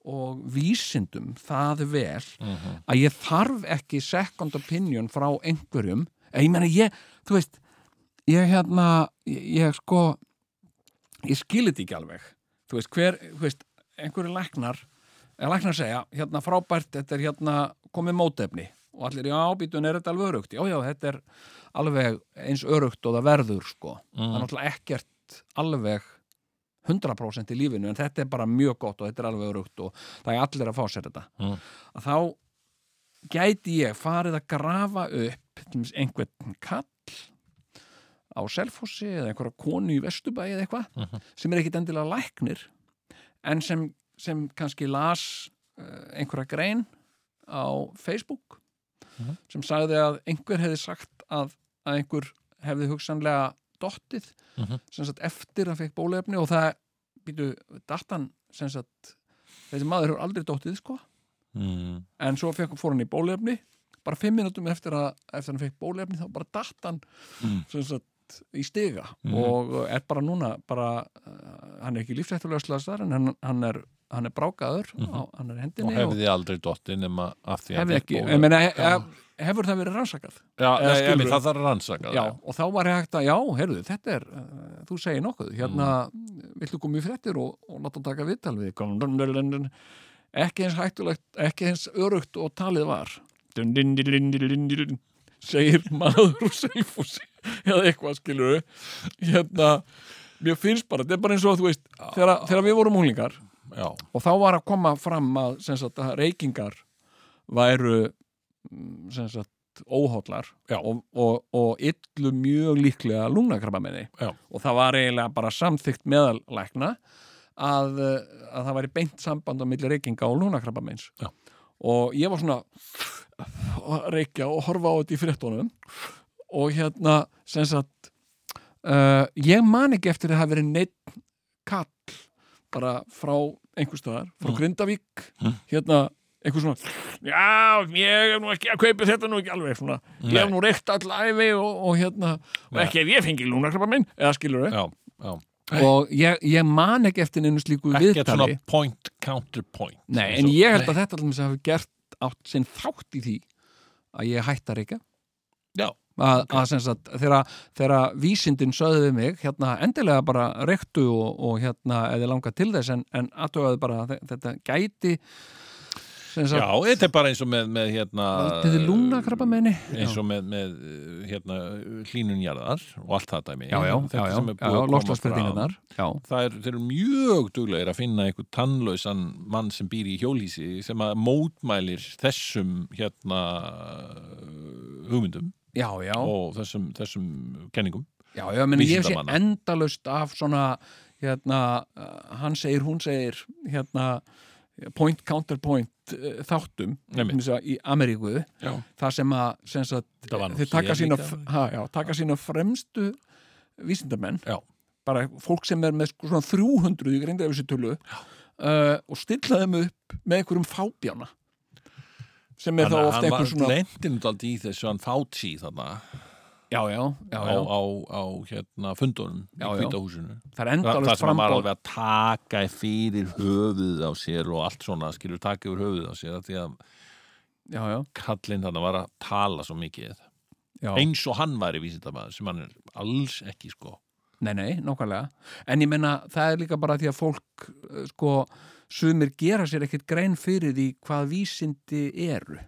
Speaker 3: og vísindum það vel að ég þarf ekki second opinion frá einhverjum Eh, ég meina ég, þú veist ég hérna, ég, ég sko ég skil þetta ekki alveg þú veist, hver, þú veist, einhverju læknar eða læknar segja, hérna frábært þetta er hérna komið mótefni og allir, já, býtun, er þetta alveg örugt já, já, þetta er alveg eins örugt og það verður, sko það er náttúrulega ekkert alveg 100% í lífinu, en þetta er bara mjög gott og þetta er alveg örugt og það er allir að fá sér þetta
Speaker 1: Mm.
Speaker 3: að þá gæti ég farið að grafa upp til dæmis einhvern kall á selfhósi eða einhverja konu í vesturbæi eða eitthvað sem er ekkit endilega læknir en sem, sem kannski las uh, einhverja grein á Facebook
Speaker 1: Mhm.
Speaker 3: sem sagði að einhver hefði sagt að, að einhver hefði hugsanlega dottið
Speaker 1: Mhm.
Speaker 3: sem sagt eftir að fekk bólefni og það býtu datan sem sagt þessi maður hefur aldrei dottið sko
Speaker 1: mm.
Speaker 3: en svo fekk, fór hann í bólefni bara fimm minútum eftir að eftir hann fekk bólefni þá bara datt hann
Speaker 1: Mm.
Speaker 3: sem sagt, í stiga
Speaker 1: Mhm.
Speaker 3: og er bara núna bara, uh, hann er ekki lífsættulega slagsar en hann, hann, er, hann er brákaður á, hann er í
Speaker 1: Mhm. og
Speaker 3: hendinni
Speaker 1: hefði aldrei dotti nema af því
Speaker 3: hefði
Speaker 1: hann fékk
Speaker 3: ekki,
Speaker 1: bólu.
Speaker 3: ég meina, hef, hefur það verið rannsakað
Speaker 1: Já,
Speaker 3: eða
Speaker 1: nei,
Speaker 3: skilurðu?
Speaker 1: emi, það þarf að rannsaka það,
Speaker 3: já, og þá var ég hægt að, já, heyrðu, þetta er uh, þú segir nokkuð, hérna viltu koma í fréttir og, og láta taka viðtal við þig? Kom- ekki eins hættulegt, ekki eins örugt og talið var Dun, dun, dun, dun, dun, dun, dun, segir maður úr selfúsi eða eitthvað skilur hérna, mér finnst bara þetta er bara eins og þú veist, þegar, þegar við vorum húlingar
Speaker 1: já.
Speaker 3: og þá var að koma fram að, sem sagt, að reykingar væru mm, sem sagt, óhóllar og, og, og illu mjög líklega lungnakrabamenni
Speaker 1: Já.
Speaker 3: og það var eiginlega bara samþygt meðalækna að, eh, að það væri beint samband á milli reykinga og lungnakrabamenns
Speaker 1: Já.
Speaker 3: og ég var svona að reykja og horfa á þetta í fréttunum og hérna sem sagt uh, ég man ekki eftir að það hafi verið neitt kall bara frá einhver staðar, frá Grindavík hérna, einhver svona já, ég hef nú ekki að kaupa þetta nú ekki alveg svona, ég hef nú reykt all æfi og, og hérna, og
Speaker 1: Nei.
Speaker 3: ekki ef ég fengi lúnakrabba minn, eða skilur
Speaker 1: já, já.
Speaker 3: og ég, ég man ekki eftir einu slíku
Speaker 1: ekkert svona
Speaker 3: viðtali,
Speaker 1: point counterpoint
Speaker 3: nei, en ég held að þetta alveg hafi gert átt sinn þátt í því að ég hætti að reyka
Speaker 1: Já.
Speaker 3: að, að sem sagt, þegar, þegar vísindin sögðu við mig, hérna endilega bara reyktu og, og hérna eða langa til þess, en, en aðtöfaðu bara að þe- þetta gæti sem
Speaker 1: Já,
Speaker 3: sagt,
Speaker 1: þetta er bara eins og með, með hérna, eh,
Speaker 3: valdið þið lungna krabbameini
Speaker 1: eins og með, með hérna, hlínunjarðar og allt það dæmi
Speaker 3: já, já, já,
Speaker 1: þetta
Speaker 3: já,
Speaker 1: sem er
Speaker 3: já,
Speaker 1: búið að koma fram
Speaker 3: loslasbreytingarnar já,
Speaker 1: það er, þeir eru mjög duglegir að finna einhver tannlausan mann sem býr í hjólísi sem að mótmælir þessum hérna hugmyndum
Speaker 3: já, já,
Speaker 1: og þessum, þessum kenningum
Speaker 3: já, já meni, ég sé
Speaker 1: Vísindamanna.
Speaker 3: eh, endalaust af svona hérna, uh, hann segir, hún segir hérna, point counter point eh, þáttum
Speaker 1: Einmitt.
Speaker 3: eins og í Ameríku
Speaker 1: Já.
Speaker 3: þar sem að sem sagt,
Speaker 1: Þetta var nú
Speaker 3: þeir taka
Speaker 1: hér
Speaker 3: sína,
Speaker 1: líka.
Speaker 3: f- ha, já, taka sína fremstu vísindamenn
Speaker 1: Já.
Speaker 3: bara fólk sem er með sko svona 300 í greinda yfir sér tölu uh, og stilla þeim upp með einhverjum fábjána sem er þá
Speaker 1: Þannig að
Speaker 3: ofta einhver svona
Speaker 1: Hann var lendin út aldrei í þessu hann Fauci þarna
Speaker 3: já, já, já,
Speaker 1: á,
Speaker 3: já,
Speaker 1: á, á hérna fundunum í
Speaker 3: Já, já.
Speaker 1: kvítahúsinu.
Speaker 3: það er
Speaker 1: Þa, það
Speaker 3: endalist
Speaker 1: sem hann var
Speaker 3: frambóð
Speaker 1: alveg að taka fyrir höfuð á sér og allt svona skilur taka yfir höfuð á sér af því að
Speaker 3: já, já,
Speaker 1: kallinn þarna var að tala svo mikið
Speaker 3: já.
Speaker 1: eins og hann væri vísindamæður sem hann er alls ekki sko
Speaker 3: Nei, nei, nákvæmlega. En ég menna, það er líka bara því að fólk, eh, sko, sumir gera sér ekkert grein fyrir því hvað vísindi eru.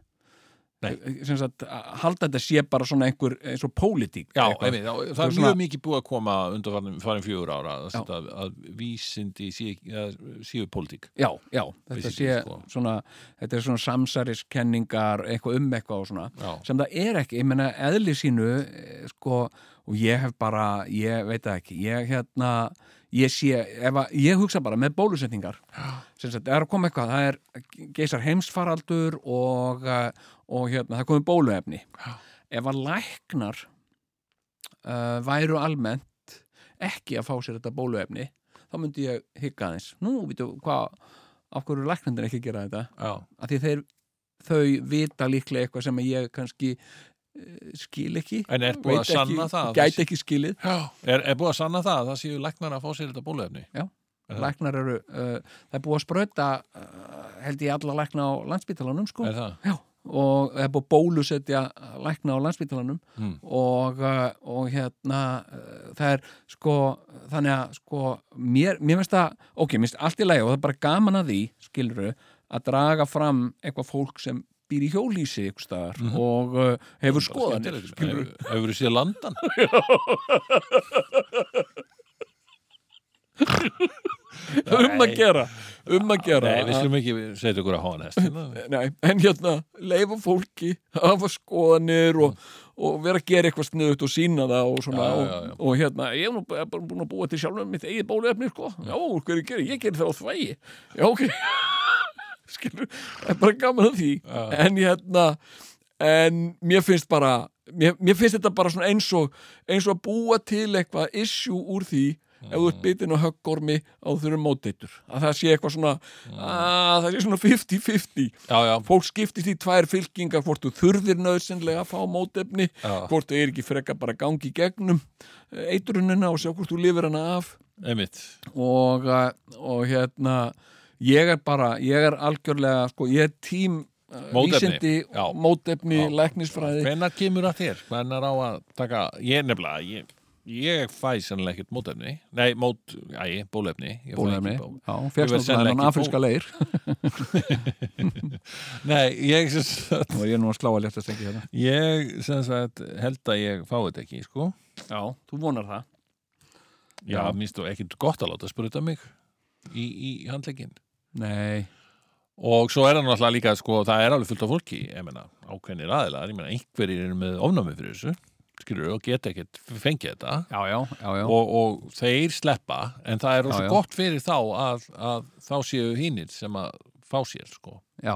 Speaker 1: Nei.
Speaker 3: Eh, Sem sagt, að halda þetta sé bara svona einhver, eins og pólitík.
Speaker 1: Já,
Speaker 3: eitthvað.
Speaker 1: einmitt, já, það er
Speaker 3: Þú svona-
Speaker 1: mjög mikið búið að koma undan farin, farin fjögur ára að,
Speaker 3: Já.
Speaker 1: að, að vísindi sé, að, séu pólitík
Speaker 3: Já, já, þetta
Speaker 1: Basically,
Speaker 3: sé
Speaker 1: sko.
Speaker 3: svona, þetta er svona samsæriskenningar, eitthvað um eitthvað og svona.
Speaker 1: Já,
Speaker 3: sem það er ekki, ég meina eðli sínu eh, sko, og ég hef bara ég veit það ekki, ég hérna ég sé, ef að, ég hugsa bara með bólusetningar, sem sagt, er að koma eitthvað það er geisar heimsfaraldur og, eh, og hérna, það komið bóluefni,
Speaker 1: Já.
Speaker 3: ef að læknar uh, væru almennt ekki að fá sér þetta bóluefni, þá myndi ég hygga aðeins, nú, veitu, hvað af hverju eru læknandir ekki að gera þetta
Speaker 1: já,
Speaker 3: að því þeir, þau vita líklega eitthvað sem ég kannski eh, skil ekki
Speaker 1: En er búið
Speaker 3: veit
Speaker 1: að sanna
Speaker 3: ekki,
Speaker 1: það?
Speaker 3: gæti ekki skilið,
Speaker 1: já. Er, er búið að sanna það að það séu læknar að fá sér þetta bóluefni? Já.
Speaker 3: læknar eru uh, það er búið að sprauta uh, held ég alla lækna á landsbytalanum sko.
Speaker 1: Er það?
Speaker 3: Já, og það er búið að bólusetja lækna á landsbytalanum
Speaker 1: Hmm.
Speaker 3: og, uh, og hérna uh, það er sko þannig að sko mér, mér finnst það, ok, mér finnst allt í lagi og það er bara gaman að því, skiluru að draga fram eitthvað fólk sem býr í hjólísi ykkur staðar
Speaker 1: Mhm.
Speaker 3: og uh, hefur skoðanir skilurðu.
Speaker 1: Hefur þú séð landan?
Speaker 3: um að
Speaker 1: Nei.
Speaker 3: gera um að gera
Speaker 1: Nei, við slum ekki setja ykkur að háan hest hérna.
Speaker 3: Nei, en hérna, leifa fólki að hafa skoðanir og, og vera að gera eitthvað sniðut og sína það og svona,
Speaker 1: Já, já,
Speaker 3: og, og hérna, ég hef nú bara bara búin að búa til sjálfum mitt eigið bóluefni, sko, já, hverju gerir, ég gerir það á þvægi, já, ok skilur, það er bara gaman að því,
Speaker 1: Já.
Speaker 3: en hérna en mér finnst bara mér, mér finnst þetta bara svona eins og eins og að búa til eitthvað issue úr því ef þú
Speaker 1: Mm.
Speaker 3: ert bitin á höggormi á þurfum móteitur, að það sé eitthvað svona
Speaker 1: Mm.
Speaker 3: að það sé svona 50-50
Speaker 1: Já, já,
Speaker 3: fólk skiptist í tvær fylkingar hvort þú þurðir nöðsynlega að fá mótefni
Speaker 1: Já.
Speaker 3: hvort þú er ekki frekka bara að gangi í gegnum eh, eitrunina og sjá hvort þú lifir hana af
Speaker 1: einmitt
Speaker 3: og, eh, og hérna ég er bara, ég er algjörlega sko, ég er tím eh,
Speaker 1: Mótefni.
Speaker 3: vísindi,
Speaker 1: Já.
Speaker 3: mótefni,
Speaker 1: Já.
Speaker 3: læknisfræði
Speaker 1: Hvenær kemur að þér? Hvenær á að taka Ég nefnilega, ég, ég fæ sannlega ekkert mótefni Nei, mót, æ, bólefni Ég fæ ekki
Speaker 3: bólefni,
Speaker 1: bó-
Speaker 3: já,
Speaker 1: Ég verð
Speaker 3: fegst
Speaker 1: sennilega
Speaker 3: náttúrulega
Speaker 1: ekki
Speaker 3: hann afríska leir
Speaker 1: Nei, ég sem sagt
Speaker 3: og ég er nú að slá að létta stengi hérna
Speaker 1: Ég sem sagt held að ég fái þetta ekki, sko
Speaker 3: já, þú vonar það
Speaker 1: Já,
Speaker 3: Já.
Speaker 1: minnst þú ekkert gott að láta spurta mig í, í handlegin
Speaker 3: nei,
Speaker 1: Og svo er það náttúrulega líka, sko, það er alveg fullt af fólki, ég meina, ákveðnir aðilar, ég meina, einhverjir eru með ofnámi fyrir þessu, skilur og geta ekkert fengið þetta
Speaker 3: já, já, já, já.
Speaker 1: og, og þeir sleppa, en það er
Speaker 3: Já,
Speaker 1: rosa
Speaker 3: já.
Speaker 1: gott fyrir þá að, að þá séu hinnir sem að fá sér, sko.
Speaker 3: já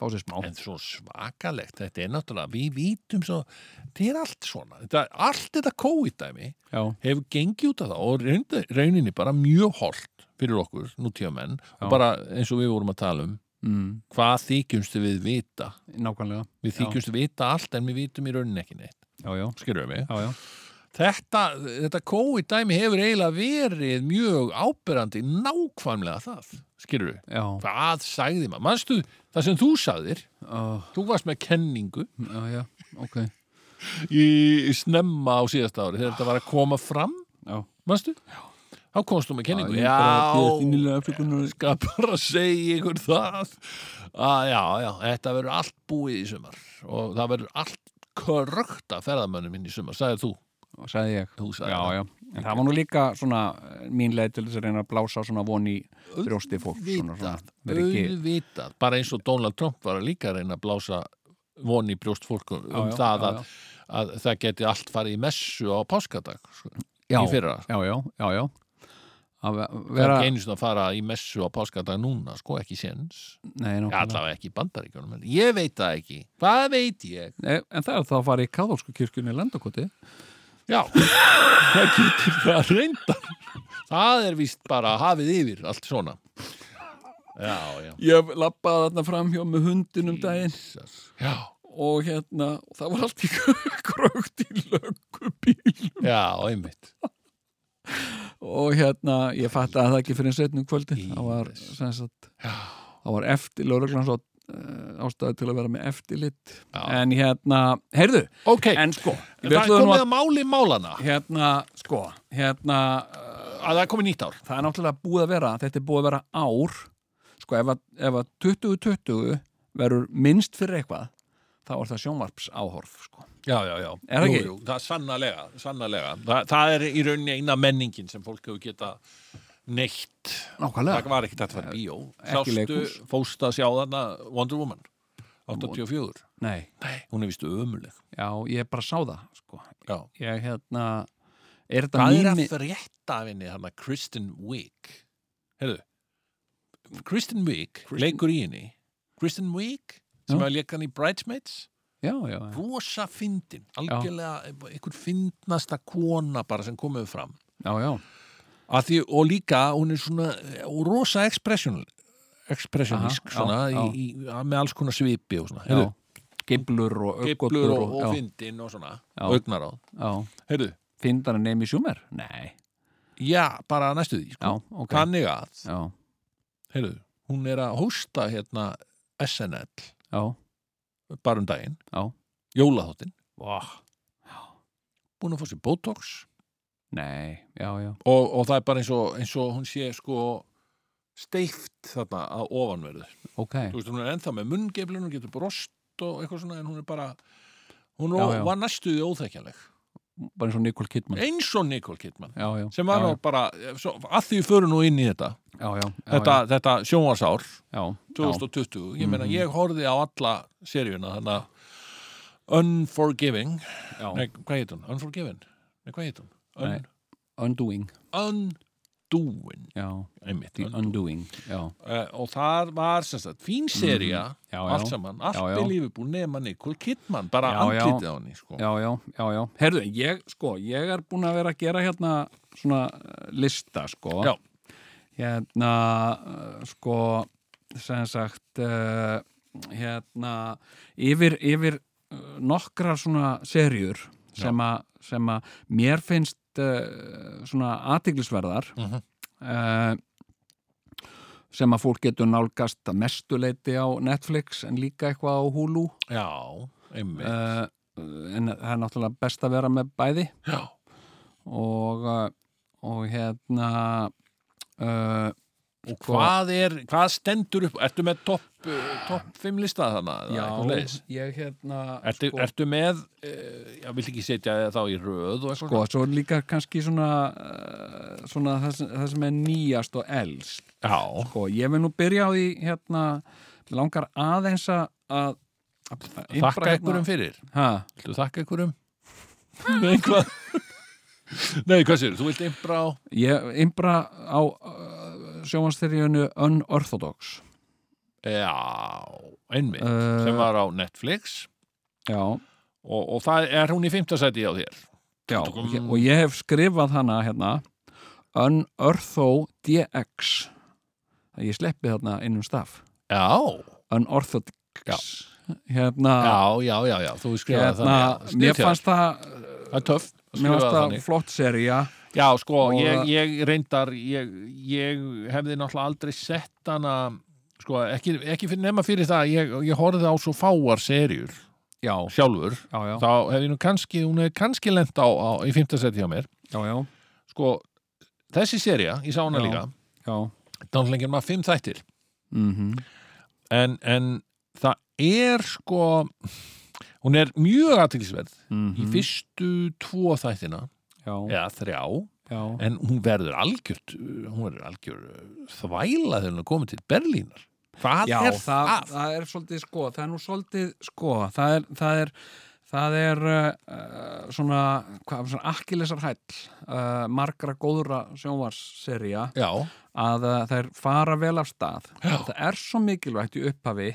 Speaker 3: fá sér smá
Speaker 1: En svo svakalegt, þetta er náttúrulega, við vítum svo, þetta er allt svona, þetta, allt þetta COVID-dæmi
Speaker 3: já,
Speaker 1: hefur gengið út af það og reynd- rauninni bara mjög holt fyrir okkur, nútíðamenn, og bara eins og við vorum að tala um,
Speaker 3: mm,
Speaker 1: hvað þykjumstu við vita?
Speaker 3: nákvæmlega
Speaker 1: Við
Speaker 3: Já.
Speaker 1: þykjumst vita allt en við vitum í rauninni ekki neitt.
Speaker 3: já, já,
Speaker 1: Skilur við mig?
Speaker 3: já, já
Speaker 1: Þetta, þetta COVID-dæmi hefur eiginlega verið mjög áberandi nákvæmlega það. Skilur við?
Speaker 3: Já,
Speaker 1: Hvað sagði maður? Manstu það sem þú sagðir?
Speaker 3: ó,
Speaker 1: Þú varst með kenningu
Speaker 3: já, já, ok
Speaker 1: í snemma á síðasta ári þegar þetta var að koma fram.
Speaker 3: Já.
Speaker 1: Manstu? Já. Þá komst þú með kenningu.
Speaker 3: Já, ég bara bíð innilega
Speaker 1: já,
Speaker 3: afsökunar.
Speaker 1: skal bara segja ykkur það. Að, já, já, þetta verður allt búið í sumar og það verður allt körrögt að ferðamönnum inn í sumar, sagðir þú.
Speaker 3: Og Sko, sagði ég
Speaker 1: Þú sagðir
Speaker 3: Já,
Speaker 1: það.
Speaker 3: já, en það var nú líka svona eh, mín leið til þess að reyna að blása svona von í brjósti fólk svona, svona,
Speaker 1: Vitað,
Speaker 3: vera ekki,
Speaker 1: auðvitað, bara eins og Donald Trump var að líka að reyna að blása von í brjóst fólk um
Speaker 3: já,
Speaker 1: það
Speaker 3: já,
Speaker 1: að, að það geti allt farið í messu á páskadag sko,
Speaker 3: Já.
Speaker 1: í fyrra.
Speaker 3: Já, já, já, já að ve-
Speaker 1: Það er
Speaker 3: vera
Speaker 1: ekki einu sinni að fara í messu á páskadag núna, sko, ekki séns.
Speaker 3: nei,
Speaker 1: Já,
Speaker 3: nákvæmlega.
Speaker 1: Allavega ekki í bandaríkjunum. en Ég veit það ekki. Hvað veit ég?
Speaker 3: Nei, en það er þá að fara í katholsku kirkjunni í landakoti
Speaker 1: Já, það getur það reyndar. Það er víst bara hafið yfir allt svona. Já, já.
Speaker 3: ég lappaði þarna fram hjá með hundin um daginn
Speaker 1: Jesus. Já,
Speaker 3: og hérna, það var allt í krökt í löggubíl
Speaker 1: já, einmitt.
Speaker 3: og hérna, ég fatti að það ekki fyrir setnum kvöldi um það var,
Speaker 1: Jesus.
Speaker 3: sem sagt, það var eftir lögreglans á, ástæði til að vera með eftirlit
Speaker 1: Já.
Speaker 3: en hérna, heyrðu
Speaker 1: Ok,
Speaker 3: en sko,
Speaker 1: það
Speaker 3: við
Speaker 1: er
Speaker 3: ætluðum nú
Speaker 1: komið
Speaker 3: að
Speaker 1: að máli málana.
Speaker 3: hérna, sko, hérna
Speaker 1: Að það er komið nýtt ár.
Speaker 3: það er náttúrulega búið að vera, þetta er búið að vera ár sko, ef að, ef að 2020 verður minnst fyrir eitthvað þá er það sjónvarps áhorf sko.
Speaker 1: Já, já, já.
Speaker 3: Er það ekki?
Speaker 1: Jú, jú, það er sannarlega, sannarlega. Það, það er í rauninni eina menningin sem fólk hefur geta neitt.
Speaker 3: nákvæmlega,
Speaker 1: Það var ekki þetta fyrir bíó.
Speaker 3: Ekki
Speaker 1: Sástu
Speaker 3: leikhús.
Speaker 1: fóst að sjá þarna Wonder Woman 84.
Speaker 3: nei,
Speaker 1: Nei, hún er vist ömuleg.
Speaker 3: já, ég bara sá það sko.
Speaker 1: Já.
Speaker 3: ég hérna er þetta
Speaker 1: Hvað er að
Speaker 3: mými
Speaker 1: frétta af henni hann að Kristen Wiig? Herðu, Kristen Wiig
Speaker 3: Kristen-
Speaker 1: leikur í henni. Kristen Wiig sem
Speaker 3: Já.
Speaker 1: hefur leikan í Bridesmaids.
Speaker 3: já, já, já,
Speaker 1: Rosa fyndin, algjörlega einhver fyndnasta kona bara sem komið fram.
Speaker 3: já, já.
Speaker 1: Að Því, og líka, hún er svona eh, og rosa expressional expressionísk,
Speaker 3: Aha, já,
Speaker 1: svona,
Speaker 3: já.
Speaker 1: Í, í, með alls konar svipi og svona.
Speaker 3: já.
Speaker 1: Heyrðu,
Speaker 3: geblur og
Speaker 1: geblur
Speaker 3: öggotur
Speaker 1: og, og
Speaker 3: já,
Speaker 1: fyndin og svona,
Speaker 3: Já.
Speaker 1: og augnaráð.
Speaker 3: já.
Speaker 1: Heyrðu,
Speaker 3: findar en nemi sjúmer? nei,
Speaker 1: já, bara næstu því,
Speaker 3: já,
Speaker 1: sko.
Speaker 3: ok
Speaker 1: Þannig að,
Speaker 3: já,
Speaker 1: heyrðu, hún er að hósta hérna SNL
Speaker 3: já,
Speaker 1: bara um daginn,
Speaker 3: Já.
Speaker 1: jólaþóttin,
Speaker 3: Vah.
Speaker 1: búin að fá sér Botox
Speaker 3: nei, já, já
Speaker 1: og, og það er bara eins og, eins og hún sé sko steift þarna að ofanverðu.
Speaker 3: ok,
Speaker 1: Þú veist, hún er ennþá með munngeflun, hún getur brost og eitthvað svona, en hún er bara, hún
Speaker 3: Já, já.
Speaker 1: var næstuði óþekkjanleg.
Speaker 3: bara eins og Nikol Kidman
Speaker 1: Eins og Nicole Kidman,
Speaker 3: já, já,
Speaker 1: sem var
Speaker 3: já,
Speaker 1: já,
Speaker 3: já,
Speaker 1: bara, svo, að því við förum nú inn í þetta,
Speaker 3: já, já, já,
Speaker 1: þetta, þetta sjónvarsár,
Speaker 3: já, já,
Speaker 1: 2020, ég meina,
Speaker 3: Mhm.
Speaker 1: ég horfði á alla seríuna, þannig að Unforgiving,
Speaker 3: já,
Speaker 1: nei, hvað heit hún? Unforgiven? Nei, hvað heit hún? Un,
Speaker 3: Nei. Undoing
Speaker 1: undoing,
Speaker 3: já,
Speaker 1: einmitt,
Speaker 3: The
Speaker 1: undoing.
Speaker 3: Undoing já,
Speaker 1: Uh, og það var, sem sagt, fín sería,
Speaker 3: Mm. já,
Speaker 1: allt
Speaker 3: já,
Speaker 1: saman, allt
Speaker 3: Já, já.
Speaker 1: er lífið búin nema Nicole Kidman, bara
Speaker 3: Já, já.
Speaker 1: andlitið á henni sko.
Speaker 3: já, já, já, já herðu, ég, sko, ég er búin að vera að gera hérna svona eh, lista, sko
Speaker 1: Já.
Speaker 3: hérna, eh, sko sem sagt uh, hérna yfir, yfir eh, nokkrar svona serjur sem að sem að mér finnst uh, svona athyglisverðar
Speaker 1: Mhm.
Speaker 3: eh, sem að fólk getur nálgast að mestu leiti á Netflix en líka eitthvað á Hulu
Speaker 1: Já, einmitt
Speaker 3: uh, en það er náttúrulega best að vera með bæði
Speaker 1: Já,
Speaker 3: og, eh, og hérna uh,
Speaker 1: og hvað er, hvað stendur upp Ertu með topp, uh, topp 5 lista þannig?
Speaker 3: ég hérna
Speaker 1: Ertu,
Speaker 3: sko,
Speaker 1: ertu með, uh, já, vill ekki setja þig þá í röð og
Speaker 3: sko,
Speaker 1: eitthvað
Speaker 3: svo er líka kannski svona, uh, svona það, sem, það sem er nýjast og elst
Speaker 1: Já,
Speaker 3: sko, ég vil nú byrja á því hérna, mig langar aðeins að að- hérna- að
Speaker 1: þakka einhverjum fyrir
Speaker 3: fyrir
Speaker 1: Viltu þakka einhverjum? Nei, hvað? Nei, hvað sér, þú vilt impra á
Speaker 3: Ég imbra á uh, sjómanstyrjunu Unorthodox
Speaker 1: Já, einmitt,
Speaker 3: Eh.
Speaker 1: sem var á Netflix
Speaker 3: Já,
Speaker 1: og, og það er hún í fimmtasæti á þér
Speaker 3: já og, ég, og ég hef skrifað hana hérna Unorthodx Það ég sleppi þarna innum staf
Speaker 1: Já,
Speaker 3: Unorthodox Hérna,
Speaker 1: já, já, já, já, þú skrifaði
Speaker 3: hérna
Speaker 1: þannig já.
Speaker 3: mér
Speaker 1: Sniðtjáður.
Speaker 3: fannst það
Speaker 1: Það er töff að skrifa
Speaker 3: mér fannst
Speaker 1: það
Speaker 3: það
Speaker 1: þannig.
Speaker 3: flott serja
Speaker 1: Já, sko,
Speaker 3: Og-
Speaker 1: ég, ég reyndar ég, ég hefði náttúrulega aldrei sett hana sko, ekki, ekki fyrir, nema fyrir það að ég, ég horfði á svo fáar serjur
Speaker 3: Já,
Speaker 1: sjálfur,
Speaker 3: já, já,
Speaker 1: þá hefði nú kannski hún hefði kannski lent á, á í fimmtasetti hjá mér
Speaker 3: já, já,
Speaker 1: sko, þessi serja, ég sá hana
Speaker 3: Já.
Speaker 1: líka
Speaker 3: já.
Speaker 1: dánlengir maður fimm þættir
Speaker 3: Mm
Speaker 1: en, en það er sko hún er mjög aðtilsverð í fyrstu tvo þættina
Speaker 3: mhm, já,
Speaker 1: eða þrjá,
Speaker 3: já,
Speaker 1: en hún verður algjört, uh, hún verður algjör uh, þvæla þegar hún er komið til Berlínar hvað
Speaker 3: Já,
Speaker 1: er
Speaker 3: það,
Speaker 1: það?
Speaker 3: það er svolítið sko, það er nú svolítið sko, það er, það er Það er uh, svona, hvað, svona akkilesar hæll uh, margra góðra sjónvarsserja
Speaker 1: já,
Speaker 3: að uh, þær fara vel af stað Já. það er svo mikilvægt í upphafi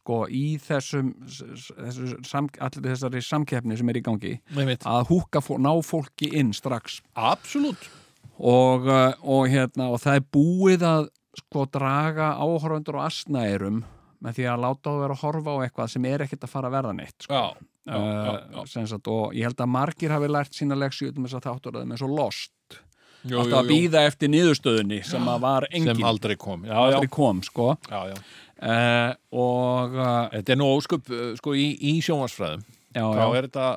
Speaker 3: sko í þessum, s- s- þessu, sam, allir þessari samkeppni sem er í gangi
Speaker 1: með mitt
Speaker 3: að húka, fó- ná fólki inn strax
Speaker 1: absolutt,
Speaker 3: og, uh, og, hérna, og það er búið að sko draga áhorfundur og asnærum með því að láta þú vera að horfa á eitthvað sem er ekkert að fara að verða neitt sko.
Speaker 1: já, já, já, já.
Speaker 3: uh, sem sagt, og ég held að margir hafi lært sína leksjútum þess að þáttur að þeim er svo lost
Speaker 1: Jú,
Speaker 3: alltaf að býða eftir niðurstöðunni sem að var engin
Speaker 1: sem aldrei kom já, já,
Speaker 3: aldrei kom sko
Speaker 1: já, já.
Speaker 3: uh, og uh,
Speaker 1: þetta er nú óskup uh, sko, í, í sjónvarsfræðum
Speaker 3: já,
Speaker 1: þá
Speaker 3: já,
Speaker 1: er þetta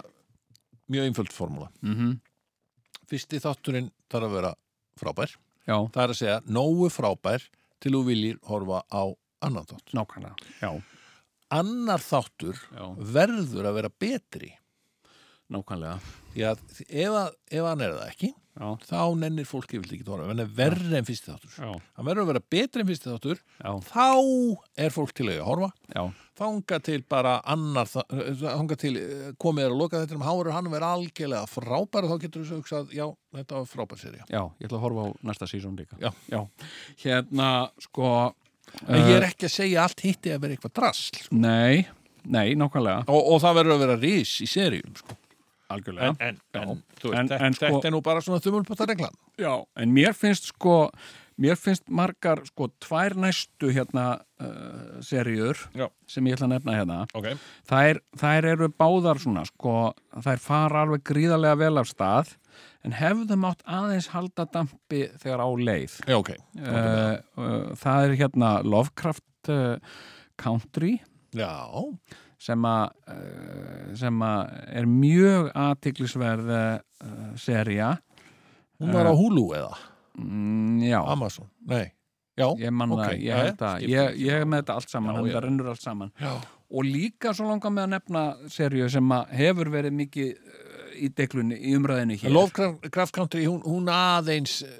Speaker 1: mjög einföld formúla
Speaker 3: mhm,
Speaker 1: fyrsti þátturinn þarf að vera frábær
Speaker 3: já
Speaker 1: það er að segja nógu frábær til þú viljir horfa á annan þátt
Speaker 3: nákvæmlega já,
Speaker 1: annar þáttur
Speaker 3: já,
Speaker 1: verður að vera betri
Speaker 3: nákvæmlega
Speaker 1: því að ef, að, ef hann er það ekki
Speaker 3: já,
Speaker 1: þá nennir fólk yfirleitt ekki að horfa hann er verri en fyrsti þáttur
Speaker 3: já,
Speaker 1: hann verður að vera betri en fyrsti þáttur
Speaker 3: já,
Speaker 1: þá er fólk til að eiga að horfa
Speaker 3: já,
Speaker 1: þanga til bara annar þanga til eh, komið er að loka þetta um hárur hann verður algjörlega frábær og þá getur þú hugsað, já, þetta var frábær serið
Speaker 3: já ég ætla að horfa á næsta sísón líka
Speaker 1: Já.
Speaker 3: hérna sko
Speaker 1: en ég
Speaker 3: uh,
Speaker 1: er ekki að segja allt hitti að vera eitthvað drasl sko.
Speaker 3: nei, nei, nákvæmlega
Speaker 1: og, og það verður að vera ris í seríum sko.
Speaker 3: algjörlega
Speaker 1: en, en, þú
Speaker 3: En-
Speaker 1: veist,
Speaker 3: en
Speaker 1: en,
Speaker 3: sko-
Speaker 1: þetta er nú bara svona þumulpata reglan
Speaker 3: Já, en mér finnst sko mér finnst margar sko tvær næstu hérna uh, seríur
Speaker 1: Já.
Speaker 3: sem ég ætla að nefna hérna
Speaker 1: okay.
Speaker 3: þær, þær eru báðar svona sko, þær fara alveg gríðarlega vel af stað en hefðu mátt aðeins halda dampi þegar á leið
Speaker 1: Já, ok.
Speaker 3: uh, uh, það er hérna Lovecraft uh, Country
Speaker 1: Já,
Speaker 3: sem að uh, sem að er mjög aðtiklisverð uh, serja
Speaker 1: hún
Speaker 3: Eh.
Speaker 1: var á Hulu eða
Speaker 3: mm, já,
Speaker 1: Amazon, nei Já,
Speaker 3: ég manna
Speaker 1: ok,
Speaker 3: það, ég held
Speaker 1: jæja,
Speaker 3: að
Speaker 1: skiptir
Speaker 3: ég, ég er með þetta allt saman,
Speaker 1: Já,
Speaker 3: þannig
Speaker 1: já.
Speaker 3: það rennur allt saman
Speaker 1: já,
Speaker 3: og líka svo langar með að nefna serju sem að hefur verið mikið eh, í deglunni, í umræðinu hér
Speaker 1: Lovecraft Country, hún, hún aðeins uh,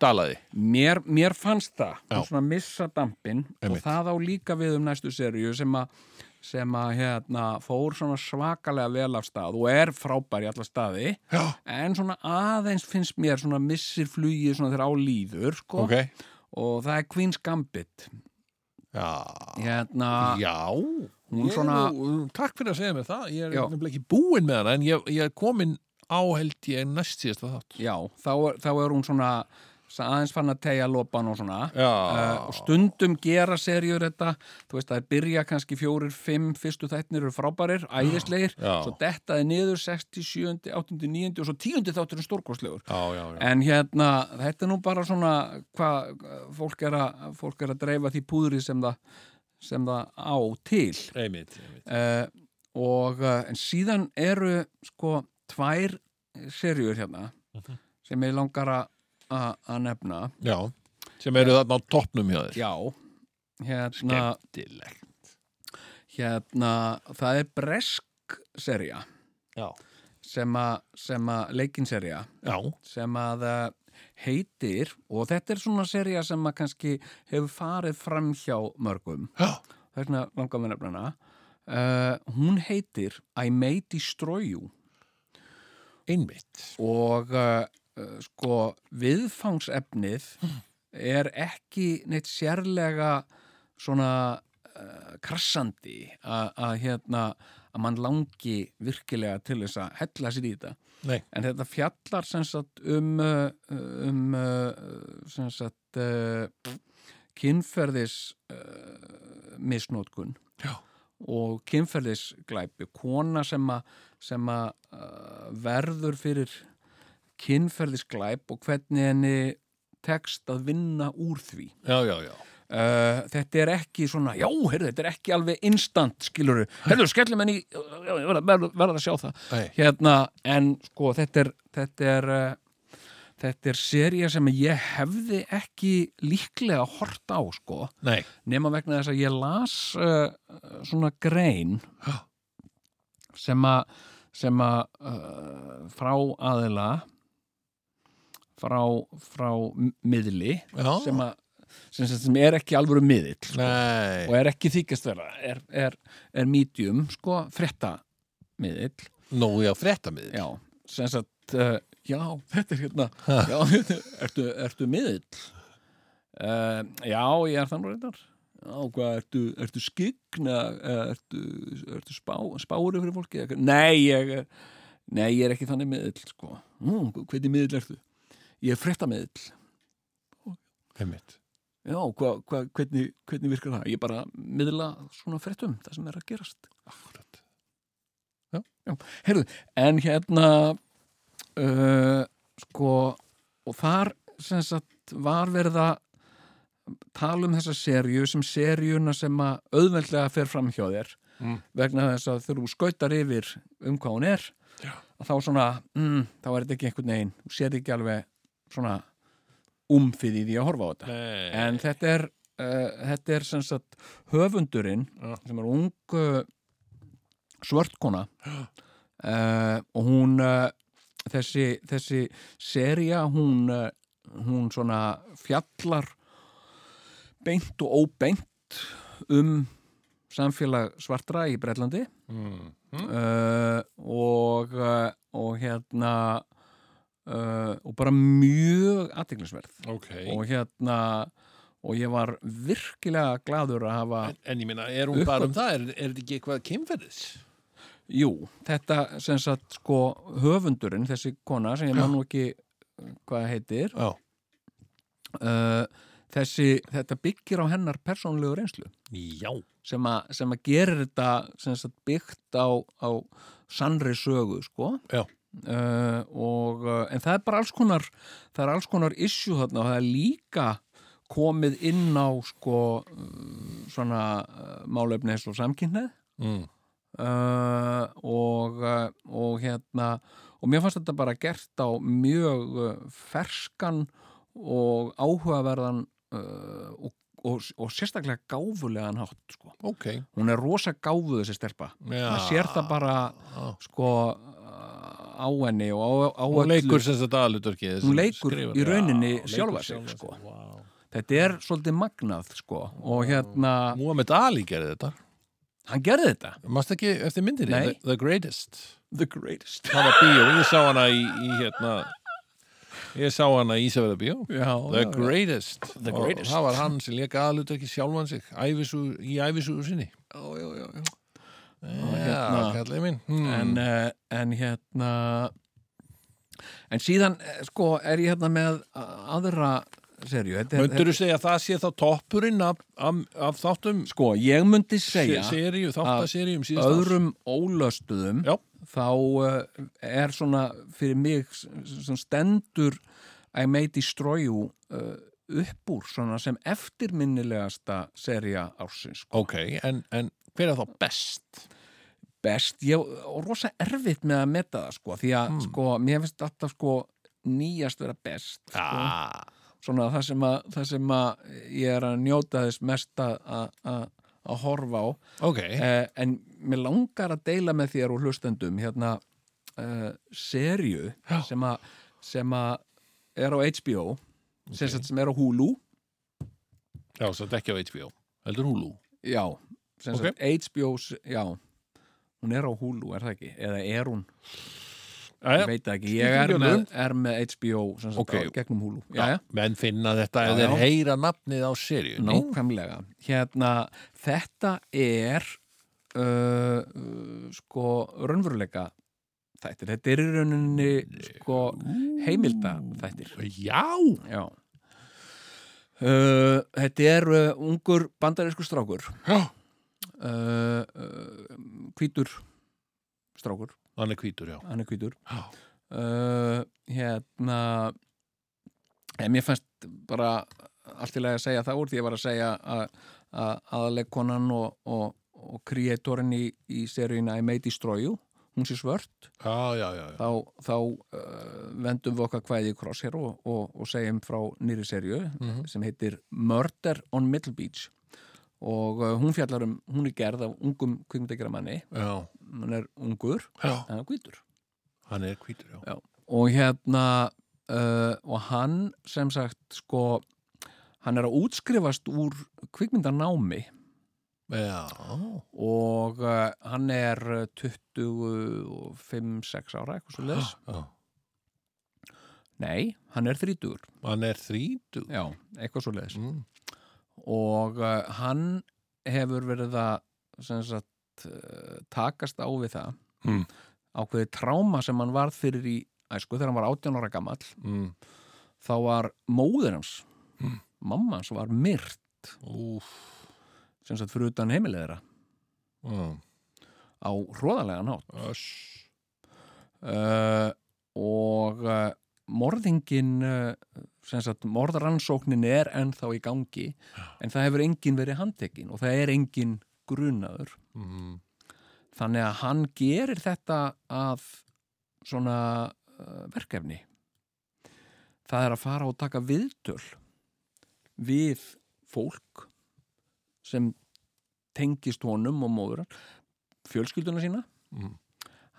Speaker 1: dalaði
Speaker 3: mér, mér fannst það
Speaker 1: Já.
Speaker 3: hún svona missa dampin
Speaker 1: Einmitt.
Speaker 3: og það á líka við um næstu serju sem að sem að hérna fór svona svakalega vel af stað og er frábær í alla staði
Speaker 1: Já,
Speaker 3: en svona aðeins finnst mér svona missir flugið svona þegar á líður sko
Speaker 1: ok
Speaker 3: og það er Queen's Gambit
Speaker 1: Já,
Speaker 3: hérna
Speaker 1: já
Speaker 3: hún
Speaker 1: Ég er
Speaker 3: svona-
Speaker 1: nú, mm, Takk fyrir að segja mér það, ég er
Speaker 3: Já.
Speaker 1: nefnilega ekki búinn með hana en ég, ég er komin á held ég næst síðasta þátt
Speaker 3: Já, þá er, þá er hún svona sa- aðeins fann að tegja lopan og svona
Speaker 1: Já,
Speaker 3: uh, og stundum gera serjur þetta þú veist það er byrja kannski fjórir, fimm fyrstu þættinir eru frábærir, æðislegir
Speaker 1: já.
Speaker 3: svo dettaði niður 67, 89 og svo 10. þáttur er stórkostlegur
Speaker 1: já, já, já.
Speaker 3: en hérna, þetta er nú bara svona hvað fólk er að fólk er að dreifa því púðri sem það sem það á til
Speaker 1: Eh. Einmitt, einmitt
Speaker 3: uh, og uh, en síðan eru sko tvær serjur hérna sem ég langar að- að að nefna
Speaker 1: Já, sem eru þarna á toppnum hjá þér
Speaker 3: já hérna,
Speaker 1: Skemmtilegt
Speaker 3: hérna það er bresk serja
Speaker 1: Já.
Speaker 3: sem að, sem að leikinserja
Speaker 1: Já,
Speaker 3: sem að uh, heitir og þetta er svona serja sem að kannski hefur farið fram hjá mörgum
Speaker 1: já,
Speaker 3: þessna langar við nefnana uh, hún heitir I May Destroy You
Speaker 1: einmitt
Speaker 3: og uh, uh, sko viðfangsefnið er ekki neitt sérlega svona uh, krassandi að að, hérna að mann langi virkilega til þess að hella sér í þetta
Speaker 1: Nei.
Speaker 3: en þetta fjallar sem sagt um uh, um uh, sem sagt uh, kynferðis uh, misnótkun
Speaker 1: Já.
Speaker 3: og kynferðisglæpi kona sem að sem að uh, verður fyrir kynferðisglæp og hvernig henni tekst að vinna úr því
Speaker 1: Já, já, já
Speaker 3: uh, þetta er ekki svona já, heyrðu, þetta er ekki alveg instant skiluru, heyrðu, skellum henni í- já, ég verða verð, verð að sjá það
Speaker 1: Nei.
Speaker 3: hérna, en sko, þetta er þetta er uh, Þetta er serið sem ég hefði ekki líklega hort á, sko
Speaker 1: Nei,
Speaker 3: nema vegna þess að ég las uh, svona grein
Speaker 1: Já.
Speaker 3: sem að sem að uh, frá aðila frá, frá m- miðli
Speaker 1: já
Speaker 3: sem að sem, sem, sem er ekki alvöru miðill
Speaker 1: Nei,
Speaker 3: og er ekki þykist vera er, er, er medium, sko, frétta miðill
Speaker 1: Nú, já, fréttamiður.
Speaker 3: Já, sem sagt, uh, já, þetta er hérna, já, þetta er- ertu, ertu miðill? Uh, já, ég er þann reyndar. Já, hvað, ertu, ertu skygna, ertu, ertu spá, spári fyrir fólki? eða hvað? Nei, ég, er- nei, ég er ekki þannig miðill, sko. Mm, hvernig miðill ertu? Ég er frétta miðill.
Speaker 1: Einmitt.
Speaker 3: Já, hva, hva, hvernig, hvernig virkar það? Ég bara miðla svona fréttum, það sem er að gerast.
Speaker 1: Akkurat.
Speaker 3: Heyrðu, en hérna uh, sko og þar sem sagt var verið að tala um þessa serju sem serjuna sem að auðveldlega fer fram hjá þér
Speaker 1: Mm.
Speaker 3: vegna þess að þegar þú skautar yfir um hvað hún er
Speaker 1: Já.
Speaker 3: að þá svona, mm, þá er þetta ekki einhvern veginn þú séð ekki alveg svona umfið í því að horfa á þetta
Speaker 1: Nei.
Speaker 3: en þetta er uh, þetta er sem sagt höfundurinn
Speaker 1: Já.
Speaker 3: sem er ung uh, svörtkona uh, og hún uh, þessi, þessi seria hún, uh, hún svona fjallar beint og óbeint um samfélag svartra í Bretlandi
Speaker 1: Mm.
Speaker 3: uh, og, uh, og hérna uh, og bara mjög aðteglisverð
Speaker 1: Ok.
Speaker 3: og hérna og ég var virkilega gladur að hafa
Speaker 1: En, en ég minna, er hún bara um það? Er, er þetta ekki eitthvað kynferðis?
Speaker 3: jú, þetta sem sagt sko höfundurinn, þessi kona sem ég man nú ekki uh, hvað heitir
Speaker 1: Já.
Speaker 3: uh, þessi, þetta byggir á hennar persónlegu reynslu
Speaker 1: Já.
Speaker 3: sem, a, sem að gerir þetta sem sagt byggt á, á sannri sögu sko
Speaker 1: Já.
Speaker 3: Uh, og, uh, en það er bara alls konar það er alls konar issue þarna og það er líka komið inn á sko uh, svona uh, málefni eins og samkynnið
Speaker 1: Mm.
Speaker 3: uh, og, uh, og hérna og mér fannst þetta bara gert á mjög uh, ferskan og áhugaverðan uh, og, og, og sérstaklega gáfulegan hátt sko.
Speaker 1: Ok.
Speaker 3: hún er rosa gáfuð þessi stelpa
Speaker 1: Já.
Speaker 3: það sér það bara
Speaker 1: Já.
Speaker 3: sko uh, á henni og á, á
Speaker 1: Hún
Speaker 3: öllu.
Speaker 1: leikur sem þetta aðluturkið.
Speaker 3: Hún leikur í rauninni sjálfa sig, sko.
Speaker 1: Wow.
Speaker 3: þetta er svolítið magnað sko. og hérna,
Speaker 1: Múhamed Ali gerði þetta.
Speaker 3: hann gerði þetta
Speaker 1: Mást ekki eftir myndinni?
Speaker 3: Nei.
Speaker 1: The, the Greatest.
Speaker 3: the greatest
Speaker 1: Það var bíó. Ég sá hana í, í hérna... Ég sá hana í Ísafjörða bíó.
Speaker 3: já,
Speaker 1: The
Speaker 3: já, já.
Speaker 1: Greatest.
Speaker 3: The Greatest.
Speaker 1: Og það var hann sem leika aðluturkið sjálfan sig ævisug, í æfisugur sinni.
Speaker 3: Já, já, já, já.
Speaker 1: Já,
Speaker 3: hérna-
Speaker 1: kallið minn. Hmm.
Speaker 3: en, uh, en hérna en síðan eh, sko er ég hérna með a- aðra serju þetta, er-
Speaker 1: Möndur þú segja að það sé þá toppurinn af, af, af þáttum
Speaker 3: þetta, sko ég myndi segja
Speaker 1: seríu, þáttaseríum síðast
Speaker 3: öðrum ólöstuðum
Speaker 1: Já.
Speaker 3: þá uh, er svona fyrir mig s- sem stendur I May Destroy You uh, upp úr svona sem eftirminnilegasta serja ársins sko.
Speaker 1: Ok, en, en hver er þá best?
Speaker 3: best, ég og rosa erfitt með að meta það sko, því að sko, mér finnst alltaf sko nýjast vera best sko.
Speaker 1: Ah,
Speaker 3: svona það sem, að, það sem að ég er að njóta þess mest að, að- að, að horfa á
Speaker 1: ok,
Speaker 3: eh, en mér langar að deila með þér og hlustendum hérna eh, serju
Speaker 1: Já.
Speaker 3: sem að, sem að er á HBO sem, sagt sem er á Hulu
Speaker 1: já, svo þetta ekki á HBO heldur Hulu
Speaker 3: já, sem
Speaker 1: Ok.
Speaker 3: sagt HBO já, hún er á Hulu er það ekki, eða er hún
Speaker 1: Jæja,
Speaker 3: ég veit það ekki,
Speaker 1: skiptir
Speaker 3: ég er
Speaker 1: ekki
Speaker 3: með,
Speaker 1: öllu.
Speaker 3: er með HBO sem sagt
Speaker 1: Ok.
Speaker 3: á, gegnum Hulu já,
Speaker 1: já, menn finna þetta
Speaker 3: Já,
Speaker 1: ef þeir
Speaker 3: já.
Speaker 1: heyra nafnið á seríu
Speaker 3: Nákvæmlega. Hérna, þetta er uh, uh, sko raunveruleika þættir. Þetta er í rauninni sko heimilda þættir.
Speaker 1: Já,
Speaker 3: Já. Uh, þetta er uh, ungur bandarísku strákur.
Speaker 1: Já.
Speaker 3: Uh, uh, hvítur strákur.
Speaker 1: hann er hvítur, já
Speaker 3: Hann er hvítur.
Speaker 1: Já.
Speaker 3: Uh, hérna, en mér fannst bara allt í lagi að segja það úr því ég var að segja að aðaleikonan og, og, og kreatórin í, í seríuna I May Destroy You, hún sé svört
Speaker 1: Já, já, já, já.
Speaker 3: þá, þá uh, vendum við okkar kvæði í crosshair og, og, og segjum frá nýri seríu
Speaker 1: Mhm.
Speaker 3: sem heitir Murder on Middle Beach og uh, hún fjallar um, hún er gerð af ungum kvikmyndagjaramanni,
Speaker 1: já,
Speaker 3: hún er ungur
Speaker 1: já
Speaker 3: en hann er hvítur
Speaker 1: Hann er hvítur, já
Speaker 3: og hérna uh, og hann sem sagt sko hann er að útskrifast úr kvikmyndanámi
Speaker 1: Já.
Speaker 3: og uh, hann er 25-6 ára eitthvað svo leis
Speaker 1: Já.
Speaker 3: nei, hann er 30
Speaker 1: Hann er þrítu.
Speaker 3: já, eitthvað svo leis
Speaker 1: Mm.
Speaker 3: og uh, hann hefur verið að sem sagt, uh, takast á við það
Speaker 1: Mm.
Speaker 3: ákveðið tráma sem hann varð fyrir í æsku þegar hann var 18 ára gamall
Speaker 1: Mm.
Speaker 3: þá var móður hans mamma hans var myrt
Speaker 1: Úf.
Speaker 3: sem sagt fyrir utan heimileg þeirra
Speaker 1: Mm.
Speaker 3: á hróðalegan hátt
Speaker 1: Öss.
Speaker 3: uh, og uh, morðingin uh, sem sagt morðrannsóknin er ennþá í gangi en það hefur enginn verið handtekinn og það er enginn grunaður
Speaker 1: Mm.
Speaker 3: þannig að hann gerir þetta að svona uh, verkefni það er að fara og taka viðtöl við fólk sem tengist honum og móður hans, fjölskylduna sína
Speaker 1: Mm.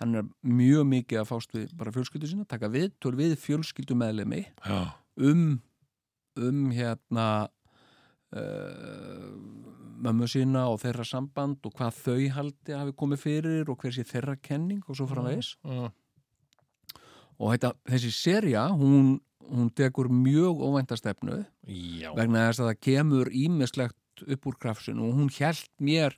Speaker 3: hann er mjög mikið að fást við bara fjölskyldu sína, taka viðtöl við fjölskyldu meðlemi
Speaker 1: Já.
Speaker 3: um um hérna uh, mömmu sína og þeirra samband og hvað þau haldi hafi komið fyrir og hver sé þeirra kenning og svo framvegis
Speaker 1: Já.
Speaker 3: og þetta, þessi serja, hún, hún tekur mjög óvænta stefnu
Speaker 1: Já.
Speaker 3: vegna þess að það kemur ímislegt upp úr krafsinu og hún hjælt mér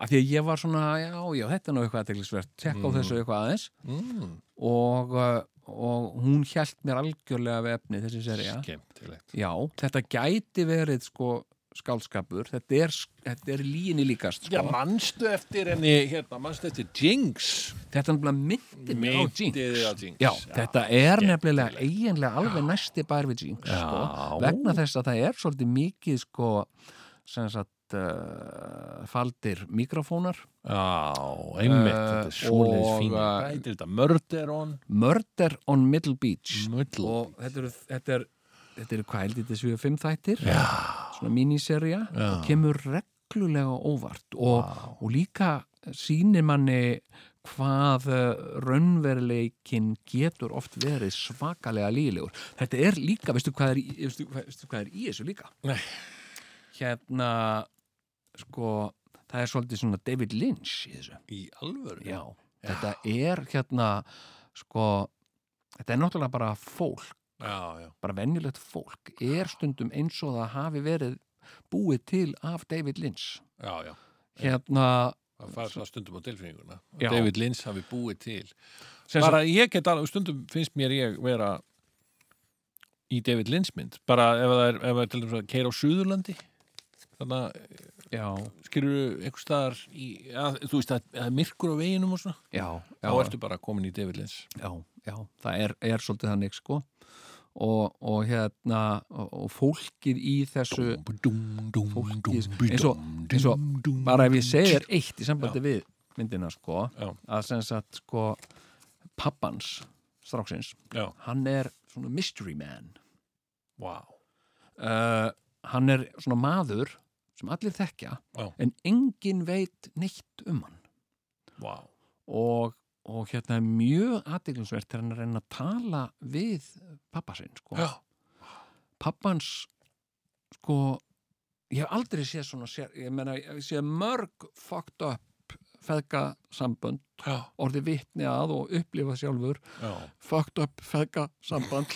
Speaker 3: af því að ég var svona, já, já, þetta er nú eitthvað aðteglisvert, tjekka á þessu eitthvað aðeins
Speaker 1: Mm.
Speaker 3: og, uh, og hún hjælt mér algjörlega við efni þessi serja
Speaker 1: Skemmtilegt.
Speaker 3: Já, þetta gæti verið sko skálskapur, þetta er, þetta er líginni líkast sko.
Speaker 1: Já, manstu eftir henni, hérna, manstu eftir Jinx.
Speaker 3: þetta er nefnilega myndi mig á Jinx
Speaker 1: Myndið á Jinx.
Speaker 3: Já, þetta er nefnilega eiginlega alveg næsti bær við Jinx sko,
Speaker 1: Já.
Speaker 3: vegna þess að það er svolítið mikið sko sem sagt uh, faldir mikrofónar
Speaker 1: Já, einmitt, þetta er
Speaker 3: Eh,
Speaker 1: svoleiðis
Speaker 3: og,
Speaker 1: fín.
Speaker 3: eh,
Speaker 1: Hvað heitir þetta? Murder on
Speaker 3: Murder on Middle Beach
Speaker 1: Muddle.
Speaker 3: og þetta eru þetta er, þetta er hvað heldur þetta séu fimm þættir
Speaker 1: Já.
Speaker 3: svona míniserja og kemur reglulega á óvart og, og líka sýnir manni hvað eh, raunveruleikinn getur oft verið svakalega lílegur þetta er líka, veistu hvað er, í- veistu, hvað- veistu hvað er í þessu líka
Speaker 1: Nei.
Speaker 3: hérna sko, það er svolítið svona David Lynch í þessu
Speaker 1: Í alvöru?
Speaker 3: Já, þetta er hérna sko, þetta er náttúrulega bara fólk,
Speaker 1: já, já.
Speaker 3: bara venjulegt fólk er stundum eins og það hafi verið búið til af David Lynch
Speaker 1: já, já.
Speaker 3: hérna
Speaker 1: Það fara það stundum á tilfinninguna.
Speaker 3: Já.
Speaker 1: David Lynch hafi búið til.
Speaker 3: sem
Speaker 1: Bara ég get alveg, stundum finnst mér ég vera í David Lynch mynd. Bara ef það er, ef það er til dæmis að keira á Suðurlandi. Þannig að
Speaker 3: sagt- já,
Speaker 1: skilur einhver staðar í, ja, þú veist að það er myrkur á veginum og svona.
Speaker 3: já, já,
Speaker 1: Þá ertu bara komin í David Lynch.
Speaker 3: já, já það er, er svolítið þannig sko og, og hérna og, og fólkið í þessu
Speaker 1: Dúm, dúm,
Speaker 3: Fólkið-
Speaker 1: dúm,
Speaker 3: eins og-
Speaker 1: dúm,
Speaker 3: eins og-
Speaker 1: dúm, dúm,
Speaker 3: bara ef ég segir eitt í sambandi við myndina sko
Speaker 1: Já.
Speaker 3: að sem sagt sko pappans stráksins
Speaker 1: Já,
Speaker 3: hann er svona mystery man
Speaker 1: vá.
Speaker 3: uh, hann er svona maður sem allir þekkja
Speaker 1: Já.
Speaker 3: en engin veit neitt um hann
Speaker 1: Vá.
Speaker 3: og, og hérna er mjög aðdeglisvert þegar hann er að reyna að tala við pappa sinn sko.
Speaker 1: Já.
Speaker 3: pappans sko ég hef aldrei séð svona sér, ég meina ég hef séð mörg fucked up feðga sambönd
Speaker 1: Já.
Speaker 3: orðið vitni að og upplifað sjálfur
Speaker 1: Já.
Speaker 3: fucked up feðga samband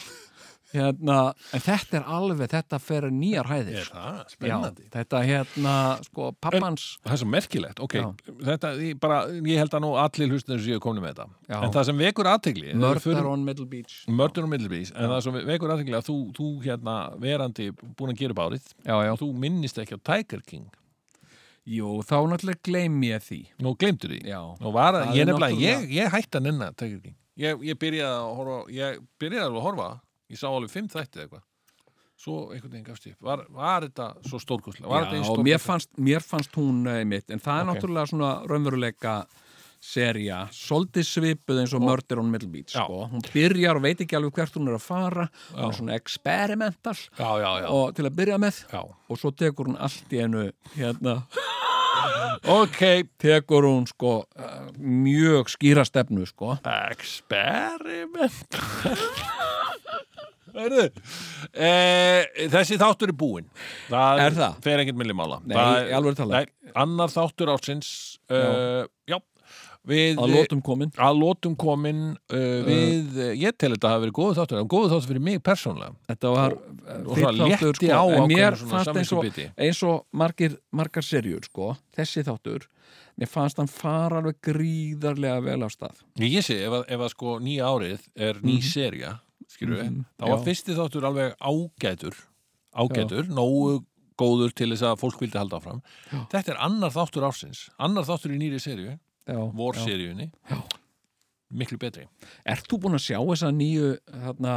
Speaker 3: hérna, en þetta er alveg þetta fer nýjar hæðir sko.
Speaker 1: Er það?
Speaker 3: Já,
Speaker 1: Spennandi.
Speaker 3: þetta hérna, sko, pappans
Speaker 1: það er svo merkilegt, ok
Speaker 3: Já.
Speaker 1: þetta, ég, bara, ég held að nú allir hlustendur séu komin með þetta,
Speaker 3: Já.
Speaker 1: en það sem vekur aðtegli
Speaker 3: Murder on Middle Beach
Speaker 1: Mördur og millibís, en það sem vekur aðtegli að þú, þú hérna verandi búin að gera upp árið
Speaker 3: Já, já.
Speaker 1: og þú minnist ekki á Tiger King
Speaker 3: Jú, þá náttúrulega gleym ég því
Speaker 1: nú gleymdur því
Speaker 3: Já,
Speaker 1: Nú var,
Speaker 3: Það
Speaker 1: ég,
Speaker 3: er
Speaker 1: nefnilega, ég,
Speaker 3: náttúrulega-
Speaker 1: ég hætti að nenna Tiger King ég, ég byrjaði að horfa ég byrjaði alveg að horfa, ég sá alveg fimm þætti eða eitthvað svo einhvern veginn gafst ég upp var, var þetta svo stórkostlega var þetta eins
Speaker 3: já mér, fannst, mér fannst hún eh, mitt, en það er
Speaker 1: Ok.
Speaker 3: náttúrulega svona raunveruleika serja, svolítið svipuð eins og Murder on Middle Beach
Speaker 1: Já.
Speaker 3: sko. hún byrjar og veit ekki alveg hvert hún er að fara hún er svona experimental
Speaker 1: já, já, já,
Speaker 3: og til að byrja með
Speaker 1: já.
Speaker 3: og svo tekur hún allt í einu hérna
Speaker 1: ok,
Speaker 3: tekur hún sko eh, mjög skýra stefnu sko
Speaker 1: experiment Heyrðu, e, þessi þáttur er búinn það
Speaker 3: Er það?
Speaker 1: fer ekkert millimála
Speaker 3: Nei, í alvöru talað.
Speaker 1: annar þáttur ásins uh, já. við
Speaker 3: að Eh. lótum komin
Speaker 1: að lotum komin uh, við, ég tel þetta að hafa verið góðu þáttur en góðu þáttur fyrir mig persónlega
Speaker 3: þetta var sko.
Speaker 1: og svona létti á
Speaker 3: en mér
Speaker 1: ákveðinu svona
Speaker 3: fannst eins og,
Speaker 1: samviskubiti.
Speaker 3: eins og margir, margar serjur sko, þessi þáttur mér fannst hann fara alveg gríðarlega vel á stað
Speaker 1: ég sé, ef að, ef að sko nýja árið er ný serja skilur við,
Speaker 3: Mhm,
Speaker 1: þá var
Speaker 3: já.
Speaker 1: fyrsti þáttur alveg ágætur ágætur, nógu góður til þess að fólk vildi halda áfram
Speaker 3: Já.
Speaker 1: þetta er annar þáttur ársins, annar þáttur í nýri serju
Speaker 3: já, já.
Speaker 1: vorseríunni
Speaker 3: Já.
Speaker 1: miklu betri
Speaker 3: ert þú búin að sjá þessa nýju þarna,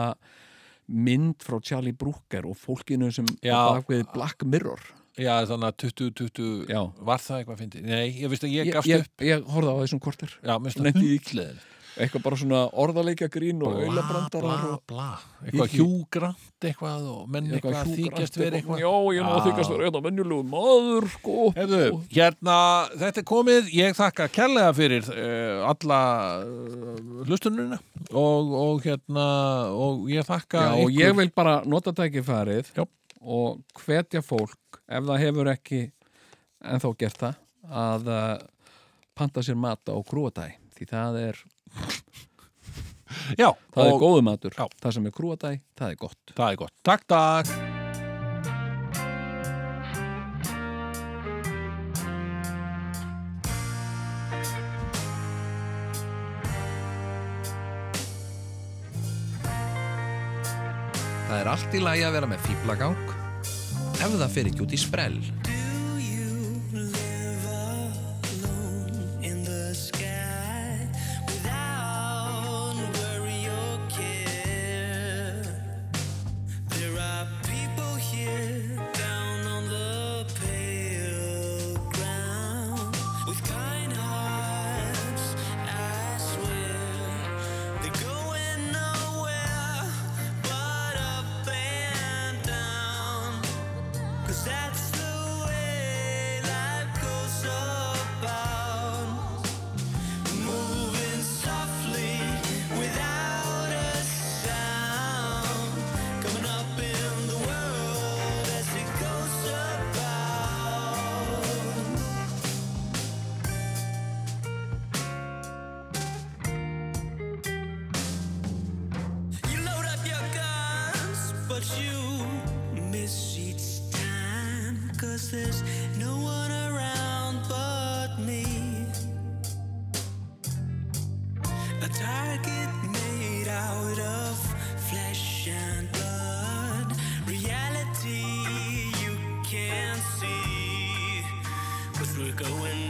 Speaker 3: mynd frá Charlie Brooker og fólkinu sem
Speaker 1: Já.
Speaker 3: á bakvið Black Mirror
Speaker 1: já þannig að 2020
Speaker 3: já.
Speaker 1: var það eitthvað fyndið, nei ég veist að ég
Speaker 3: ég,
Speaker 1: gafst
Speaker 3: ég,
Speaker 1: upp
Speaker 3: ég horfði á þessum kortir
Speaker 1: já, mér finnst
Speaker 3: Nefndi
Speaker 1: það
Speaker 3: því.
Speaker 1: hundleðin
Speaker 3: eitthvað bara svona orðaleikja grín
Speaker 1: bla
Speaker 3: og
Speaker 1: bla
Speaker 3: auðlabrandarar og
Speaker 1: bla eitthvað
Speaker 3: Í-
Speaker 1: hjúgrant eitthvað og menn eitthvað,
Speaker 3: hjúkrant
Speaker 1: þykjast verið eitthvað
Speaker 3: já, ég er nú að
Speaker 1: Já.
Speaker 3: þykjast verið eitthvað mennjulegu maður sko.
Speaker 1: Hefðu, hérna, þetta er komið ég þakka kærlega fyrir uh, alla uh, hlustununa og, og hérna og ég þakka
Speaker 3: Já, og
Speaker 1: ykkur
Speaker 3: ég vil bara nota tækifærið
Speaker 1: Já.
Speaker 3: og hvetja fólk ef það hefur ekki ennþá gert það að uh, panta sér mat á krúadæ því það er,
Speaker 1: já,
Speaker 3: það er
Speaker 1: og
Speaker 3: góðu matur
Speaker 1: Já.
Speaker 3: það sem er krúadæ, það er gott
Speaker 1: það er gott takk, takk
Speaker 4: Það er allt í lagi að vera með fýblagang ef það fer ekki út í sprell.
Speaker 5: Do you live alone in the sky without worry or care? There are people here down on the pale ground with kind hearts. I swear they're going nowhere but up and down. Cause that's the way life goes about. Moving softly without a sound. Coming up in the world as it goes about. You load up your guns, but you miss each time. Cause there's no one around but me. A target made out of flesh and blood. Reality you can't see. Cause we're going